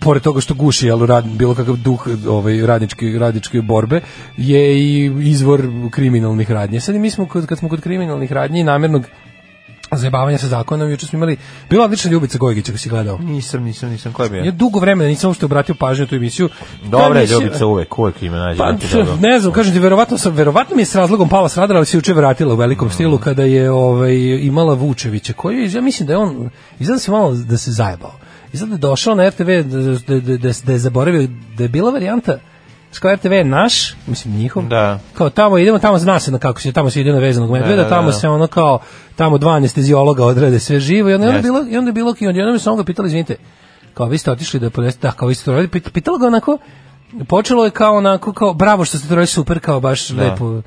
S6: pored toga što guši jel, rad, bilo kakav duh ovaj, radničke, radničke borbe, je i izvor kriminalnih radnje. Sad i mi smo, kod, kad smo kod kriminalnih radnji i namjernog zajebavanja sa zakonom, juče smo imali, bila odlična Ljubica Gojgić, ako si gledao.
S5: Nisam, nisam, nisam. Ko je bio?
S6: Ja dugo vremena nisam uopšte obratio pažnju na tu emisiju. Ta
S5: Dobra je
S6: emisija-
S5: Ljubica uvek, uvek ima nađe.
S6: Pa,
S5: neki dobro.
S6: ne znam, kažem ti, verovatno, sam, verovatno mi je s razlogom pala s radara, ali se juče vratila u
S5: Mm.
S6: velikom stilu kada je ovaj, imala Vučevića, koji je, ja mislim da je on, izgleda se malo da se zajebao. Izgleda da je došao na RTV, da, da, da, da, da je zaboravio, da je bila varijanta, Skao RTV je naš, mislim njihov,
S5: Da.
S6: kao tamo idemo, tamo zna se na kako se, tamo se ide na vezanog medveda,
S5: Da, da,
S6: tamo
S5: da.
S6: se ono kao, tamo dva anestezijologa odrade sve živo i onda, i onda,
S5: Jeste.
S6: bilo, i onda je bilo, i onda je samo ga pitali, izvinite, kao vi ste otišli da podesite, da, kao vi ste to radili, Pit- pitalo ga onako, počelo je kao onako, kao bravo što ste to radili, super, kao baš
S5: Da.
S6: lepo,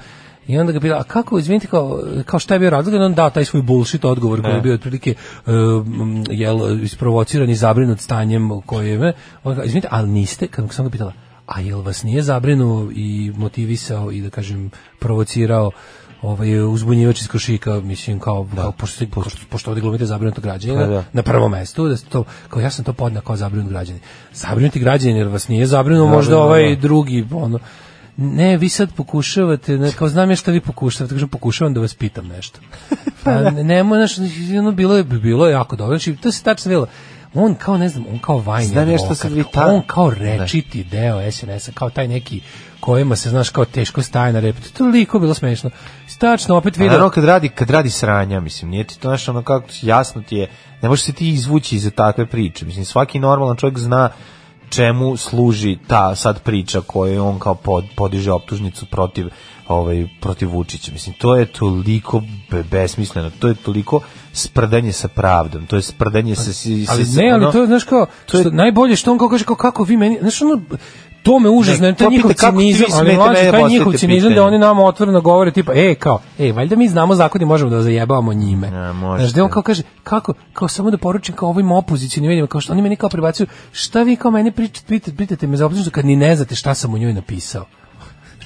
S6: I onda ga pitala, a kako, izvinite, kao, kao šta je bio razlog? I onda on dao taj svoj bullshit odgovor
S5: Da.
S6: koji je bio otprilike e, m, jel, isprovociran i zabrinut stanjem koje je... On kao, izvinite, ali niste, kad sam ga pitala, a jel vas nije zabrinuo i motivisao i da kažem provocirao ovaj uzbunjivač iz Košika, mislim kao, kao pošto, pošto, pošto ovdje glumite zabrinutog građanina,
S5: da.
S6: na prvom mestu, da ste to, kao ja sam to podnao kao zabrinut građanin. Zabrinuti građanin jer vas nije zabrinuo možda
S5: da,
S6: ovaj
S5: da.
S6: drugi, ono, ne, vi sad pokušavate, ne, kao znam ja šta vi pokušavate, kažem, pokušavam da vas pitam nešto. Pa ne, ne znaš, ono, bilo je, bilo je jako dobro, znači, to se tačno vidjelo. On kao, ne znam, on kao vajni
S5: Znam ja šta
S6: advokat,
S5: sad vi ta- Da.
S6: on kao rečiti deo SNS-a, kao taj neki kojima se, znaš, kao teško staje na repu. To je Toliko bilo smešno. Tačno, opet
S5: A Pa naravno
S6: video.
S5: kad radi, kad radi sranja, mislim, nije ti to nešto ono kako jasno ti je, ne možeš se ti izvući iz takve priče. Mislim, svaki normalan čovjek zna čemu služi ta sad priča koju on kao pod, podiže optužnicu protiv ovaj protiv Vučića. Mislim, to je toliko be- besmisleno, to je toliko sprdanje sa pravdom, to je sprdanje sa... sa-
S6: Ali
S5: sa-
S6: ne, ali
S5: ono-
S6: to je, znaš, kao,
S5: to je-
S6: što, najbolje što on kao kaže, kao, kako vi meni, znaš, ono, to me užasno,
S5: Ne,
S6: ne, to
S5: ko
S6: je njihov
S5: pita kako ti vi
S6: cinizam, ali
S5: smete
S6: mlađe,
S5: mene
S6: taj njihov
S5: postaviti
S6: cinizam da
S5: pitanje?
S6: oni nama otvoreno govore tipa, e, kao, e, valjda mi znamo zakon i možemo da zajebavamo njime.
S5: Ja, možete.
S6: Znaš, da on kao kaže, kako, kao samo da poručim kao ovim opozicijnim medijima, kao što oni meni kao prebacuju, šta vi kao meni pričate, pitate, pitate me za opoziciju kad ni ne znate šta sam u njoj napisao.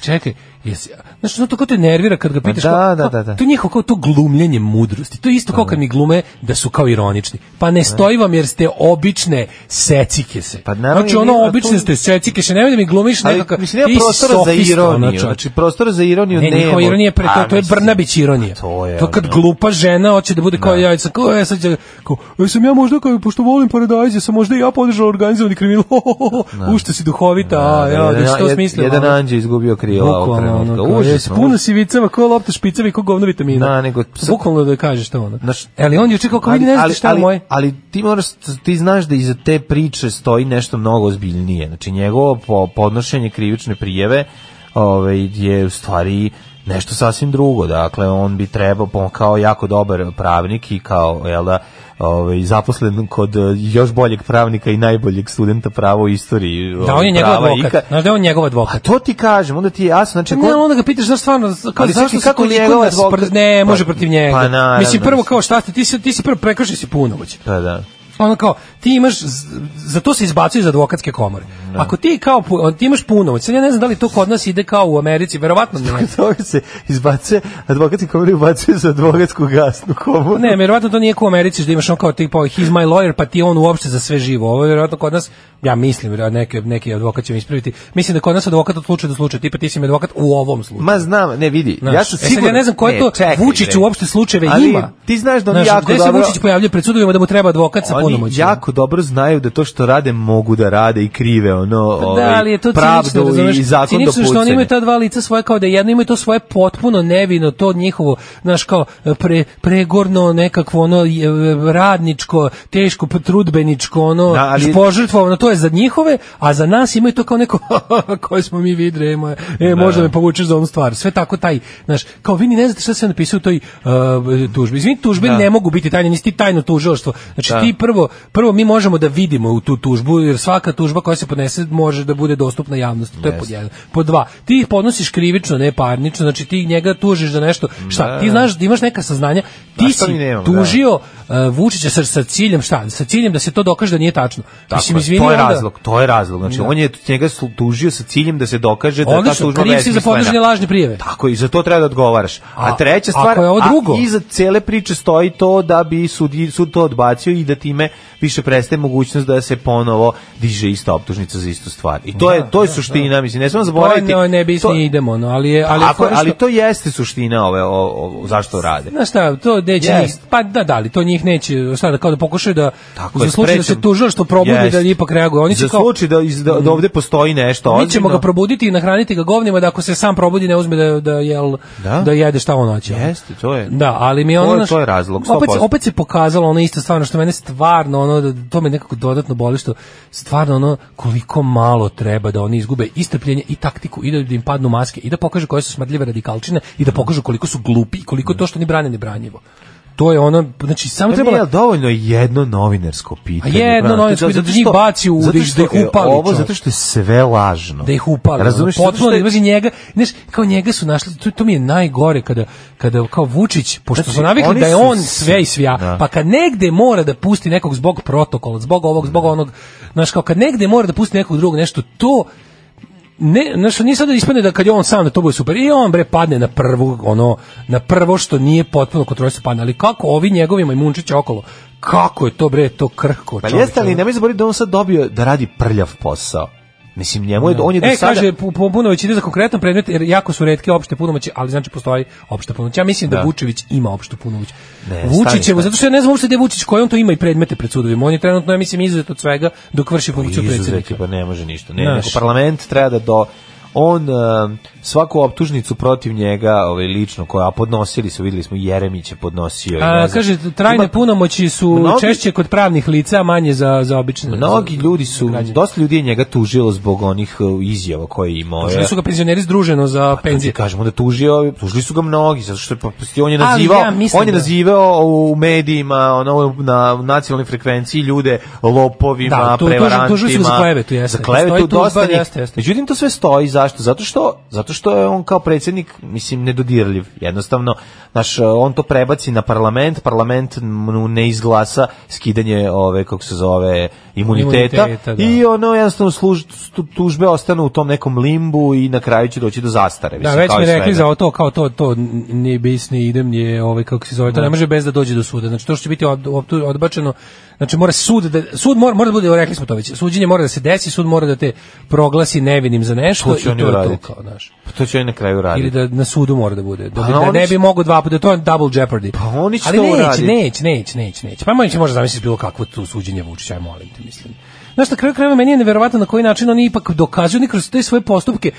S6: Čekaj, jesi, znaš, ono to kao te nervira kad ga pitaš,
S5: da,
S6: kao,
S5: da,
S6: a,
S5: da, da.
S6: to je njihovo kao to glumljenje mudrosti, to je isto kao kad mi glume da su kao ironični, pa ne stoji vam jer ste obične secike se,
S5: Da. Pa naravno,
S6: znači ono
S5: a tu-
S6: obične ste secike se, nemoj da mi glumiš
S5: Ali
S6: nekakav,
S5: mislim nema
S6: ti si
S5: prostora za
S6: sofista, ono,
S5: ironiju.
S6: čoveče.
S5: Znači prostora za ironiju
S6: Ne,
S5: nema.
S6: njihova ironija, pre, to,
S5: A,
S6: to je
S5: mislim,
S6: Brnabić ironija.
S5: a To je.
S6: to kad
S5: ono.
S6: glupa žena hoće da bude kao ja, sad kao, e, sad će, kao, e, sam ja možda, kao, pošto volim paradajze, sam možda i ja podržao organizovani kriminal, ho, ho, ho, ušte si duhovita, a, ja, da si to
S5: Da. jedan-
S6: smislila.
S5: Jedan
S6: ono.
S5: anđe izgubio krila ovog
S6: Bukvalno,
S5: trenutka.
S6: ono, kao, jesi
S5: Užasno.
S6: puno sivicama, ko lopta špicama i ko govno vitamina.
S5: Da, nego-
S6: Bukvalno da kažeš to ono.
S5: Znaš-
S6: E, ali on juče kao, kao, vidi, ne znate šta je
S5: ali,
S6: moje.
S5: ali ti moraš ti znaš da iza te priče stoji nešto mnogo ozbiljnije. Znači njegovo po, podnošenje krivične prijeve ovaj je u stvari nešto sasvim drugo. Dakle on bi trebao pa on kao jako dobar pravnik i kao jel da ovaj zaposlen kod eh, još boljeg pravnika i najboljeg studenta prava u istoriji.
S6: Da,
S5: ovaj,
S6: on je njegov
S5: prava
S6: advokat.
S5: ikad.
S6: Znaš da je on njegov
S5: A
S6: advokat.
S5: to ti kažem, onda ti je jasno, znači
S6: Ne,
S5: ko-
S6: ali onda ga pitaš zašto stvarno, kao
S5: Ali
S6: ali zašto
S5: svaki
S6: se
S5: kako
S6: toliko
S5: njegov
S6: nas
S5: advokat-
S6: pr- ne, može
S5: Pa-
S6: protiv njega.
S5: pa naravno,
S6: Mislim, prvo
S5: mislim.
S6: kao šta ste, ti si, ti si prvo prekršio si punomoć.
S5: Pa da.
S6: ono kao ti imaš z- za to se izbacuje iz advokatske komore.
S5: Da.
S6: Ako ti kao pu- ti imaš punomoć, sad ja ne znam da li to kod nas ide kao u Americi, verovatno ne.
S5: To se izbacuje, advokatski komori ubacuje za advokatsku gasnu komoru.
S6: Pa Ne, verovatno to nije kao u Americi, da imaš on kao tipa he's my lawyer, pa ti je on uopšte za sve živo. Ovo je verovatno kod nas, ja mislim, da neki, neki advokat će mi ispraviti, mislim da kod nas advokat od slučaja do slučaja, tipa ti si mi advokat u ovom slučaju.
S5: Ma znam, ne vidi,
S6: Znaš,
S5: ja sam
S6: e sad
S5: siguran.
S6: ja ne znam koje to
S5: čekaj,
S6: Vučić
S5: bre.
S6: uopšte slučajeve
S5: Ali
S6: ima.
S5: Ti znaš da on
S6: Znaš,
S5: jako
S6: gde se
S5: dobro...
S6: Vučić pojavljuje pred sudovima da mu treba advokat sa
S5: Oni
S6: punomoćima?
S5: jako dobro znaju da to što rade mogu da rade i krive ono ovaj,
S6: da, ali je to
S5: pravdu
S6: cinično, razumeš?
S5: i zakon do
S6: Cinično što oni imaju ta dva lica svoje kao da jedno imaju to svoje potpuno nevino, to njihovo, znaš kao pre, pregorno nekakvo ono je, radničko, teško trudbeničko ono
S5: Da, ali-
S6: požrtvovano, to je za njihove, a za nas imaju to kao neko koje smo mi vidre, e, moje,
S5: Da.
S6: e možda me povučeš za onu stvar. Sve tako taj, znaš, kao vi ni ne znate šta se napisao u toj uh, tužbi. Izvini, tužbe
S5: Da.
S6: ne mogu biti tajne, nisi ti tajno tužilaštvo. Znači ti prvo, prvo mi možemo da vidimo u tu tužbu, jer svaka tužba koja se podnese može da bude dostupna javnosti. To je pod jedan. Pod dva, ti ih podnosiš krivično, ne parnično, znači ti njega tužiš za nešto. Šta? Ti znaš da imaš neka saznanja, ti
S5: šta
S6: si
S5: mi nemamo, da.
S6: tužio uh, Vučića sa, sa ciljem šta? Sa ciljem da se to dokaže da nije tačno. Mislim, da- izvini,
S5: to je
S6: onda- Da.
S5: razlog, to je razlog. Znači, on je njega slu- tužio sa ciljem da se dokaže da je ta
S6: Odlično,
S5: tužba
S6: kriv si za
S5: besmislena.
S6: podnošenje lažne prijeve.
S5: Tako je, i za to treba da odgovaraš. A,
S6: A-
S5: treća
S6: ako
S5: stvar,
S6: je ovo drugo?
S5: A, iza cele priče stoji to da bi sud, sud to odbacio i da time više prestaje mogućnost da se ponovo diže ista optužnica za istu stvar. I to je to je suština, mislim, ne smemo zaboraviti.
S6: Da, To je, Pa ne, ne bis
S5: to-
S6: ni idemo, no, ali je... Ali,
S5: ali,
S6: je
S5: ako,
S6: fora što-
S5: ali to jeste suština ove, o, o, zašto rade.
S6: Znaš šta, to neće
S5: Jest.
S6: njih, pa da, da, ali to njih neće, šta da, kao da pokušaju da,
S5: Tako
S6: za
S5: je,
S6: slučaj da
S5: sprečen.
S6: se tužilaštvo probudi
S5: Jest.
S6: da ipak reaguju. Oni
S5: Za
S6: su kao,
S5: slučaj da, iz- da, da ovde postoji nešto
S6: mi ćemo ga
S5: ozbiljno.
S6: probuditi i nahraniti ga govnima da ako se sam probudi ne uzme da, da, jel,
S5: Da.
S6: da? jede šta on hoće.
S5: Jeste, to je.
S6: Da, ali mi je
S5: To
S6: ono...
S5: je-
S6: znaš,
S5: to je razlog,
S6: Opet,
S5: 100%.
S6: opet se pokazalo ono isto stvarno što mene stvarno ono, da- to me nekako dodatno boli što stvarno ono koliko malo treba da oni izgube i strpljenje i taktiku i da im padnu maske i da pokažu koje su smrdljive radikalčine i da pokažu koliko su glupi i koliko to što ni brane ne branjivo. To je ono, znači samo
S5: Ne
S6: treba...
S5: Nije dovoljno jedno novinarsko pitanje.
S6: A jedno
S5: brate,
S6: novinarsko pitanje,
S5: zato
S6: da njih
S5: što-
S6: baci u-
S5: zato
S6: da ih-
S5: što
S6: da ih
S5: je
S6: upali,
S5: Ovo,
S6: čovječe.
S5: zato što je sve lažno.
S6: da ih upali.
S5: Razumeš?
S6: Razumeš,
S5: Zato što
S6: potpuno,
S5: je-
S6: da njega, znaš, kao njega su našli, to, to mi je najgore kada, kada kao Vučić, pošto
S5: Znači,
S6: smo navikli
S5: oni
S6: da je
S5: su
S6: on
S5: svi-
S6: sve i svija,
S5: Da.
S6: pa kad negde mora da pusti nekog zbog protokola, zbog ovog,
S5: Da.
S6: zbog onog, znaš, kao kad negde mora da pusti nekog drugog nešto, to ne, znaš, nije sad da ispadne da kad je on sam da to bude super, i on bre padne na prvu, ono, na prvo što nije potpuno kontrolisno padne, ali kako ovi njegovi majmunčići okolo, kako je to bre, to krhko
S5: Pa
S6: čoveče,
S5: jeste, ali
S6: ono.
S5: nemoj zaboraviti da on sad dobio da radi prljav posao. Mislim, njemu je, on je do
S6: E,
S5: sada...
S6: kaže, pu- pu- punomoć ide za konkretan predmet, jer jako su redke opšte punomoći, ali znači postoji opšta punomoć. Ja mislim da,
S5: Da.
S6: Vučević ima opštu punomoć.
S5: Ne, stani,
S6: Vučićevo,
S5: stani.
S6: zato što ja ne znam uopšte gde je Vučić, koji on to ima i predmete pred sudovima. On je trenutno, ja mislim, izuzet od svega dok vrši funkciju
S5: Izuzet je,
S6: predsjednika.
S5: pa ne može ništa. Ne,
S6: Znaš.
S5: nego parlament treba da do on e, svaku optužnicu protiv njega, ovaj lično koja a podnosili su, videli smo Jeremić je podnosio i pa, ne
S6: A,
S5: znam.
S6: kaže, trajne
S5: Ima-
S6: punomoći su
S5: Mnogi-
S6: češće kod pravnih lica, a manje za, za obične.
S5: Mnogi
S6: za-
S5: ljudi su,
S6: građane.
S5: dosta ljudi je njega tužilo zbog onih e, izjava koje je imao. E,
S6: Tužili su ga penzioneri združeno za
S5: Penzije.
S6: penzije.
S5: kažemo da tužio, tužili su ga mnogi, zato što je, pa, on je
S6: Ali
S5: nazivao,
S6: ja mislim
S5: on je
S6: da-
S5: nazivao u medijima, ono, na nacionalnoj frekvenciji ljude lopovima,
S6: Da, tu- tuži-
S5: prevarantima.
S6: tužili su za klevetu, jeste.
S5: Za klevetu
S6: Postoji tužba,
S5: dosta njih.
S6: jeste, jeste.
S5: Međutim, to sve stoji, zašto? Zato što, zato što je on kao predsjednik, mislim, nedodirljiv. Jednostavno, naš, on to prebaci na parlament, parlament mu ne izglasa skidanje ove, kako se zove, imuniteta,
S6: Imuniteta, da.
S5: i ono jednostavno služ, tu- tužbe ostanu u tom nekom limbu i na kraju će doći do zastare.
S6: Da,
S5: mislim,
S6: već
S5: kao
S6: mi
S5: i
S6: rekli
S5: svega.
S6: za ovo to, kao to, to ni bis, ni idem, ni ovaj, kako se zove, to ne može bez da dođe do suda. Znači, to što će biti od- optu- odbačeno, znači, mora sud, da, sud mora, mora da bude, rekli smo to već, suđenje mora da se desi, sud mora da te proglasi nevinim za nešto
S5: To
S6: i
S5: će
S6: to
S5: oni
S6: je to,
S5: uraditi.
S6: kao, znaš.
S5: Pa to će oni na kraju raditi.
S6: Ili da na sudu mora da bude. Da,
S5: Pa,
S6: bi-
S5: no,
S6: da
S5: oni
S6: ne
S5: će-
S6: bi mogo dva puta, to je double jeopardy.
S5: Pa, oni će
S6: Ali
S5: to
S6: neće,
S5: uraditi.
S6: neće, neće, neće, neće. Pa moći može zamisliti bilo kakvo tu suđenje Vučića, aj molim te, mislim. Znaš, na kraju krajeva meni je neverovatno na koji način oni ipak dokazuju oni kroz te svoje postupke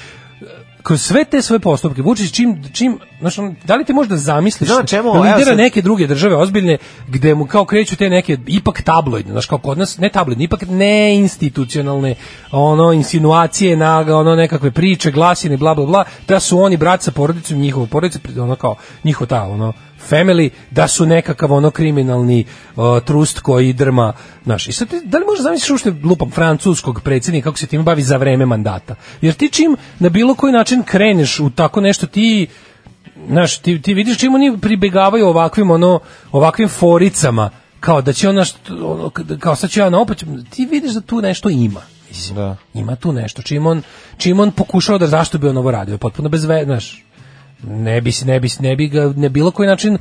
S6: kroz sve te svoje postupke Vučić čim čim znaš, on, da li ti možda zamisliš
S5: Znam čemu,
S6: da
S5: evo
S6: lidera
S5: sad-
S6: neke druge države ozbiljne gde mu kao kreću te neke ipak tabloidne znaš kao kod nas ne tabloidne ipak ne institucionalne ono insinuacije naga ono nekakve priče glasine bla bla bla da su oni brat sa porodicom njihovu porodicu ono kao njihov ta ono family da su nekakav ono kriminalni uh, trust koji drma naš i sad ti, da li možeš zamisliti uopšte lupam francuskog predsjednika kako se tim bavi za vreme mandata jer ti čim na bilo koji način kreneš u tako nešto ti znaš, ti, ti vidiš čim oni pribegavaju ovakvim, ono, ovakvim foricama, kao da će ona, što- ono, kad- kao sad će ona opet, ću- ti vidiš da tu nešto ima. Mislim,
S5: Da.
S6: Ima tu nešto. Čim on, čim on pokušao da zašto bi on ovo radio, potpuno bez ve, znaš, ne bi, se- ne bi, se- ne bi ga na bilo koji način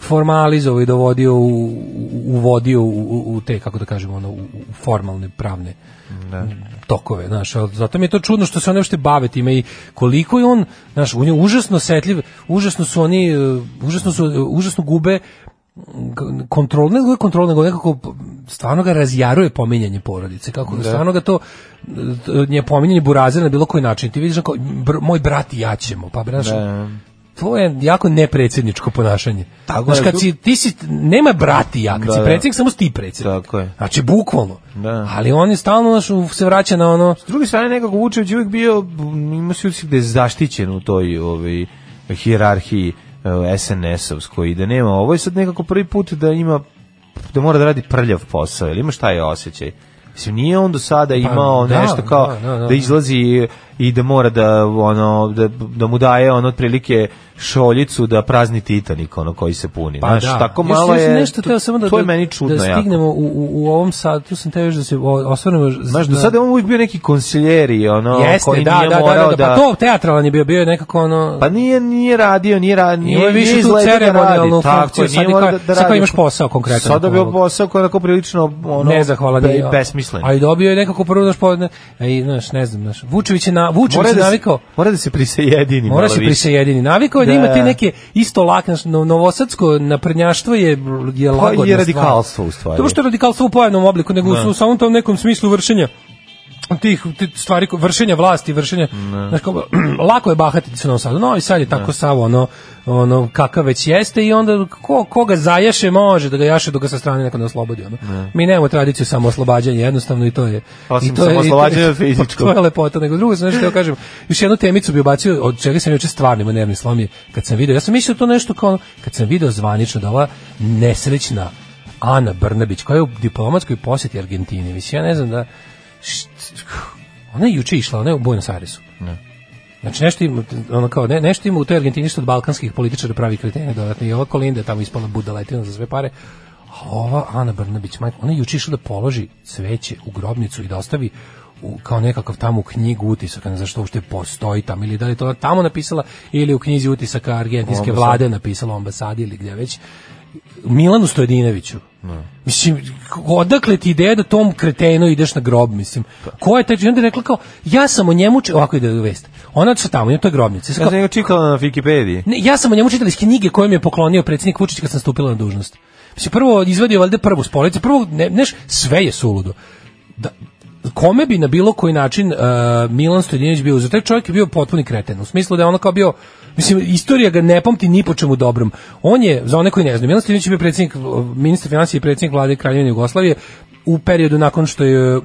S6: formalizovao i dovodio u, u- uvodio u, u, u te, kako da kažemo, ono, u, u formalne pravne tokove, znaš, ali zato mi je to čudno što se oni uopšte bave time i koliko je on, znaš, on je užasno setljiv, užasno su oni, e, užasno su, e, užasno gube k- kontrol, ne gube kontrol, nego nekako p- stvarno ga razjaruje pominjanje porodice, kako
S5: Da.
S6: stvarno ga to e, t- nje pominjanje burazira na bilo koji način, ti vidiš kao, br- moj brat i ja ćemo, pa znaš, to je jako nepredsjedničko ponašanje.
S5: Da. Tako
S6: znaš,
S5: je,
S6: kad
S5: tu-
S6: si, ti si, nema brati ja, kad
S5: Da,
S6: si
S5: da.
S6: predsjednik, samo si ti predsjednik.
S5: Tako je.
S6: Znači, bukvalno.
S5: Da.
S6: Ali on je stalno znaš, u- se vraća na ono,
S5: S druge strane, nekako Vučević je uvijek bio, m, ima se utisak da je zaštićen u toj ovaj, hijerarhiji e, SNS-ovskoj i da nema. Ovo je sad nekako prvi put da ima, da mora da radi prljav posao, ili ima šta je osjećaj? Mislim, nije on do sada imao
S6: da,
S5: nešto kao
S6: da, da, da.
S5: da izlazi i da mora da, ono, da, da mu daje ono otprilike šoljicu da prazni Titanik ono koji se puni.
S6: pa
S5: Znaš, tako
S6: Još-
S5: malo
S6: da. još
S5: je,
S6: nešto teo samo da,
S5: to je
S6: da-
S5: meni čudno
S6: da
S5: jako.
S6: stignemo u, u, u ovom satu, tu sam teo još da se o- osvrnemo.
S5: Znaš, do sada je on uvijek bio neki konsiljeri, ono,
S6: Da. Jeste,
S5: koji
S6: da,
S5: nije
S6: da, da,
S5: morao
S6: da, da, pa to teatralan je bio, bio je nekako ono...
S5: Pa nije nije radio, nije radio, nije,
S6: Imao je više tu
S5: izgledao da
S6: ceremonijalnu
S5: radi, tako
S6: funkciju,
S5: je,
S6: sad
S5: nije
S6: je
S5: morao
S6: kao-
S5: da, da
S6: sad kao
S5: radi.
S6: imaš posao konkretan
S5: Sada
S6: oko
S5: bio
S6: ovog.
S5: posao koji je onako prilično ono,
S6: nezahvalan
S5: be-
S6: je, a-
S5: besmislen.
S6: A i dobio je nekako prvo naš podne, i znaš, ne znam, znaš, Vučević je na Vučević je
S5: da se,
S6: navikao.
S5: mora da se prisejedini
S6: Mora
S5: malo
S6: se
S5: više.
S6: prisejedini. Navikao je da,
S5: Da.
S6: ima te neke isto lak, znaš, no, novosadsko naprednjaštvo je, je lagodna
S5: Pa je
S6: stvar.
S5: radikalstvo, u stvari. Da.
S6: To što je radikalstvo u pojavnom obliku, nego u, u samom tom nekom smislu vršenja tih, tih stvari, ko- vršenja vlasti, vršenja,
S5: Da.
S6: znaš, kao, lako je bahatiti se u Novom Sadu, Novi Sad je tako samo ono, ono, kakav već jeste i onda ko, ko ga zajaše može da ga jaše dok ga sa strane neko ne oslobodi, ono. Mi nemamo tradiciju samo oslobađanja, jednostavno i to je.
S5: Da. Osim
S6: i to je- i to je-
S5: samooslobađanja
S6: pa to je
S5: fizičkog.
S6: je lepota, nego drugo sam nešto kažem. Još jednu temicu bi ubacio, od čega sam juče stvarno imao nervni slom je kad sam video. Ja sam mislio to nešto kao ono, kad sam video zvanično da ova nesrećna Ana Brnabić koja je u diplomatskoj posjeti Argentini. Mislim ja ne znam da št- ona je juče išla, ona je u Buenos Airesu. Znači nešto ima, ono kao, ne, nešto ima u toj Argentini što od balkanskih političara pravi kretene dodatno. I ova Kolinda je tamo ispala budaletina za sve pare. A ova Ana Brnabić, majko, ona je juče išla da položi cveće u grobnicu i da ostavi u, kao nekakav tamo u knjigu utisaka, ne znam što uopšte postoji tam, ili da li je to ona tamo napisala, ili u knjizi utisaka argentinske vlade napisala u ambasadi ili gdje već. Milanu Stojedinoviću. Mislim, k- odakle ti ideja da tom kretenu ideš na grob, mislim. Ko je taj? I onda je rekla kao, ja sam o njemu, či- ovako ide vest, ona se tamo, ima to je grobnica. I sad
S5: Ja
S6: kao,
S5: sam njega čitala na Wikipediji.
S6: ne, ja sam o njemu čitala iz knjige koju mi je poklonio predsjednik Vučić kad sam stupila na dužnost. Mislim, prvo izvadio valjda prvu s police, prvo, ne, neš, sve je suludo. Da, kome bi na bilo koji način uh, Milan Stojadinović bio uzor. Taj čovjek je bio potpuni kreten, u smislu da je ono kao bio Mislim, istorija ga ne pamti ni po čemu dobrom. On je, za one koji ne znaju, Milan Stojadinović je bio predsjednik, ministar financija i predsjednik vlade Kraljevine Jugoslavije u periodu nakon što je uh,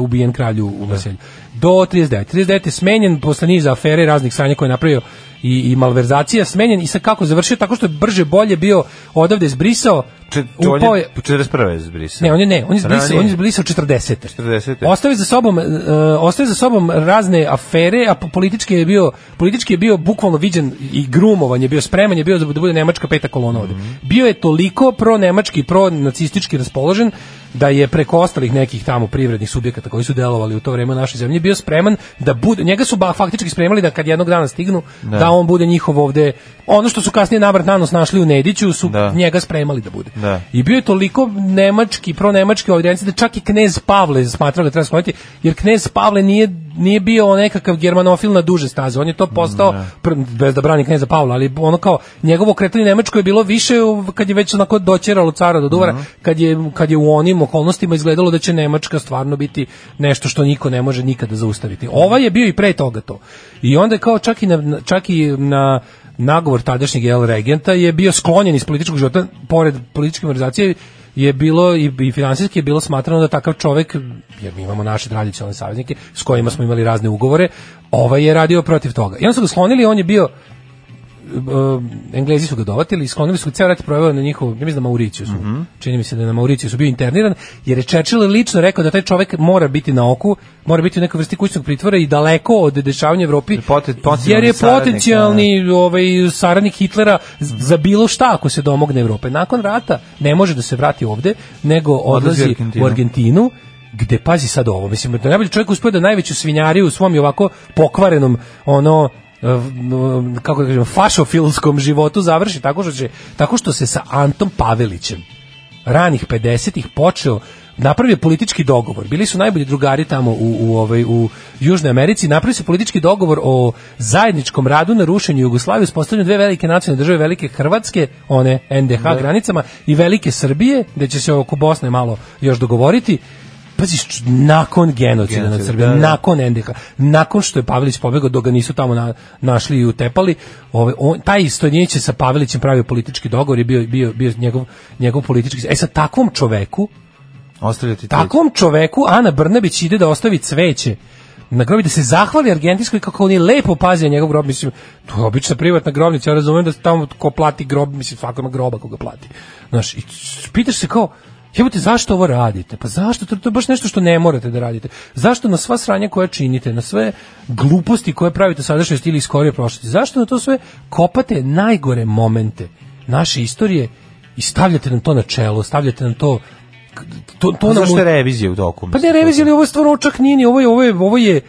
S6: ubijen kralju
S5: Da.
S6: u Marselju. Do 39. 39. je smenjen posle niza afere i raznih sranja koje je napravio i, i malverzacija, smenjen i sa kako završio tako što je brže bolje bio odavde izbrisao,
S5: Če,
S6: upao
S5: on
S6: je,
S5: je 41. je zbrisao.
S6: ne, on je ne, on je zbrisao,
S5: Ranije.
S6: on je zbrisao 40.
S5: 40..
S6: Ostavi za sobom, e, ostavi za sobom razne afere, a po- politički je bio, politički je bio bukvalno viđen i grumovan je bio spreman je bio da bude nemačka peta kolona ovde.
S5: Mhm.
S6: Bio je toliko pro nemački, pro nacistički raspoložen da je preko ostalih nekih tamo privrednih subjekata koji su delovali u to vreme u našoj zemlji bio spreman da bude njega su ba, faktički spremali da kad jednog dana stignu da, on bude njihov ovde ono što su kasnije navrat nanos našli u Nediću su
S5: Da.
S6: njega spremali da bude.
S5: Da.
S6: I bio je toliko nemački, pronemački audijenci da čak i knez Pavle smatrao da treba skloniti, jer knez Pavle nije, nije bio nekakav germanofil na duže staze. On je to postao, pr- bez da brani kneza Pavla, ali ono kao, njegovo kretanje Nemačko je bilo više u- kad je već onako doćeralo cara do duvara, kad, je, kad je u onim okolnostima izgledalo da će Nemačka stvarno biti nešto što niko ne može nikada zaustaviti. Ova je bio i pre toga to. I onda je kao čak i na, na- čak i na nagovor tadašnjeg jel regenta je bio sklonjen iz političkog života pored političke organizacije je bilo i, i finansijski je bilo smatrano da takav čovek jer mi imamo naše tradicionalne saveznike s kojima smo imali razne ugovore ovaj je radio protiv toga i onda su ga sklonili on je bio um, Englezi su ga dovatili i sklonili su ga ceo rat proveo na njihov, ja mislim na Mauriciju su.
S5: Mhm.
S6: Čini mi se da je na Mauriciju su bio interniran, jer je Churchill lično rekao da taj čovek mora biti na oku, mora biti u nekoj vrsti kućnog pritvora i daleko od dešavanja u Evropi,
S5: Pote- potencijalni
S6: jer je
S5: saradnik,
S6: potencijalni ovaj, saradnik Hitlera z- za bilo šta ako se domogne Evrope. Nakon rata ne može da se vrati ovde, nego
S5: Odlazi u
S6: odlazi
S5: Argentinu.
S6: u Argentinu, gde pazi sad ovo, mislim, da najbolji čovjek uspio da najveću svinjariju u svom i ovako pokvarenom, ono, eh, no, kako da kažem, fašofilskom životu završi tako što, će, tako što se sa Antom Pavelićem ranih 50-ih počeo napravio politički dogovor. Bili su najbolji drugari tamo u, u, ovaj, u Južnoj Americi. Napravio se politički dogovor o zajedničkom radu na rušenju Jugoslavije, uspostavljanju dve velike nacionalne države, velike Hrvatske, one NDH
S5: Da.
S6: granicama, i velike Srbije, gde će se oko Bosne malo još dogovoriti. Pazi, č- nakon genocida nad
S5: Genocida,
S6: Srbijom,
S5: da, da.
S6: nakon NDH, nakon što je Pavelić pobegao, dok ga nisu tamo na, našli i utepali, ovaj, on, taj Stojnić je sa Pavelićem pravio politički dogovor i bio, bio, bio njegov, njegov politički... E sad, takvom čoveku,
S5: Ostavljati
S6: takvom čoveku Ana Brnabić ide da ostavi cveće na grobi da se zahvali Argentinskoj kako oni lepo paze na njegov grob mislim to je obična privatna grobnica ja razumem da se tamo ko plati grob mislim svako ima groba koga plati znaš i s- pitaš se kao Jebote, zašto ovo radite? Pa zašto? To, to je baš nešto što ne morate da radite. Zašto na sva sranja koja činite, na sve gluposti koje pravite u sadašnjosti ili iz skorije prošlosti, zašto na to sve kopate najgore momente naše istorije i stavljate nam to na čelo, stavljate nam to to, to
S5: To
S6: nam
S5: Pa Zašto je revizija u toku?
S6: pa ne revizija, ali ovo je stvarno čak nije ni ovo je, ovo je, ovo je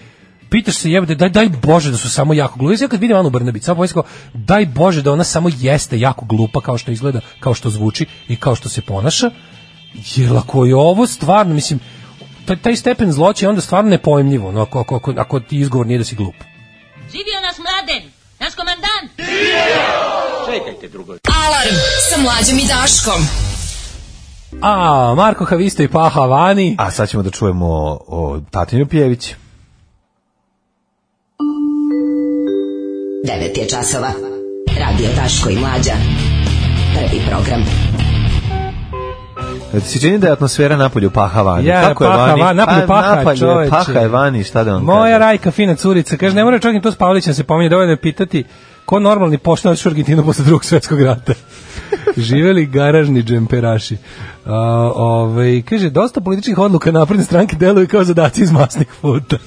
S6: pitaš se jebate, daj, daj Bože da su samo jako glupi. Ja kad vidim Anu Brnabić, samo pomislim kao, daj Bože da ona samo jeste jako glupa kao što izgleda, kao što zvuči i kao što se ponaša. Jer ako je ovo stvarno, mislim, taj, taj stepen zloće je onda stvarno nepojmljivo, no, ako, ako, ako, ako ti izgovor nije da si glup.
S4: Živio nas mladen, naš komandant! Živio! Čekajte, drugo. Alarm sa mlađom i Daškom.
S6: A, Marko Havisto i Paha Vani.
S5: A sad ćemo da čujemo o, o Tatinu Pjević.
S4: 9 je časova. Radio Daško i Mlađa. Prvi program.
S5: Da ti se čini da je atmosfera napolju paha vani.
S6: Ja,
S5: Kako
S6: paha
S5: je vani?
S6: van- napolju
S5: Pa,
S6: paha je,
S5: napolju je,
S6: čoveče.
S5: Paha je vani, šta da vam
S6: Moja
S5: kažem?
S6: Rajka, fina curica, kaže, ne mora čak ni to s Pavlićem da se pominje, dovoljno je pitati ko normalni pošta u Argentinu posle drugog svetskog rata. Živeli garažni džemperaši. Uh, ovaj, kaže, dosta političkih odluka napredne stranke deluju kao zadaci iz masnih futa.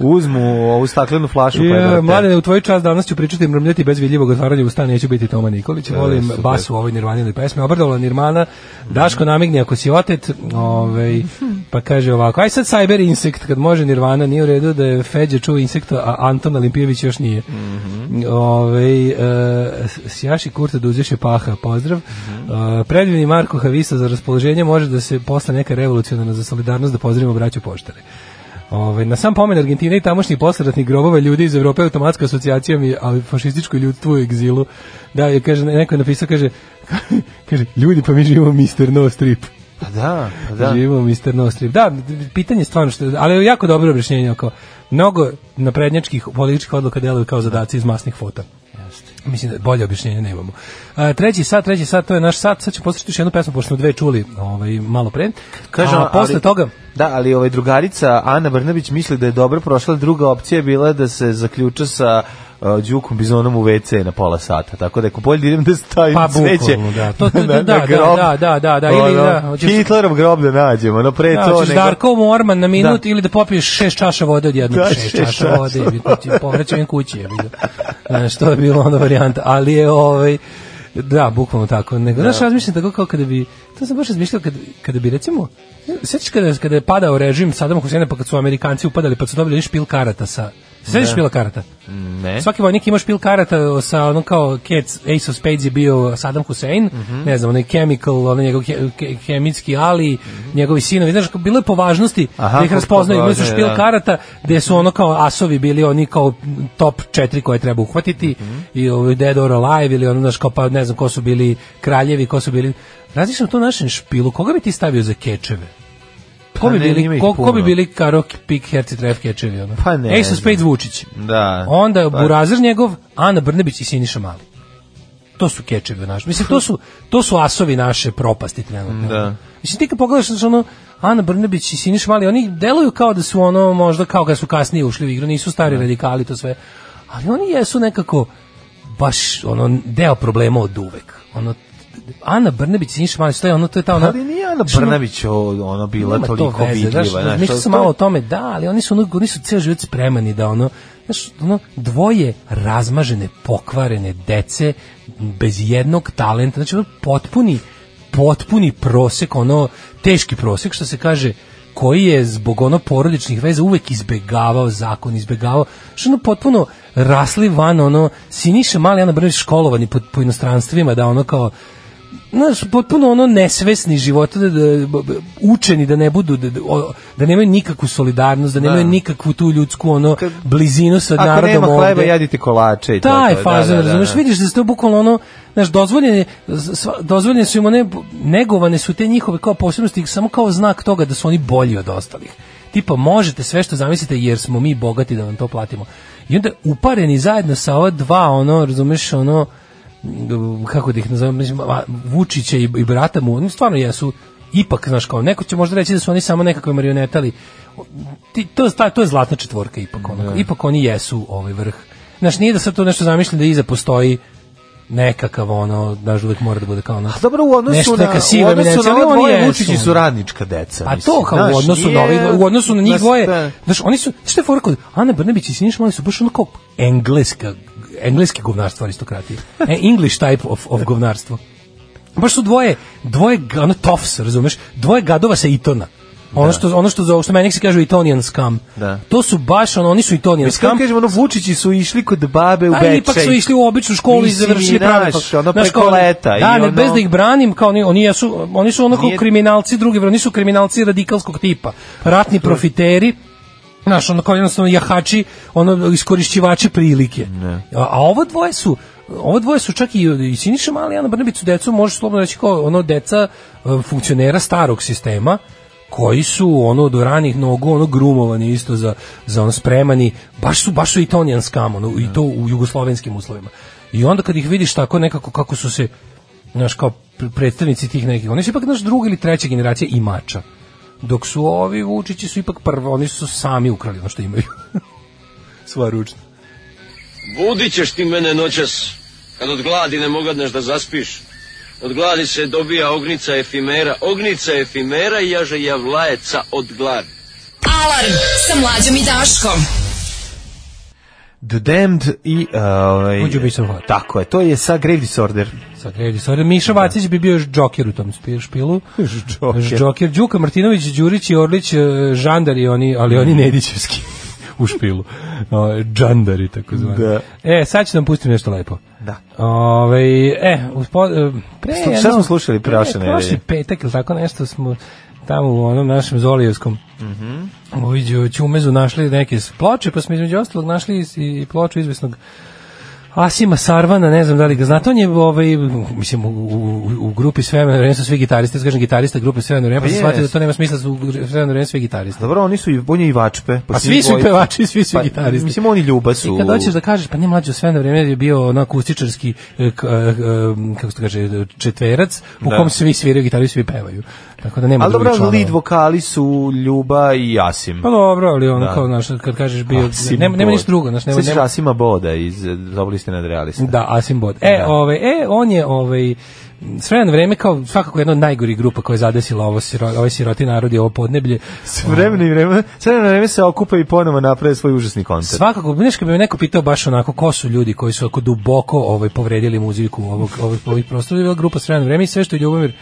S5: Uzmu ovu staklenu flašu. koja je da
S6: Ja,
S5: vrte.
S6: mladene, u tvoj čas danas ću pričati i mrmljati bez vidljivog otvaranja usta, neću biti Toma Nikolić. Volim
S5: super.
S6: bas u ovoj Nirvaninoj pesmi. Obrdovala Nirmana, Daško namigni ako si otet, ovaj, pa kaže ovako, aj sad Cyber Insect, kad može Nirvana, nije u redu da je Feđe čuo Insekta, a Anton Olimpijević još nije. Ovaj, e, sjaši kurta da uzješe paha, pozdrav. E, predivni Marko Havisa za raspoloženje može da se posle neka revolucionarna za solidarnost da pozdravimo braću poštare. Ovaj na sam pomen Argentine i tamošnji posleratnih grobova ljudi iz Evrope automatska asocijacija mi ali fašističko ljudstvo u egzilu. Da, je kaže neko je napisao kaže kaže ljudi pa mi živimo Mr. No Strip.
S5: Pa da, pa da.
S6: Živo Mr. Nostrim. Da, pitanje je stvarno što, ali je jako dobro objašnjenje oko mnogo naprednjačkih političkih odluka deluju kao zadaci iz masnih fota. Mislim da bolje objašnjenje nemamo. A, treći sat, treći sat, to je naš sat. Sad ćemo poslušati još jednu pesmu, pošto smo dve čuli ovaj, malo pre.
S5: Kažem,
S6: a, posle
S5: ali-
S6: toga...
S5: Da, ali ovaj drugarica Ana Brnabić misli da je dobro prošla, druga opcija je bila da se zaključa sa uh, Đukom Bizonom u WC na pola sata. Tako da ako bolje da idem da stavim
S6: Pa,
S5: cveće.
S6: bukvalno, da. To- to- da, da, da, da, da, da, ili
S5: Ono,
S6: da, hoćeš-
S5: Hitlerov grob da nađem, ono pre
S6: Da,
S5: to
S6: hoćeš Darko Morman na minut
S5: Da.
S6: ili da popiješ šest čaša vode odjednom.
S5: Da,
S6: šest,
S5: šest
S6: čaša
S5: čaša.
S6: vode, povraćam im kući. jebi ga. Znaš, to je bilo onda varijanta. Ali je, ovaj, da, bukvalno tako. Nego,
S5: Da.
S6: Znaš, razmišljam tako kao kada bi, to sam baš razmišljao kada, kada bi, recimo, sećaš kada, kada je padao režim Sadama Husena pa kad su Amerikanci upadali pa su dobili špil karata sa... Sećaš
S5: Da.
S6: špila karata?
S5: Ne.
S6: Svaki vojnik ima špil karata sa onom kao Cats, Ace of Spades je bio Saddam Hussein,
S5: Mhm.
S6: ne znam, onaj chemical, onaj njegov he, ke- hemijski ali, njegovi sinovi, znaš, kao bilo je po važnosti
S5: Mhm. Aha,
S6: da ih
S5: po-
S6: raspoznaju,
S5: po-
S6: imali su
S5: važno je,
S6: špil
S5: da.
S6: karata gde su ono kao asovi bili oni kao top četiri koje treba uhvatiti
S5: Mhm.
S6: i ovaj Dead or Alive ili ono, znaš, kao pa ne znam ko su bili kraljevi, ko su bili... Različno to našem špilu, koga bi ti stavio za kečeve? Ko
S5: Pa
S6: bi
S5: ne, ima
S6: bili,
S5: ih
S6: ko, ko bi
S5: puno.
S6: bili Karo, Pik, Herci, Tref, Kečevi? Ono?
S5: Pa ne
S6: Ace
S5: znam.
S6: of Spades Vučić.
S5: Da.
S6: Onda
S5: Pa-
S6: Burazir njegov, Ana Brnebić i Siniša Mali. To su kečevi naš. Mislim to su to su asovi naše propasti trenutno.
S5: Da.
S6: Mislim ti kad pogledaš znaš, ono Ana Brnebić i Siniša Mali, oni deluju kao da su ono možda kao da su kasnije ušli u igru, nisu stari
S5: Da.
S6: radikali to sve. Ali oni jesu nekako baš ono deo problema od uvek. Ono Ana Brnebić i Siniša Mali, to je ono to je ta ona
S5: Pa Ali nije Ana
S6: Znaš, ono-
S5: Brnabić o- ono bila
S6: nema to
S5: toliko
S6: veze,
S5: vidljiva.
S6: znaš,
S5: znaš,
S6: Mislio
S5: to-
S6: sam
S5: to-
S6: malo o tome, da, ali oni su, ono, oni su cijel život spremani da ono, znaš, ono, dvoje razmažene, pokvarene dece bez jednog talenta, znači ono, potpuni, potpuni prosek, ono, teški prosek, što se kaže, koji je zbog ono porodičnih veza uvek izbegavao zakon, izbegavao, što ono potpuno rasli van, ono, Siniša Mali, Ana Brnević školovani po, po inostranstvima, da ono kao, znaš, potpuno ono nesvesni života, da, da, b- b- učeni da ne budu, da, da, o- da nemaju nikakvu solidarnost, da nemaju nikakvu tu ljudsku ono, blizinu sa
S5: Ako
S6: narodom
S5: nema hleba,
S6: ovde.
S5: jedite kolače i to.
S6: Taj
S5: to, da,
S6: fazon,
S5: da, da,
S6: razumeš,
S5: da.
S6: vidiš da se to bukvalno ono, znaš, dozvoljene, sva- dozvoljene su im one, negovane su te njihove kao posebnosti, samo kao znak toga da su oni bolji od ostalih. Tipa, možete sve što zamislite jer smo mi bogati da vam to platimo. I onda upareni zajedno sa ova dva, ono, razumeš, ono, m, kako da ih nazovem, mislim, a- Vučića i, i brata mu, oni stvarno jesu ipak, znaš, kao, neko će možda reći da su oni samo nekakve marionetali, ti, to, ta, to je zlatna četvorka ipak
S5: Da.
S6: ono. Ipak oni jesu ovaj vrh. Znaš, nije da sad to nešto zamišljam da iza postoji nekakav ono, daš uvek mora da bude kao ono.
S5: A dobro u odnosu
S6: nešto
S5: na
S6: neka
S5: u
S6: siva
S5: odnosu
S6: eminencija,
S5: na
S6: ali
S5: ove
S6: oni
S5: dvoje
S6: jesu,
S5: Vučići su
S6: ono.
S5: radnička deca.
S6: Pa
S5: mislim,
S6: to kao
S5: znaš,
S6: u odnosu na
S5: nije-
S6: ovih, dvoje- u odnosu na njih
S5: nas-
S6: dvoje.
S5: da.
S6: Znaš, oni su, šta je fora kod Ana Brnabić i Siniša Mali su baš ono kao engleska, engleski govnarstvo aristokratije. E, English type of, of govnarstvo. Baš su dvoje, dvoje, g- ono, tofs, razumeš? Dvoje gadova sa Itona. Ono što ono što za što meni se kaže Itonian scam.
S5: Da.
S6: To su baš ono oni su Itonian
S5: Mislim, kako
S6: scam.
S5: kažem, ono, Vučići su išli kod babe u
S6: A
S5: Bečej.
S6: Pa Da, ipak su išli u običnu školu i
S5: Mislim,
S6: završili pravi
S5: znaš,
S6: fakultet.
S5: ono,
S6: Znaš,
S5: preko
S6: kao,
S5: leta. i
S6: Da, ne,
S5: ono-
S6: bez da ih branim, kao oni, oni, jesu, oni su ono kao
S5: Nije-
S6: kriminalci drugi, oni su kriminalci radikalskog tipa. Ratni profiteri, Znaš, ono kao jednostavno jahači, ono iskorišćivači prilike. A, a ovo dvoje su ovo dvoje su čak i, i Siniša Mali i Ana Brnabić su decu, možeš slobodno reći kao ono deca e, funkcionera starog sistema koji su ono do ranih nogu ono grumovani isto za, za ono spremani, baš su, baš su itonijan skam, ono, i to u jugoslovenskim uslovima. I onda kad ih vidiš tako nekako kako su se znaš, kao pr- predstavnici tih nekih, oni su ipak naš druga ili treća generacija imača. Dok su ovi Vučići su ipak prvo, oni su sami ukrali ono što imaju. Svoje ručno.
S7: Budit ćeš ti mene noćas, kad od gladi ne mogadneš da zaspiš. Od gladi se dobija ognica efimera, ognica efimera i jaže javlajeca od gladi.
S4: Alarm sa mlađom i Daškom.
S5: The Damned i... Uh, ovaj,
S6: Would you be so hot?
S5: Tako je, to je sa Grave Disorder.
S6: Sad redi, sad Miša Vacić bi bio džoker u tom spi- špilu.
S5: Joker.
S6: Džoker, Đuka Martinović, Đurić i Orlić, e, žandari oni, ali oni nedićevski u špilu. O, Džandari, tako zvani.
S5: Da.
S6: E, sad ću da vam pustim nešto lepo.
S5: Da.
S6: Ove, e, uspo, e, pre,
S5: Šta- šta
S6: jedno-
S5: smo slušali
S6: pre-
S5: prošle nedelje?
S6: Prošli petak ili tako nešto smo tamo u onom našem Zolijevskom
S5: Mhm.
S6: uviđu Ćumezu našli neke s- ploče, pa smo između ostalog našli i, i ploču izvesnog Asima Sarvana, ne znam da li ga znate, on je ovaj, mislim, u, u, u grupi Svemeno Vreme su svi gitaristi, kažem gitarista grupe Svemeno Vreme, pa sam
S5: jest.
S6: shvatio da to nema smisla, su u gru- Svemeno Vreme svi gitaristi.
S5: Dobro, oni su i on je i vačpe. pa
S6: A Pa svi su i pevači, svi su i gitaristi.
S5: Mislim oni ljuba su.
S6: I kad hoćeš da kažeš, pa ne mlađe sve na vrijeme je bio ono akustičarski, e, k- e, e, kako se to kaže, četverac, u
S5: Da.
S6: kom svi sviraju gitaru i svi pevaju. Tako da nema
S5: Ali
S6: drugih
S5: dobro,
S6: članova.
S5: lead vokali su Ljuba i Asim.
S6: Pa dobro, ali ono
S5: Da.
S6: kao, znaš, kad kažeš bio,
S5: Asim
S6: nema, nema
S5: Bod.
S6: ništa drugo, znaš, nema,
S5: Sećaš
S6: nema,
S5: Asima Boda iz eh, Dobili ste nad realista.
S6: Da, Asim Bod. E,
S5: Da.
S6: ovaj, e, on je ovaj sve na vreme kao svakako jedna od najgorih grupa koja je zadesila ovo siro, ovaj siroti narod i ovo podneblje.
S5: S vremena i vremena, s vremena i vremena se okupa i ponovo naprave svoj užasni koncert.
S6: Svakako, znaš kad bi me neko pitao baš onako ko su ljudi koji su ako duboko ovaj povredili muziku ovog ovog ovih prostora, je bila grupa Srebreno vreme i sve što je Ljubomir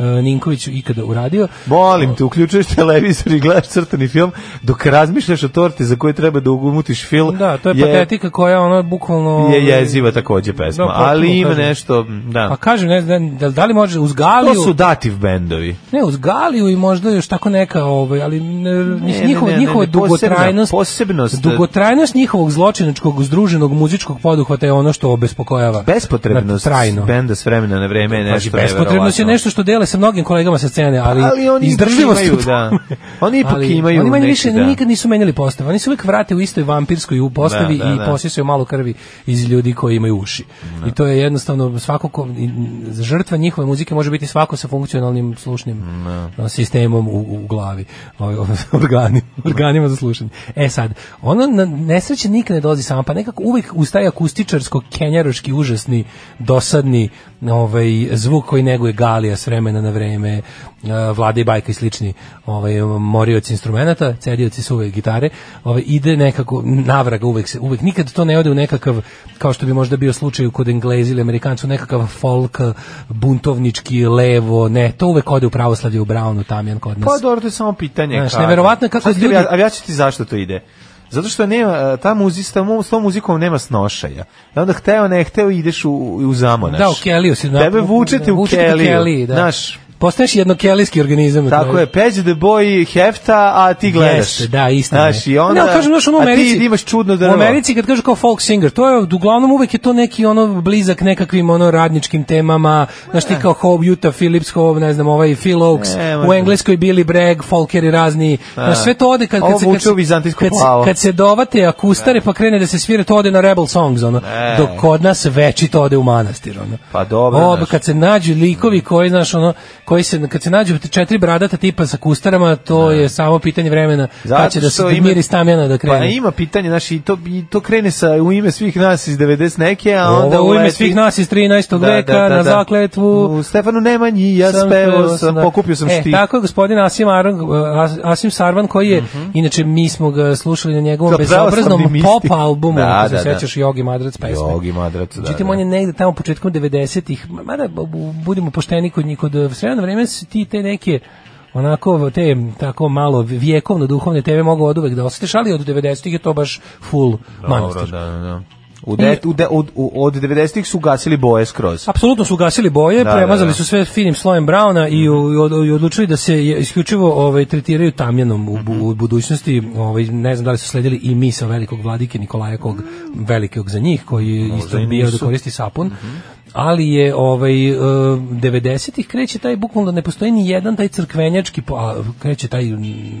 S6: e, Ninković ikada uradio.
S5: Molim te, uključuješ televizor i gledaš crtani film dok razmišljaš o torti za koju treba da ugumutiš film.
S6: Da, to je, patetika koja ono bukvalno
S5: Je jeziva takođe pesma,
S6: Da, potpuno
S5: ali ima
S6: kažem.
S5: nešto, da.
S6: Pa kažem, ne znam, da, da li može uz Galiju...
S5: To su dativ bendovi.
S6: Ne, uz Galiju i možda još tako neka, ovaj, ali ne,
S5: ne,
S6: njihova,
S5: ne, ne,
S6: njihova
S5: ne, posebna-
S6: dugotrajnost,
S5: posebnost-
S6: dugotrajnost njihovog zločinačkog, združenog muzičkog poduhvata je ono što obespokojava.
S5: Bespotrebnost
S6: Na- trajno.
S5: benda s vremena na vreme je
S6: Znači,
S5: nešto
S6: bespotrebnost je
S5: neverovatno.
S6: nešto što dele sa mnogim kolegama sa scene, ali,
S5: ali oni
S6: izdržljivost
S5: imaju,
S6: u tome.
S5: da. Oni ipak
S6: Ali
S5: imaju
S6: oni manje
S5: neki,
S6: više
S5: da.
S6: nikad nisu menjali postavu. Oni se uvek vrate u istoj vampirskoj u postavi
S5: Da, da,
S6: i
S5: da.
S6: posisaju malo krvi iz ljudi koji imaju uši. I to je jednostavno svako ko, i- žrtva njihove muzike može biti svako sa funkcionalnim slušnim
S5: Da.
S6: a, sistemom u, u glavi, O- o- organi, organima za slušanje. E sad, ono na nesreće nikad ne dolazi sama, pa nekako uvek uz taj akustičarsko kenjaroški užasni dosadni ovaj zvuk koji neguje Galija s vremena na vreme, e, Vlada i Bajka i slični ovaj, morioci instrumenta, cedioci suve gitare, ovaj, ide nekako navraga uvek, se, uvek nikad to ne ode u nekakav, kao što bi možda bio slučaj kod Englezi ili Amerikancu, nekakav folk, buntovnički, levo, ne, to uvek ode u pravoslavlje, u Brownu, tamjan kod nas.
S5: Pa dobro, to je samo pitanje.
S6: Znaš,
S5: kada.
S6: neverovatno je kako
S5: Sad ću ti
S6: ljudi-
S5: obja- A ja ću ti zašto to ide. Zato što nema, e, ta muzista, mu, s tom muzikom nema snošaja. I onda hteo, ne hteo, ideš u, u zamonaš.
S6: Da, u Keliju si. na-
S5: Tebe vučete u
S6: vučete
S5: Keliju.
S6: da.
S5: Znaš,
S6: Postaješ jednokelijski organizam. na
S5: Tako
S6: kraju.
S5: je, peđe the boy hefta, a ti gledaš.
S6: Jeste, da, istina. je.
S5: Znaš, i onda,
S6: ne, ali kažem, znaš, ono u Americi,
S5: a ti imaš čudno da drvo.
S6: U Americi kad kažu kao folk singer, to je uglavnom uvek je to neki ono blizak nekakvim ono radničkim temama, znaš ti kao Hope, Utah Phillips, Hope, ne znam, ovaj Phil Oaks,
S5: E,
S6: u
S5: možda.
S6: Engleskoj Billy Bragg, folkeri razni, znaš, sve to ode kad,
S5: Da. Ovo
S6: kad, se, kad,
S5: vuče
S6: se,
S5: u vizantijsko
S6: kad, se-
S5: plavo.
S6: kad se dovate akustare pa krene da se svira, to ode na Rebel Songs, ono,
S5: E.
S6: dok kod nas večito ode u manastir, ono.
S5: Pa dobro,
S6: O,
S5: znaš.
S6: kad se nađu likovi koji, znaš, ono, koji se, kad se nađu četiri bradata tipa sa kustarama, to je samo pitanje vremena kad će da se
S5: Da. što
S6: da
S5: ima-
S6: miris tamjana da krene.
S5: Pa ima pitanje, znaš, i to, i to krene sa, u ime svih nas iz 90 neke, a onda
S6: Ovo u ime
S5: uleti- Da,
S6: svih nas iz 13. veka na zakletvu
S5: U Stefanu Nemanji, ja
S6: sam
S5: sam
S6: pevao
S5: spevao sam,
S6: da.
S5: pokupio sam
S6: e,
S5: štih.
S6: Tako je gospodin Asim, Aron, e, As- Asim Sarvan koji je,
S5: Mhm.
S6: inače mi smo ga slušali na njegovom
S5: Da,
S6: bezobraznom
S5: pravoslavni
S6: pop
S5: mistik.
S6: albumu,
S5: Da,
S6: ako se
S5: da, da.
S6: sećaš Jogi Madrac pesme.
S5: Jogi Madrac, da,
S6: Međutim,
S5: da.
S6: on je negde tamo početkom 90-ih, ma- mada bu- bu- budimo pošteni kod njih, kod sredno vreme su ti te neke onako te tako malo vjekovno duhovne tebe mogu od uvek da osjetiš, ali od 90-ih je to baš full manastir.
S5: Dobro, da, da, da. U det, u de, od, u, od 90-ih su gasili boje skroz.
S6: Apsolutno su gasili boje,
S5: Da, da,
S6: premazali
S5: da. Mhm.
S6: su sve finim slojem brauna i, u- i od- i odlučili da se je- isključivo ovaj tretiraju tamjanom u,
S5: Mhm.
S6: bu- u budućnosti. Ovaj ne znam da li su sledili i misa velikog vladike Nikolaja kog velikog za njih koji je isto
S5: i
S6: bio da
S5: nisu. Mhm.
S6: koristi sapun. Ali je ovaj e, 90-ih kreće taj bukvalno da ne postoji ni jedan taj crkvenjački po- a, kreće taj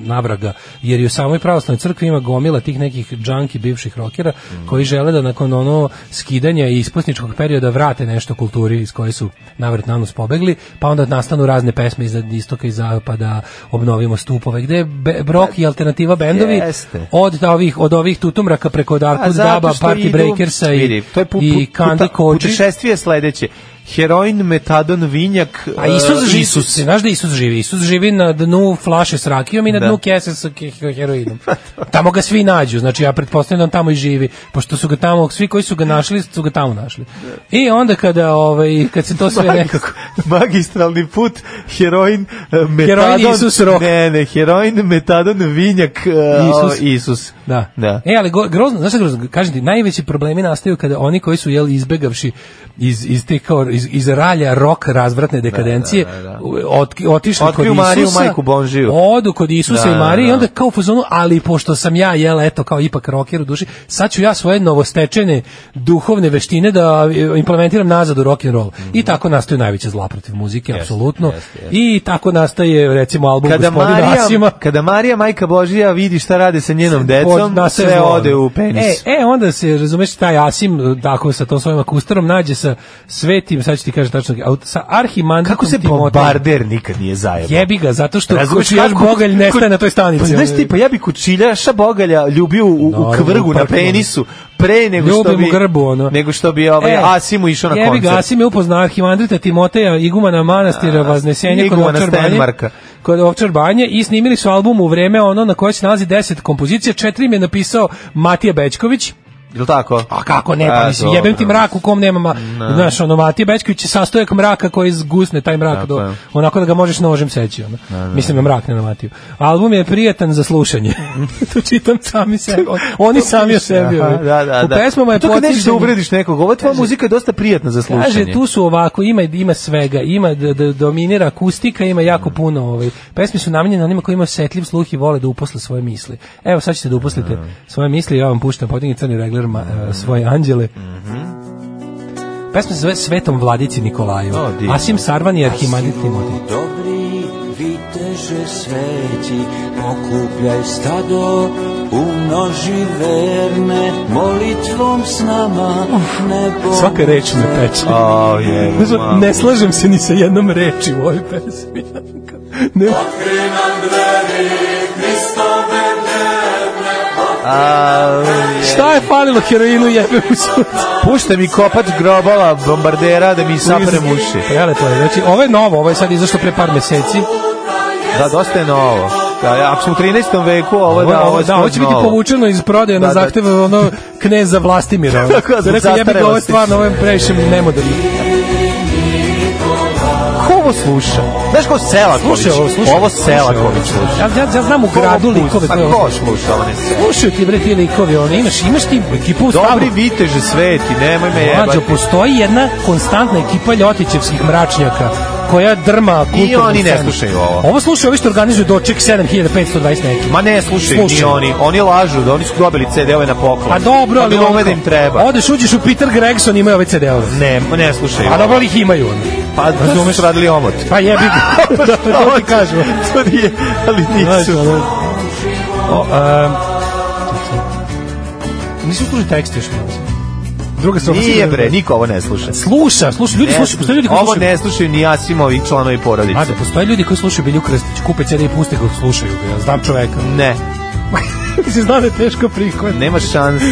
S6: navraga jer i u samoj pravoslavnoj crkvi ima gomila tih nekih džanki bivših rokera koji žele da nakon ono skidanja i ispusničkog perioda vrate nešto kulturi iz koje su navrat na nos pobegli, pa onda nastanu razne pesme iz istoka i zapada, obnovimo stupove, gde je be- brok i alternativa bendovi
S5: Jeste.
S6: od ovih od ovih tutumraka preko Dark
S5: A
S6: Darkwood
S5: zato
S6: Pa, Daba,
S5: što
S6: Party
S5: idu-
S6: Breakersa i,
S5: vidi, to je pu-
S6: i
S5: pu-
S6: Kandi
S5: puta-
S6: Koči.
S5: Putešestvije je sledeće. Heroin, metadon, vinjak,
S6: A Isus
S5: e,
S6: živi, Isus. znaš da Isus živi? Isus živi na dnu flaše s rakijom i na
S5: Da.
S6: dnu kese sa ke- heroinom. tamo ga svi nađu, znači ja pretpostavljam da on tamo i živi, pošto su ga tamo, svi koji su ga našli, su ga tamo našli. I onda kada, ovaj, kad se to sve nekako...
S5: magistralni put, heroin, e, metadon,
S6: Heroin, Isus, rok.
S5: ne, ne, heroin, metadon, vinjak, e, o,
S6: Isus.
S5: Isus.
S6: Da.
S5: da.
S6: E, ali go- grozno, znaš šta je grozno? Kažem ti, najveći problemi nastaju kada oni koji su jel, izbegavši iz, iz, te kao, iz iz, iz ralja rok razvratne dekadencije da, da, da, otišli
S5: Otkriju
S6: kod
S5: Mariju,
S6: Isusa,
S5: majku Bonžiju.
S6: odu kod Isusa
S5: Da,
S6: i Marije
S5: da,
S6: i
S5: da.
S6: onda kao u fazonu, ali pošto sam ja, jel, eto, kao ipak roker u duši, sad ću ja svoje novostečene duhovne veštine da e, implementiram nazad u rock'n'roll. I tako nastaju najveće zla protiv muzike, apsolutno.
S5: Mhm. jeste, jeste.
S6: I tako nastaje, recimo, album
S5: Kada
S6: gospodina Asima.
S5: Marija, kada Marija majka Božija vidi šta radi sa njenom
S6: Pod-
S5: decom,
S6: nastaje
S5: sve
S6: zlo.
S5: ode u penis.
S6: E, e, onda se, razumeš, taj Asim, e, tako sa tom svojim akustarom, nađe sa svetim, sad ću ti kažem tačno, au- sa arhimanditom
S5: Kako se
S6: Timotejem.
S5: bombarder nikad nije zajebao?
S6: Jebi ga, zato što
S5: Razumeš
S6: kočijaš
S5: kako-
S6: bogalj nestaje
S5: ko-
S6: na toj stanici.
S5: Pa znaš ti, pa ja bi kučiljaša bogalja ljubio u, u
S6: Naravno,
S5: kvrgu na
S6: parkour.
S5: penisu pre nego što
S6: Ljubim
S5: bi
S6: u grbu, ono.
S5: nego što bi ovaj
S6: E,
S5: Asimu išao na koncert.
S6: Jebi ga, Asim je upoznao arhimandrita Timoteja, igumana manastira Vaznesenja kod
S5: igumana
S6: Ovčar Banje,
S5: Stenmarka.
S6: kod Ovčar Banje i snimili su album u vreme ono na koje se nalazi 10 kompozicija, četiri im je napisao Matija Bećković,
S5: Jel tako?
S6: A kako ne, pa
S5: A,
S6: mislim,
S5: dobro.
S6: jebem ti mrak u kom nema, ma, znaš, ono, Matija Bećković je sastojak mraka koji zgusne taj mrak
S5: Tako
S6: do,
S5: je. Da,
S6: onako da ga možeš nožem seći, ono. Mislim na mrak, ne na Matiju. Album je prijatan za slušanje. to čitam sami sebi, on- oni sami o sebi.
S5: Aha,
S6: ono.
S5: da, da,
S6: u
S5: da.
S6: pesmama je
S5: To kad nećeš da
S6: podsjećanje-
S5: uvrediš nekog, ova tvoja muzika je dosta prijatna za slušanje.
S6: Kaže, tu su ovako, ima, ima svega, ima d, d, dominira akustika, ima
S5: Mm.
S6: jako puno ovaj. Pesme su namenjene onima koji imaju osjetljiv sluh i vole da uposle svoje misli. Evo, sad ćete da uposlite svoje misli, ja vam puštam podigni crni regler ma, e, svoje anđele. Pesma se zove Svetom Vladici Nikolaju.
S5: O, divno.
S6: Asim Sarvan i Arhimandit Timotej.
S10: Dobri viteže sveti, okupljaj stado, umnoži verne, molitvom s nama, nebo...
S6: Svaka reč me peče.
S5: A, Oh, je,
S6: Znaš,
S5: ma.
S6: ne slažem se ni sa jednom reči u ovoj pesmi. ne,
S5: A,
S6: šta je falilo heroinu jebe u sunce?
S5: pušta mi kopač grobala bombardera da mi saprem uši.
S6: Prelepo je. Znači, ovo je novo, ovo je sad izašlo pre par meseci.
S5: Da, dosta je novo. Da, ako smo u 13. veku, ovo, da, ovo, je
S6: da, ovo će
S5: skroz
S6: biti
S5: novo.
S6: povučeno iz prodaje na
S5: Da, da.
S6: zahtev ono kneza Vlastimira.
S5: Tako da,
S6: da rekao jebi ga ovo je
S5: zastarelosti.
S6: stvarno, ovo je previše nemoderno.
S5: Ko ovo sluša? Znaš ko Selaković?
S6: Slušaj ovo, slušaj.
S5: Ovo Selaković sluša.
S6: Ja, ja, ja znam u gradu likove
S5: Pa
S6: koje
S5: ko
S6: ovo
S5: sluša ovo ne sve?
S6: Slušaju ti bre ti likovi, ono, imaš, imaš ti ekipu u stavu.
S5: Dobri viteže sveti, nemoj me jebati.
S6: Mlađo, postoji jedna konstantna ekipa ljotićevskih mračnjaka koja drma kulturnu
S5: oni ne
S6: scenu.
S5: slušaju ovo.
S6: Ovo slušaju ovi što organizuju doček 7529 neki.
S5: Ma ne, slušaj, ni
S6: Slušaju.
S5: oni. Oni lažu da oni su dobili CD-ove na poklon.
S6: Pa dobro, ali
S5: ovo
S6: onako,
S5: da im treba.
S6: Odeš, uđeš u Peter Gregson, imaju ove CD-ove.
S5: Ne, ma ne slušaj.
S6: A dobro ali ih imaju. ono.
S5: Pa razumeš radili omot.
S6: Pa jebi ga. da, to ti kažemo.
S5: To nije, ali
S6: Znaš,
S5: nisu.
S6: ono. O,
S5: e,
S6: em, Nisam služi tekst još. mislim. Druga stvar.
S5: Nije bre, niko ovo ne sluša.
S6: Sluša, sluša, ljudi
S5: Ne
S6: slušaju, postoje ljudi koji
S5: Ovo
S6: slušaju.
S5: ne slušaju ni Asimovi članovi
S6: A
S5: porodice.
S6: da, postoje ljudi koji slušaju Bilju Krstić, kupe CD i puste ga, slušaju ga, ja znam čoveka.
S5: Ne,
S6: Mislim, znam da je teško prihvat.
S5: nema šanse.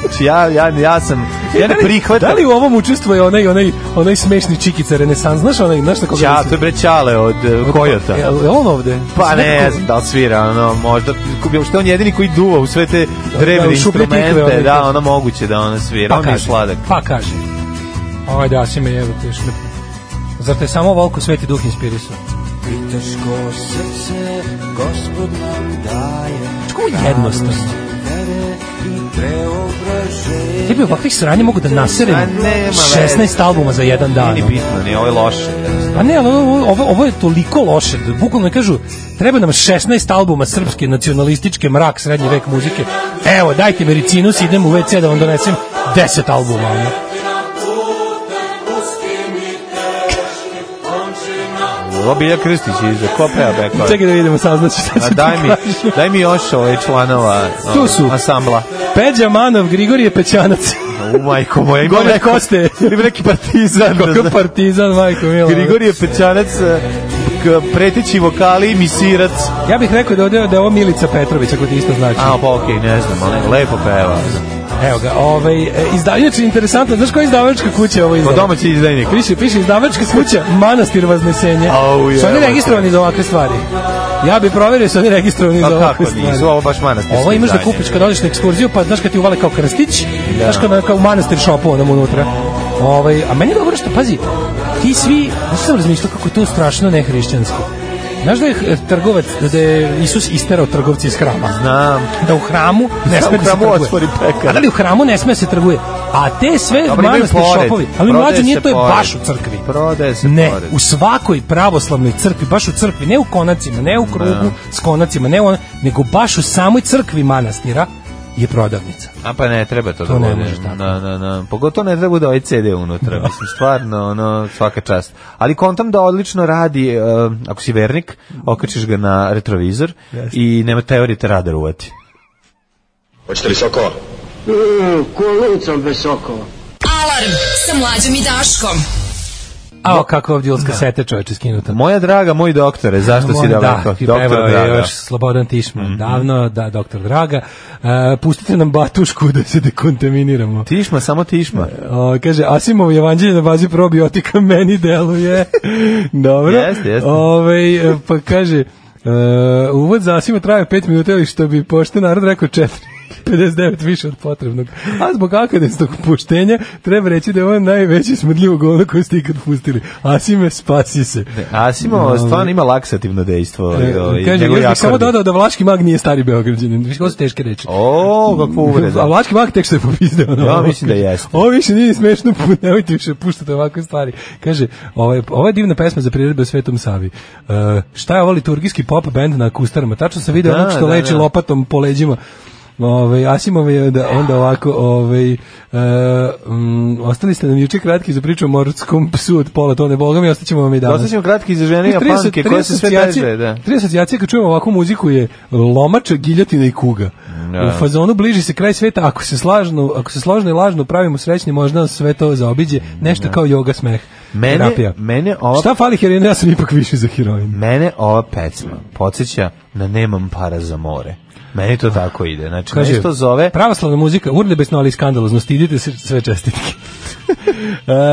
S5: Znači, Ja, ja, ja sam, ja ne prihvatam.
S6: Da li u ovom učestvuje onaj, onaj, onaj smešni čikica Renesans, znaš onaj, znaš na koga
S5: Ća, to
S6: mislim?
S5: je bre Čale od uh, Kojota.
S6: Je li on ovde?
S5: Pa
S6: Mislim,
S5: ne
S6: nekako-
S5: znam da li svira, ono, možda, kupio, što je on jedini koji duva u sve te
S6: Da, u
S5: drevne
S6: šuplje tikve,
S5: instrumente,
S6: ono,
S5: da,
S6: to.
S5: ono moguće da ono svira, on mi je sladak.
S6: Pa kaže. Ovaj da si me jevo teško. Zar te samo volko sveti duh inspirisao?
S10: Teško srce, gospod nam daje,
S6: Čko jednostavno.
S10: vere i preobraže.
S6: Tebi ovakvih sranja mogu da
S5: A
S6: naserem
S5: nema veze.
S6: 16 albuma za jedan dan.
S5: Nije ni bitno, ni ovo je loše.
S6: Pa ne, ali ovo, ovo, ovo je toliko loše, da bukvalno kažu, treba nam 16 albuma srpske nacionalističke mrak srednji vek muzike. Evo, dajte mi ricinus, idem u WC da vam donesem 10 albuma. Ono.
S5: Ovo Bilja Krstić iza, ko peva Bekova?
S6: Čekaj da vidimo, saznaću šta
S5: A
S6: ću ti
S5: daj mi,
S6: kažem.
S5: daj mi još ove članova
S6: Tu
S5: o,
S6: su.
S5: ansambla.
S6: Peđa Manov, Grigorije Pećanac.
S5: U majko moja. Ima
S6: Gore
S5: neko-
S6: Koste.
S5: Ima neki partizan. da
S6: Kako
S5: zna.
S6: partizan, majko milo.
S5: Grigorije Pećanac, eh, k- preteći vokali, misirac.
S6: Ja bih rekao da, ovde- da je ovo Milica Petrović, ako ti isto znači.
S5: A, pa okej, ne znam, ali lepo peva. Pa
S6: Evo ga, ovaj, e, izda, inače, interesantno, znaš koja izdavačka kuća je ovo
S5: Po
S6: izdavačka?
S5: domaći izdajnik.
S6: Piše, piše izdavačka kuća Manastir Vaznesenje.
S5: Au, je,
S6: su oni
S5: evo te.
S6: registrovani za ovakve stvari? Ja bih proverio su oni registrovani
S5: Pa
S6: za
S5: kako
S6: ovakve
S5: nisu,
S6: stvari.
S5: ovo baš manastirski
S6: Ovo imaš da
S5: izdanje. Da.
S6: kupiš kad odeš na ekskurziju, pa znaš kad ti uvale kao krstić, znaš kad na- kao u manastir šopu onom unutra. Ovaj, a meni je dobro što, pazi, ti svi, znaš što sam razmišljao kako je to strašno nehrišćansko. Znaš da je eh, trgovac, da je Isus isterao trgovci iz hrama?
S5: Znam.
S6: Da u hramu ne
S5: Znam u
S6: sme da se
S5: hramu otvori
S6: trguje.
S5: pekar.
S6: A da li u hramu ne sme da se trguje? A te sve
S5: Dobro, imaju
S6: manastir
S5: pored.
S6: šopovi, ali
S5: Prodaje
S6: mlađe nije
S5: se
S6: to je
S5: pored.
S6: baš u crkvi.
S5: Prodaje se
S6: Ne,
S5: pored.
S6: u svakoj pravoslavnoj crkvi, baš u crkvi, ne u konacima, ne u krugu
S5: Da.
S6: s konacima, ne u, ono- nego baš u samoj crkvi manastira je prodavnica.
S5: A pa ne, treba to,
S6: To
S5: da
S6: ne
S5: bude.
S6: može tako.
S5: Na, na, na. Pogotovo ne treba da ovaj CD unutra. Mislim, stvarno, ono, svaka čast. Ali kontam da odlično radi, e, ako si vernik, okačiš ga na retrovizor i nema teorije te radar uvati.
S3: Hoćete li sokova?
S4: Alarm sa mlađom i Daškom.
S6: A kakva ovdje ilska seta čoveče skinuta.
S5: Moja draga, moj doktore, zašto Da. si daleko?
S6: Da,
S5: Doktor
S6: evo je
S5: draga. Mhm.
S6: još Slobodan Tišman, davno, da, doktor Draga. E, pustite nam batušku da se dekontaminiramo.
S5: Tišma, samo tišma.
S6: O, kaže, Asimov evanđelje na bazi probiotika meni deluje. Dobro.
S5: Jeste, jeste.
S6: Ovaj, e, pa kaže, e, uvod za Asima traje 5 minuta ili što bi pošten narod rekao 4. 59 više od potrebnog. A zbog akademskog puštenja treba reći da je ovo najveći smrdljivo govno koje ste ikad pustili. Asime, spasi se.
S5: Asimo stvarno ima laksativno dejstvo.
S6: E,
S5: ovaj,
S6: Kaže,
S5: njegov
S6: još bih samo
S5: jakordi.
S6: dodao da Vlaški mag nije stari Beograđanin. Više ovo su teške reči.
S5: O, kako
S6: A
S5: uvreda.
S6: Vlaški mag tek što je popizdeo. na
S5: Ja
S6: ovo.
S5: mislim da jeste.
S6: Ovo više nije smešno, pu- nemojte više puštati ovakve stvari. Kaže, ovo je, ovo je divna pesma za priredbe Svetom Savi. E, šta je ovo liturgijski pop band na kustarama? Tačno sam video
S5: Da,
S6: onog što
S5: da,
S6: leči
S5: da.
S6: lopatom po leđima. Ove, Asimove je onda, onda ovako ove, e, mm, ostali ste nam juče kratki za priču o morskom psu od pola tone, boga mi ostaćemo vam i danas.
S5: Ostaćemo kratki za ženija
S6: Tri
S5: panke koje se sve teže, da.
S6: Tri asocijacije kad čujemo ovakvu muziku je lomača, giljatina i kuga.
S5: Da.
S6: U fazonu bliži se kraj sveta, ako se slažno, ako se složno i lažno pravimo srećni, možda nas sve to zaobiđe, nešto kao joga smeh.
S5: Da. Mene-
S6: terapija.
S5: mene ova-
S6: Šta fali heroinu, ja sam ipak više za heroin.
S5: Mene ova pecma podsjeća na nemam para za more. Meni to tako ide. Znači,
S6: Kaže,
S5: nešto zove...
S6: Pravoslavna muzika, urnebesno, ali i skandalozno, stidite se sve čestitke.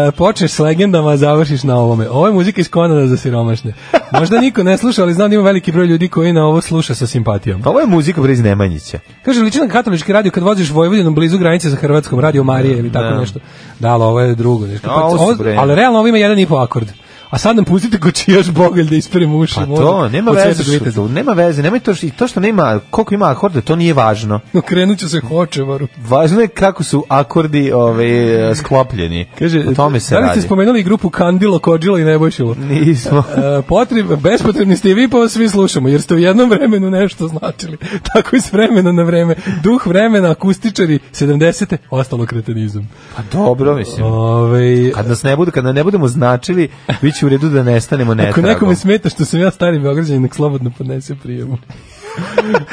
S6: E, počneš s legendama, a završiš na ovome. Ovo je muzika iz Konada za siromašne. Možda niko ne sluša, ali znam da ima veliki broj ljudi koji na ovo sluša sa simpatijom.
S5: Pa Ovo je muzika Briz Nemanjića.
S6: Kaže liči na katolički radio kad voziš Vojvodinom blizu granice sa Hrvatskom, radio Marije ili tako
S5: Da.
S6: nešto. Da, ali ovo je drugo. Nešto.
S5: A, ovo su
S6: Ovo-
S5: bre.
S6: ali realno ovo ima jedan i po akord. A sad nam pustite ko čijaš bogalj da ispremu uši.
S5: Pa
S6: može,
S5: to, nema
S6: od da
S5: veze,
S6: Svetog
S5: što,
S6: Viteza.
S5: to- nema veze, nema to, što, i to što nema, koliko ima akorda, to nije važno.
S6: Okrenut ću se hočevaru.
S5: Važno je kako su akordi ove, sklopljeni.
S6: Kaže,
S5: o tome se
S6: da li
S5: radi. Mm.
S6: ste spomenuli grupu Kandilo, Kođilo i Nebojšilo?
S5: Nismo.
S6: E, potreb, bespotrebni ste i vi, pa vas svi slušamo, jer ste u jednom vremenu nešto značili. Tako i s vremena na vreme. Duh vremena, akustičari, 70. ostalo kretenizam.
S5: Pa dobro, mislim.
S6: Ove,
S5: Kad nas ne budu, kad ne budemo značili, bit će u redu da nestanemo
S6: Ako
S5: netragom.
S6: nekome smeta što sam ja stari Beograđanin, nek slobodno podnese prijavu.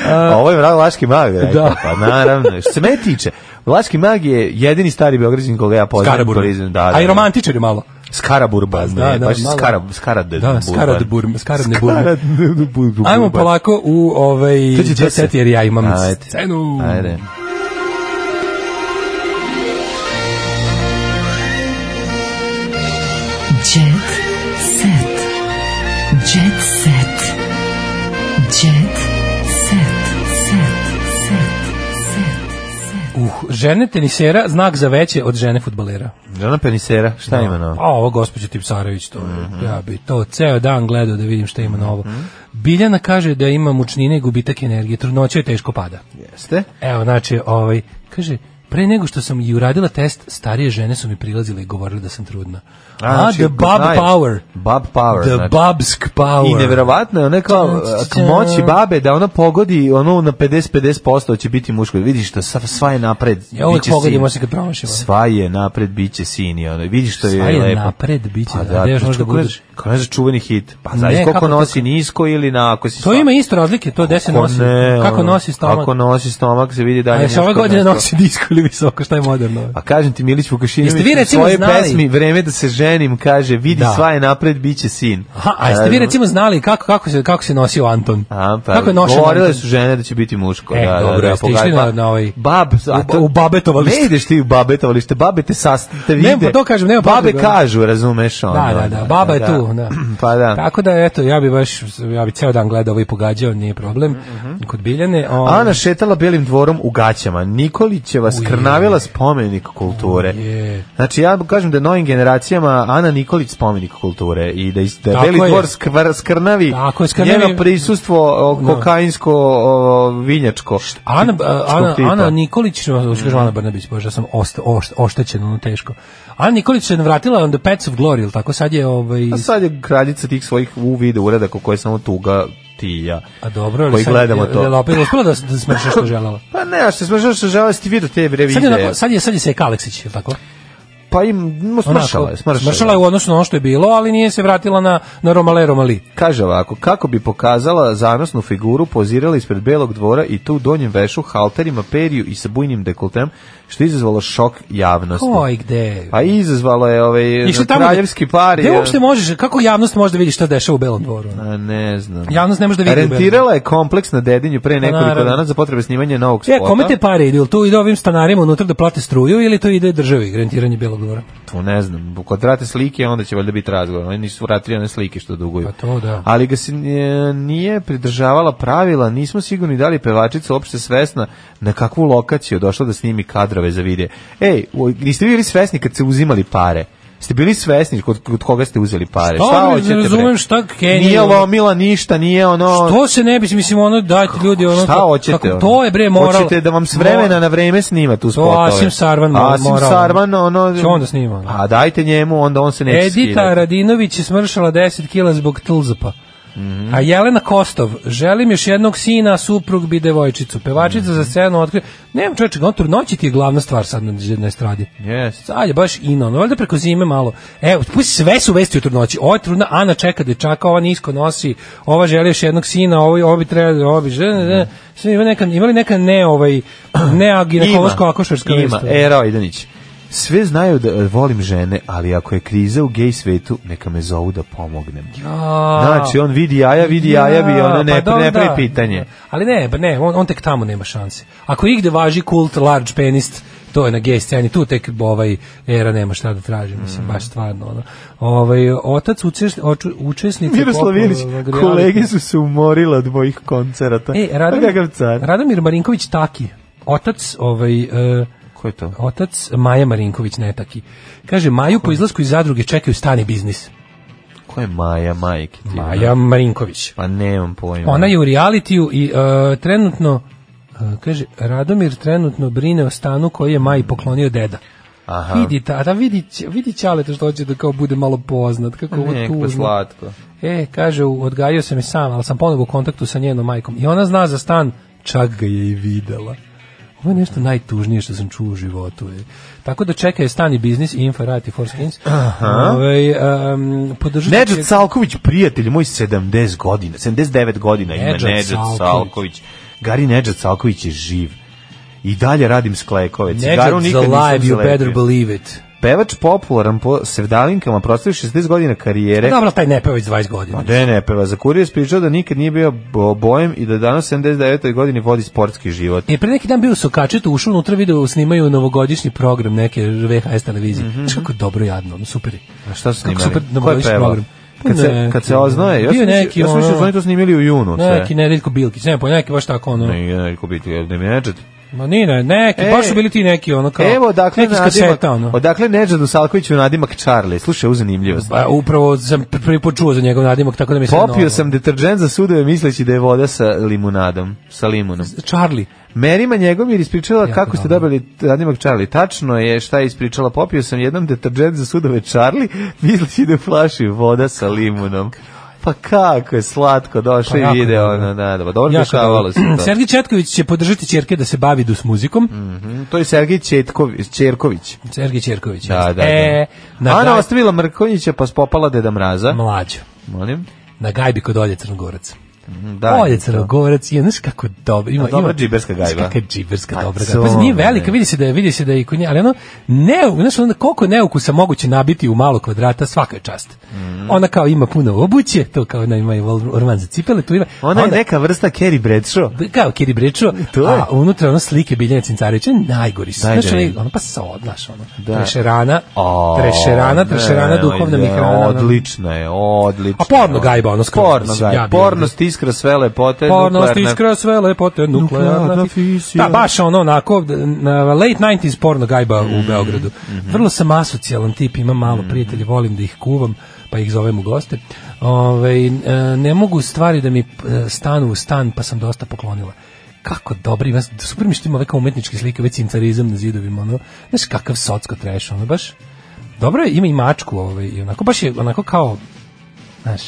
S5: Pa A ovo je vrlo Vlaški mag, rekao.
S6: Da.
S5: Pa naravno. Što se me tiče, Vlaški mag je jedini stari beograđan koga ja poznajem. Turizam, Da, da,
S6: A i
S5: da.
S6: romantičar je malo.
S5: Skaraburban,
S6: Da,
S5: ne,
S6: da,
S5: baš
S6: malo.
S5: skara, skaradne
S6: Da,
S5: burban.
S6: skaradburm- skaradne burme.
S5: Skaradne burban.
S6: Ajmo polako u ovaj
S5: To će to se-
S6: deset, jer ja imam
S5: Ajde.
S6: scenu.
S5: Ajde.
S4: Jet set. Jet set. Jet set. Set.
S6: Uh, žene tenisera, znak za veće od žene futbalera.
S5: Žena Penisera, šta ima novo?
S6: A ovo gospođa Tipsarević, to je,
S5: Mhm.
S6: ja bi to ceo dan gledao da vidim šta ima novo. Biljana kaže da ima mučnine i gubitak energije, trudnoća je teško pada.
S5: Jeste?
S6: Evo, znači, ovaj, kaže, pre nego što sam i uradila test, starije žene su mi prilazile i govorile da sam trudna. A, the Bob
S5: znaju.
S6: Power.
S5: Bob znači, Power.
S6: The
S5: znači.
S6: Bobsk Power.
S5: I neverovatno je ona kao a, k moći babe da ona pogodi ono na 50-50% da će biti muško. Vidiš što sva, sva je napred,
S6: Ja uvek
S5: biće
S6: pogodim,
S5: sin.
S6: osim kad promašila.
S5: Sva je napred, bit će sin i ono. Vidiš što
S6: Sva
S5: je
S6: je
S5: lepo.
S6: napred, bit će,
S5: Pa
S6: da, gde još
S5: to
S6: možda
S5: kako je-
S6: budeš?
S5: Kao ne znaš čuveni hit. Pa znaš
S6: Ne,
S5: koliko
S6: kako to-
S5: nosi nisko ili na ako si
S6: To
S5: sva-
S6: ima isto razlike, to gde se
S5: Ko
S6: nosi,
S5: ne,
S6: kako
S5: ono,
S6: nosi stomak.
S5: Kako nosi stomak se vidi
S6: A
S5: dalje.
S6: jesi ove
S5: nešto
S6: godine
S5: nešto.
S6: nosi disko ili visoko, šta je moderno?
S5: Pa kažem ti Milić Vukašinović
S6: Jeste vi
S5: u
S6: recimo
S5: svojoj
S6: znali?
S5: pesmi Vreme da se ženim kaže vidi
S6: Da.
S5: sva je napred biće sin.
S6: Aha, a jeste vi recimo znali kako, kako, se, kako se nosio Anton?
S5: A, pa,
S6: kako je nošen
S5: Govorile
S6: Anton?
S5: su žene da će biti muško.
S6: E,
S5: da,
S6: dobro,
S5: da, da,
S6: jeste išli
S5: pogledaj,
S6: na-
S5: pa,
S6: na ovaj-
S5: Bab, a to-
S6: u babetovalište.
S5: Ne ideš ti u babetovalište, babe te sas, te vide.
S6: Nema, pa to kažem, nema
S5: Babe
S6: potrebe.
S5: kažu, razumeš ono.
S6: Da, da, da, baba je tu, da.
S5: Pa da.
S6: Tako da, eto, ja bi baš, ja bi ceo dan gledao ovo i
S5: Mhm.
S6: pogađao, nije problem, kod Biljane. ovaj,
S5: Ana šetala belim dvorom u gaćama. Nikolićeva
S6: Uj,
S5: skrnavila spomenik kulture.
S6: Je.
S5: Znači ja kažem da je novim generacijama Ana Nikolić spomenik kulture i da is- da
S6: Tako
S5: Beli
S6: je.
S5: dvor skvr, skrnavi,
S6: Tako je, skrnavi-
S5: njeno prisustvo o,
S6: Da.
S5: kokainsko o, vinjačko.
S6: Ana, a, Ana,
S5: tipa.
S6: Ana Nikolić, hoću
S5: Mhm.
S6: kažem Ana Brnabić, bože, ja sam osta, ošt, oštećen, ono teško. Ana Nikolić se vratila on the Pets of Glory, ili tako sad je ovaj...
S5: A sad je kraljica tih svojih u video uradaka koje samo tuga ti i ja.
S6: A dobro, ali
S5: koji
S6: sad,
S5: gledamo to.
S6: Je, je opet uspela da, da smrša što je želela?
S5: Pa ne, a što smršao što žele ti vidio te revide.
S6: Sad je, onako, sad je, sad je se Aleksić, ili tako?
S5: Pa im no, smršala je, smršala,
S6: smršala je u odnosu na ono što je bilo, ali nije se vratila na, na Romale Romali.
S5: Kaže ovako, kako bi pokazala zanosnu figuru, pozirala ispred Belog dvora i tu u donjem vešu, halterima, perju i sa bujnim dekoltem, što je izazvalo šok javnosti.
S6: Ko i gde?
S5: Pa izazvalo je ovaj,
S6: Išli tamo
S5: kraljevski
S6: gde-
S5: par.
S6: Gde
S5: je-
S6: uopšte možeš, kako javnost može da vidi šta dešava u Belom dvoru? ono?
S5: A, ne znam.
S6: Javnost ne može da vidi u Belom
S5: Rentirala je kompleks na Dedinju pre nekoliko
S6: naravno.
S5: dana za potrebe snimanja novog
S6: E,
S5: spota.
S6: kome te pare idu? Jel to ide ovim stanarima unutra da plate struju ili to ide državi, rentiranje Belog dvora?
S5: Tu ne znam, kod vrate slike onda će valjda biti razgovor, oni nisu vratili one slike što duguju.
S6: Pa to da.
S5: Ali ga se e, nije pridržavala pravila, nismo sigurni da li je pevačica uopšte svesna na kakvu lokaciju je došla da snimi kadrove za video. Ej, u- niste bili svesni kad ste uzimali pare? Ste bili svesni kod, kod koga ste uzeli pare?
S6: Šta ono, ne
S5: hoćete, bre?
S6: razumem šta Kenji-
S5: Nije lomila ništa, nije ono...
S6: To se ne bi, mislim, ono, dajte ljudi, ono,
S5: Pa- Šta
S6: kako-
S5: hoćete?
S6: kako-
S5: ono?
S6: to je, bre, moral.
S5: Hoćete da vam s vremena na vreme snima tu spotove.
S6: Asim Sarvan mo-
S5: Asim
S6: morao.
S5: Sarvan, ono...
S6: Će on da snima, ono.
S5: A dajte njemu, onda on se neće
S6: Edita
S5: skidati.
S6: Radinović je smršala 10 kila zbog tlzapa.
S5: Mhm.
S6: A Jelena Kostov, želim još jednog sina, suprug bi devojčicu. Pevačica za scenu otkrije. Nemam čoveče, on trudnoći ti je glavna stvar sad na, na estradi.
S5: Yes.
S6: Sad je baš ino, no valjda preko zime malo. Evo, pusti sve su vesti u trudnoći. Ova je trudna, Ana čeka dečaka, ova nisko nosi, ova želi još jednog sina, ovo, ovo bi trebalo, ovo bi
S5: Da.
S6: žele, sve ima neka, imali neka ne, ovaj, ne ginekološko akošarska
S5: Ima, E, Era Idanić. Sve znaju da e, volim žene, ali ako je kriza u gej svetu, neka me zovu da pomognem. Znači, on vidi jaja, vidi jaja, bi ona ne,
S6: dobro,
S5: ne pravi
S6: da.
S5: pitanje.
S6: Ali ne, ba ne, on, on tek tamo nema šanse. Ako igde važi kult large penist, to je na gej sceni, tu tek ovaj era nema šta da traži,
S5: Mm.
S6: mislim, baš stvarno. Ono. Ovaj, otac učes, oču, učesnice...
S5: Miroslav Ilić,
S6: popularnog da, reality-
S5: kolege su se umorila od mojih koncerata.
S6: E,
S5: Pa kakav
S6: Radomir,
S5: car.
S6: Radomir Marinković Taki, otac ovaj... e,
S5: Ko je to?
S6: Otac Maja Marinković Netaki. Kaže, Maju po izlasku iz zadruge čekaju stani biznis.
S5: Ko je Maja, majke ti?
S6: Maja Marinković.
S5: Pa nemam pojma.
S6: Ona je u realitiju i e, trenutno e, kaže Radomir trenutno brine o stanu koji je Maj poklonio deda.
S5: Aha.
S6: Vidi, ta, da vidi, Ć- vidi Ćale to što hoće da kao bude malo poznat, kako ovo
S5: Nek, pa
S6: tužno.
S5: slatko.
S6: E, kaže, u- odgajio sam je sam, ali sam ponovo u kontaktu sa njenom majkom. I ona zna za stan, čak ga je i videla. Ovo je nešto najtužnije što sam čuo u životu. Je. Tako da čeka je stan i biznis i Infa Rati for Skins. Ove, um, podržite
S5: Nedžad
S6: će-
S5: Salković, prijatelj moj 70 godina, 79 godina ima
S6: Nedžad
S5: Nedžad
S6: Salković.
S5: Salković. Gari Nedžad Salković je živ. I dalje radim sklekove. Cigaru
S6: Nedžad za
S5: nikad
S6: live,
S5: nisam
S6: you better
S5: zalepio.
S6: believe it.
S5: Pevač popularan po sevdalinkama, prostavi 60 godina karijere.
S6: Dobro, ali taj ne peva već 20 godina.
S5: Ne, ne, peva. Za kurir spričao da nikad nije bio bo- bojem i da danas 79. godini vodi sportski život.
S6: Je pre neki dan bio u Sokačetu, ušao unutra, video snimaju novogodišnji program neke VHS televizije.
S5: Mhm.
S6: Znaš kako je dobro jadno, ono, super. je.
S5: A šta su
S6: Kako
S5: snimali?
S6: super
S5: Ko je
S6: novogodišnji
S5: pevao?
S6: program?
S5: Kad se,
S6: Neki,
S5: kad se oznoje, ja sam
S6: bio
S5: mislio-
S6: neki,
S5: ja sam mislio da su
S6: ono-
S5: oni to snimili u junu. sve.
S6: Neki Nedeljko Bilkić, ne, pa neki baš tako ono.
S5: Ne, ne, ko biti, ne, Nedžad.
S6: Ma nije, ne, neki,
S5: E,
S6: baš su bili ti neki ono kao.
S5: Evo dakle
S6: neki iz
S5: nadimak,
S6: kaseta ono.
S5: odakle Nedžadu Salkoviću nadimak Charlie. Slušaj, u zanimljivost.
S6: Pa, upravo sam pr- prvi put čuo za njegov nadimak, tako da mi se
S5: Popio sam deterđent za sudove misleći da je voda sa limunadom, sa limunom.
S6: Charlie.
S5: Merima Njegomir ispričala
S6: Jako
S5: kako ste
S6: dobro.
S5: dobili nadimak Charlie. Tačno je šta je ispričala. Popio sam jednom deterđent za sudove Charlie misleći da je u flaši voda sa limunom. Pa kako je slatko došao
S6: Pa
S5: i
S6: jako
S5: video
S6: dobro.
S5: ono, da, da, dobro
S6: Jako
S5: dešavalo se
S6: dobro.
S5: to.
S6: Sergej Četković će podržati ćerke da se bavi dus muzikom.
S5: Mhm, To je Sergij Četković, Čerković.
S6: Sergej Čerković.
S5: Da, da,
S6: jeste.
S5: da.
S6: E, na
S5: Ana
S6: gaj-
S5: ostavila Mrkonjića pa spopala Deda Mraza.
S6: mlađo.
S5: Molim.
S6: Na gajbi kod Olje Crnogorac.
S5: Da,
S6: Olje
S5: je to.
S6: Crnogorac, je, znaš kako dobro, ima,
S5: A dobra
S6: ima,
S5: džiberska gajba.
S6: Znaš kakva džiberska
S5: Pa
S6: dobra
S5: to
S6: gajba. Pa nije
S5: ne.
S6: velika, vidi se da je, vidi se da je i kod nje, ali ono, ne, znaš, ono, koliko neukusa moguće nabiti u malo kvadrata, svaka je čast.
S5: Mhm.
S6: Ona kao ima puno obuće, to kao ona ima i vol- orman za cipele, tu ima.
S5: Ona je
S6: onda-
S5: neka vrsta Carrie Bradshaw.
S6: kao Kiri Brečo,
S5: To je.
S6: a unutra ono slike Biljane Cincarevića, najgori su. Znaš,
S5: Najgori.
S6: ono, ono pa so, znaš, ono,
S5: Da.
S6: trešerana,
S5: O,
S6: trešerana, trešerana,
S5: ne, ide,
S6: duhovna mi hrana. ono.
S5: Odlična je, odlična.
S6: A porno
S5: je.
S6: gajba, ono skroz,
S5: Porno
S6: mislim,
S5: gajba.
S6: ja bi-
S5: porno iskra sve lepote
S6: Pornost
S5: nuklearne.
S6: iskra sve lepote nuklearna
S5: Nuklearna
S6: fisija.
S5: fisija.
S6: Da, baš ono onako, na late 90s porno gajba
S5: Mhm,
S6: u Beogradu. Vrlo sam asocijalan tip, imam malo prijatelja, volim da ih kuvam, pa ih zovem u goste. Ove, ne mogu stvari da mi e, stanu u stan, pa sam dosta poklonila kako dobri, ima, super mi što ima ove kao umetničke slike, već cintarizam na zidovima, ono, znaš kakav socko treš, ono, baš, dobro je, ima i mačku, ovaj, i onako, baš je, onako kao, znaš,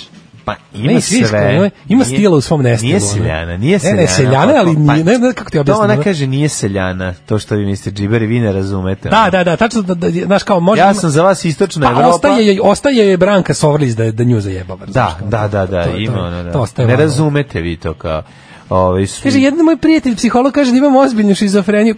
S5: Pa
S6: ima
S5: ima
S6: sve.
S5: sve. Nije-
S6: Ima stila u svom nestilu,
S5: Nije
S6: ono.
S5: seljana, nije
S6: Ne,
S5: seljana.
S6: ne, seljana,
S5: Pa-
S6: ali
S5: pa-
S6: nije- ne znam kako ti objasnim,
S5: To ona
S6: ono.
S5: kaže nije seljana, to što vi mislite džiberi, vi ne razumete.
S6: Da, da, da, tačno, da, da, znaš kao, može...
S5: Ja sam za vas istočna
S6: pa,
S5: Evropa.
S6: ostaje, je- ostaje je Branka Sovrlić da, da nju zajebava.
S5: Da,
S6: znaš, kao,
S5: da, da, da,
S6: to- to-
S5: ima ono,
S6: To
S5: da.
S6: ostaje
S5: Ne
S6: malo.
S5: razumete vi to kao ovaj su...
S6: Kaže, jedan moj prijatelj psiholog kaže da imam ozbiljnu šizofreniju.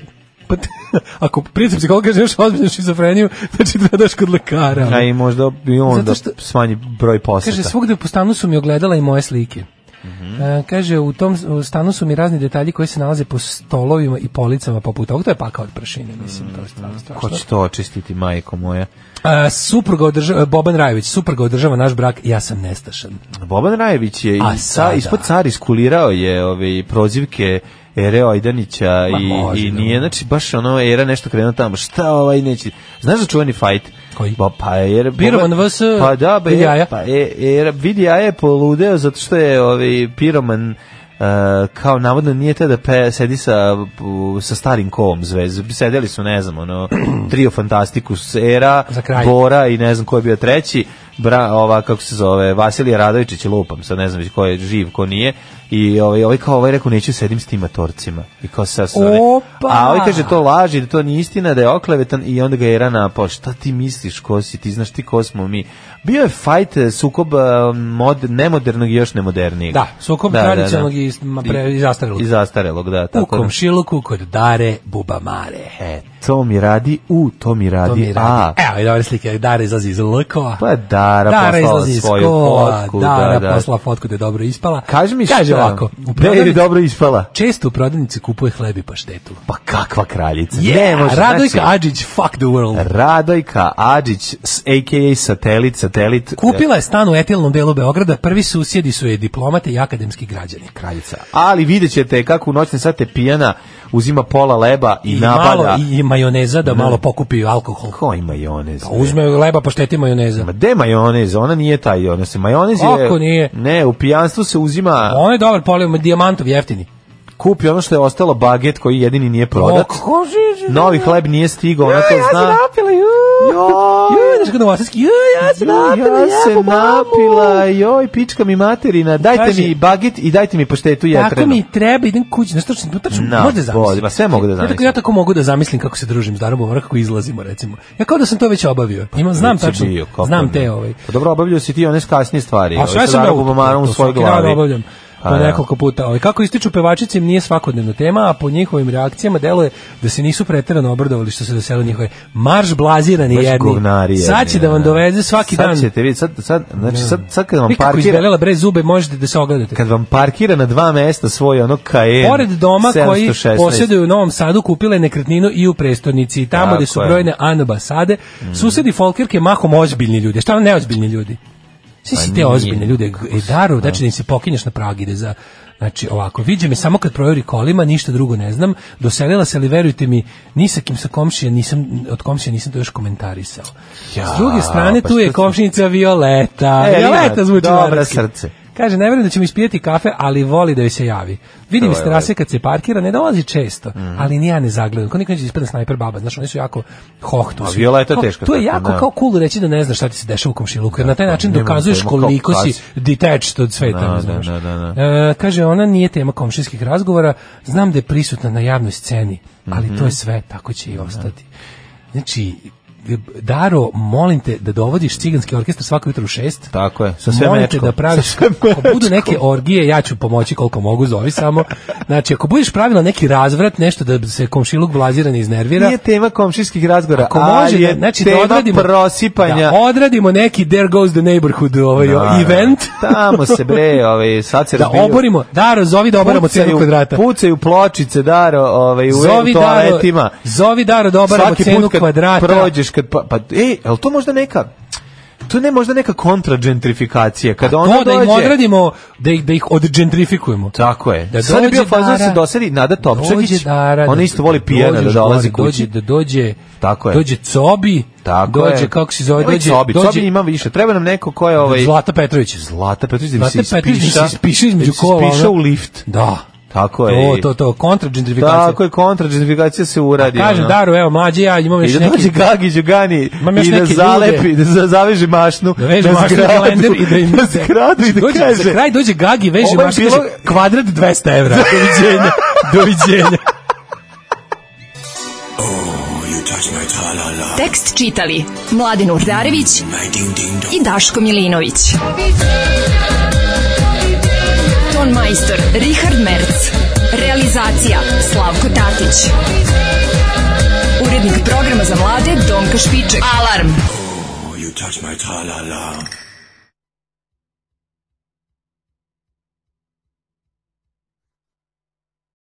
S6: Pa te- ako prijatelj psiholog kaže da imaš ozbiljnu šizofreniju, znači da daš kod lekara.
S5: A da. i možda i
S6: Zato
S5: onda
S6: što-
S5: smanji broj poseta.
S6: Kaže, svugde po stanu su mi ogledala i moje slike.
S5: Mhm.
S6: E, kaže, u tom s- u stanu su mi razni detalji koji se nalaze po stolovima i policama poput ovog. To je pakao od prašine, mislim, to je stvarno strašno.
S5: Ko će to očistiti, majko moja?
S6: E, supruga održava, Boban Rajević, supruga održava naš brak, ja sam nestašan.
S5: Boban Rajević je i
S6: A
S5: sa,
S6: sada?
S5: ispod car iskulirao je ove prozivke Ere Ojdanića
S6: Ma,
S5: i,
S6: može,
S5: i
S6: da.
S5: nije, znači baš ono Era nešto krenuo tamo, šta ovaj neće, znaš za čuveni fajt?
S6: Koji?
S5: Ba, pa Era...
S6: Piroman
S5: Boban-
S6: vs.
S5: Pa da, ba,
S6: Vidi
S5: Era-
S6: jaja.
S5: Pa, e, era, vidi jaja je poludeo zato što je ovaj Piroman Uh, kao navodno nije te da pe, sedi sa, u- sa starim kovom zvezdu. Sedeli su, ne znam, ono, trio Fantastikus, Era,
S6: Za kraj.
S5: Bora i ne znam ko je bio treći, bra, ova, kako se zove, Vasilije Radovičić, lupam, sad ne znam već ko je živ, ko nije, i ovaj, ovaj kao ovaj rekao, neću sedim s tim matorcima. I kao sad se zove.
S6: Opa!
S5: A ovaj kaže, to laži, da to nije istina, da je oklevetan i onda ga je Era napao. Šta ti misliš, ko si, ti znaš ti ko smo mi? Bio je fajt, eh, sukob eh, mod, nemodernog i još nemodernijeg.
S6: Da, sukob tradicionalnog i s- ma, pre- i zastarelog.
S5: I zastarelog, da.
S6: U
S5: da-
S6: komšiluku kod Dare Bubamare.
S5: E, to mi radi U, to mi radi,
S6: To mi
S5: A.
S6: radi. Evo i dobre slike, Dara izlazi iz lkova.
S5: Pa Dara poslala
S6: izlazi iz
S5: svoju
S6: kova,
S5: fotku,
S6: Dara
S5: da, da.
S6: poslala fotku da je dobro ispala.
S5: Kaži mi
S6: Kaže ovako, u
S5: Da je
S6: prodavnici-
S5: dobro ispala.
S6: često u prodavnici kupuje hleb i paštetu.
S5: Pa kakva kraljica.
S6: Yeah,
S5: ne može,
S6: Radojka
S5: znači,
S6: Adžić, fuck the world.
S5: Radojka Adžić, s- a.k.a. satelit, satelit.
S6: Kupila je stan u etilnom delu Beograda, prvi susjedi su je diplomate i akademski građani.
S5: kraljica. Ali vidjet ćete kako u noćne sate pijana uzima pola leba i,
S6: I,
S5: napada.
S6: malo, i majoneza da malo pokupi alkohol.
S5: Koji majonez?
S6: Pa uzme leba, paštete i majoneza.
S5: Ma de majonez? Ona nije taj, ona se majonez je...
S6: Kako nije?
S5: Ne, u pijanstvu se uzima,
S6: On je dobar polio, dijamantov jeftini.
S5: kupi ono što je ostalo baget koji jedini nije prodat. Novi hleb nije stigao, ona to zna.
S6: napila, ju.
S5: Joj.
S6: Ju, znaš kada novosadski, ju, ja se napila,
S5: ja se
S6: jebo mamu.
S5: napila, joj, pička mi materina, dajte
S6: Kaže-
S5: mi baget i dajte mi poštetu jetrenu.
S6: Tako mi treba, idem kući, znaš tačno, to tačno,
S5: Na,
S6: možda zamislim.
S5: bolje, ma sve mogu da
S6: Ja tako-
S5: zamislim.
S6: Ja tako mogu da zamislim kako se družim s Darom Bubamara, kako izlazimo, recimo. Ja kao da sam to već obavio. Imam, znam
S5: Nisi
S6: tačno,
S5: Pa bio, kako
S6: znam
S5: ne.
S6: te ovaj.
S5: Pa dobro, obavljaju si ti one kasnije stvari.
S6: A sve sam
S5: da
S6: da
S5: upomaram u
S6: to
S5: svojoj
S6: svaki dan
S5: glavi.
S6: obavljam. Po
S5: A, da.
S6: nekoliko puta. Ovaj, kako ističu pevačice im nije svakodnevna tema, a po njihovim reakcijama deluje da se nisu preterano obradovali što se deselo njihove. Marš blazirani
S5: Baš
S6: jedni.
S5: govnari jedni,
S6: Sad će da vam
S5: da.
S6: doveze svaki
S5: sad
S6: dan. Da.
S5: ćete vidjeti, sad, sad, znači, sad, sad kad vam
S6: Vi kako
S5: parkira,
S6: izbelela bre zube možete da se ogledate.
S5: kad vam parkira na dva mesta svoj ono KN
S6: Pored doma koji
S5: 716.
S6: posjeduju u Novom Sadu kupile nekretninu i u prestonici. I Tamo
S5: Tako
S6: gde su
S5: je.
S6: brojne anobasade, susedi Folkerke mahom ozbiljni ljudi. Šta neozbiljni ljudi? Svi si te
S5: Pa nije.
S6: ozbiljne ljude. E, daru, znači da im se pokinješ na prag ide za... Znači, ovako, viđe me samo kad projuri kolima, ništa drugo ne znam. Doselila se, ali verujte mi, ni sa kim sa komšije, nisam, od komšije nisam to još komentarisao.
S5: Ja,
S6: S druge strane,
S5: pa
S6: tu je
S5: što si-
S6: komšinica Violeta.
S5: E,
S6: Violeta
S5: Ivana,
S6: zvuči
S5: dobra
S6: narodski.
S5: srce.
S6: Kaže, ne vjerujem da ćemo ispijeti kafe, ali voli da joj se javi. Vidim iz terase kad se parkira, ne dolazi često,
S5: Mhm.
S6: ali ni ja ne zagledam. Ko nikad neće da ispada snajper baba, znaš, oni su jako hohtu.
S5: A
S6: svi.
S5: Violeta je
S6: Kao-
S5: teška
S6: To je
S5: taka,
S6: jako
S5: da.
S6: kao cool reći da ne znaš šta ti se dešava u komšiluku, jer na taj način
S5: nemam
S6: dokazuješ
S5: pojma, kao
S6: koliko si
S5: klasi.
S6: detached od sveta.
S5: Da,
S6: ne znaš.
S5: da, da, da,
S6: E, kaže, ona nije tema komšijskih razgovora, znam da je prisutna na javnoj sceni, ali
S5: Mhm.
S6: to je sve, tako će
S5: Da.
S6: i ostati. Znači, Daro, molim te da dovodiš ciganski orkestar svako jutro u šest.
S5: Tako je, sa sve
S6: Molim
S5: mečkom.
S6: te da praviš,
S5: Sa sve
S6: ako budu neke orgije, ja ću pomoći koliko mogu, zovi samo. Znači, ako budeš pravila neki razvrat, nešto da se komšiluk blazira ne iznervira,
S5: Nije tema komšijskih razgovora,
S6: ako
S5: ali
S6: može,
S5: je
S6: da, znači da
S5: tema
S6: odradimo,
S5: prosipanja.
S6: da odradimo neki There Goes the Neighborhood ovaj,
S5: Da,
S6: event,
S5: Tamo se bre, ovaj, sad se
S6: da
S5: razbijaju.
S6: oborimo, Daro, zovi da oboramo cenu
S5: Pucaju-
S6: kvadrata.
S5: Pucaju pločice, daro, ovaj, u
S6: Zovi Daro,
S5: toaletima.
S6: zovi Daro da obaramo
S5: Svaki
S6: cenu
S5: put kad e,
S6: kvadrata.
S5: prođeš kad pa, pa ej, el to možda neka to ne možda neka kontra gentrifikacija kada ona
S6: To da im
S5: dođe
S6: odradimo, da ih, da ih odgentrifikujemo.
S5: Tako je.
S6: Da
S5: Sad je
S6: dođe
S5: bio fazon da se
S6: Dara-
S5: dosadi Nada Topčagić,
S6: dođe Dara,
S5: ona
S6: da-
S5: isto voli pijana da
S6: dođeš
S5: dolazi
S6: gore,
S5: kući.
S6: Dođe, da dođe,
S5: Tako je.
S6: dođe Cobi,
S5: Tako
S6: dođe,
S5: je.
S6: kako se zove,
S5: Nemoj
S6: dođe,
S5: Cobi,
S6: dođe
S5: Cobi ima više. Treba nam neko ko je ovaj
S6: Zlata Petrović.
S5: Zlata Petrović da mi se
S6: Zlata Petrović da
S5: ispiša.
S6: se ispiše između
S5: da se
S6: kola,
S5: Ispiša u
S6: ono.
S5: lift.
S6: Da.
S5: Tako je.
S6: To, to, to, kontra gentrifikacija.
S5: Tako je, kontra gentrifikacija se uradi.
S6: Kažem,
S5: ono.
S6: Daru, evo, mlađe ja imam još
S5: I da
S6: neki...
S5: dođe Gagi Đugani
S6: Imam još
S5: i da
S6: neke
S5: zalepi,
S6: ljude.
S5: da za- zaveže mašnu
S6: Da veže mašnu na kalendar i da im
S5: na zgradu i da
S6: dođe,
S5: kaže
S6: Za kraj dođe Gagi, veže
S5: Ovo je
S6: mašinu, kaže,
S5: bilo-
S6: kvadrat 200 evra. Doviđenja, doviđenja.
S4: Tekst čitali Mladin Urdarević i Daško Milinović. Ton majstor Richard Merc. Realizacija Slavko Tatić. Urednik programa za mlade Donka Špiček. Alarm!
S10: You touch my tra-la-la.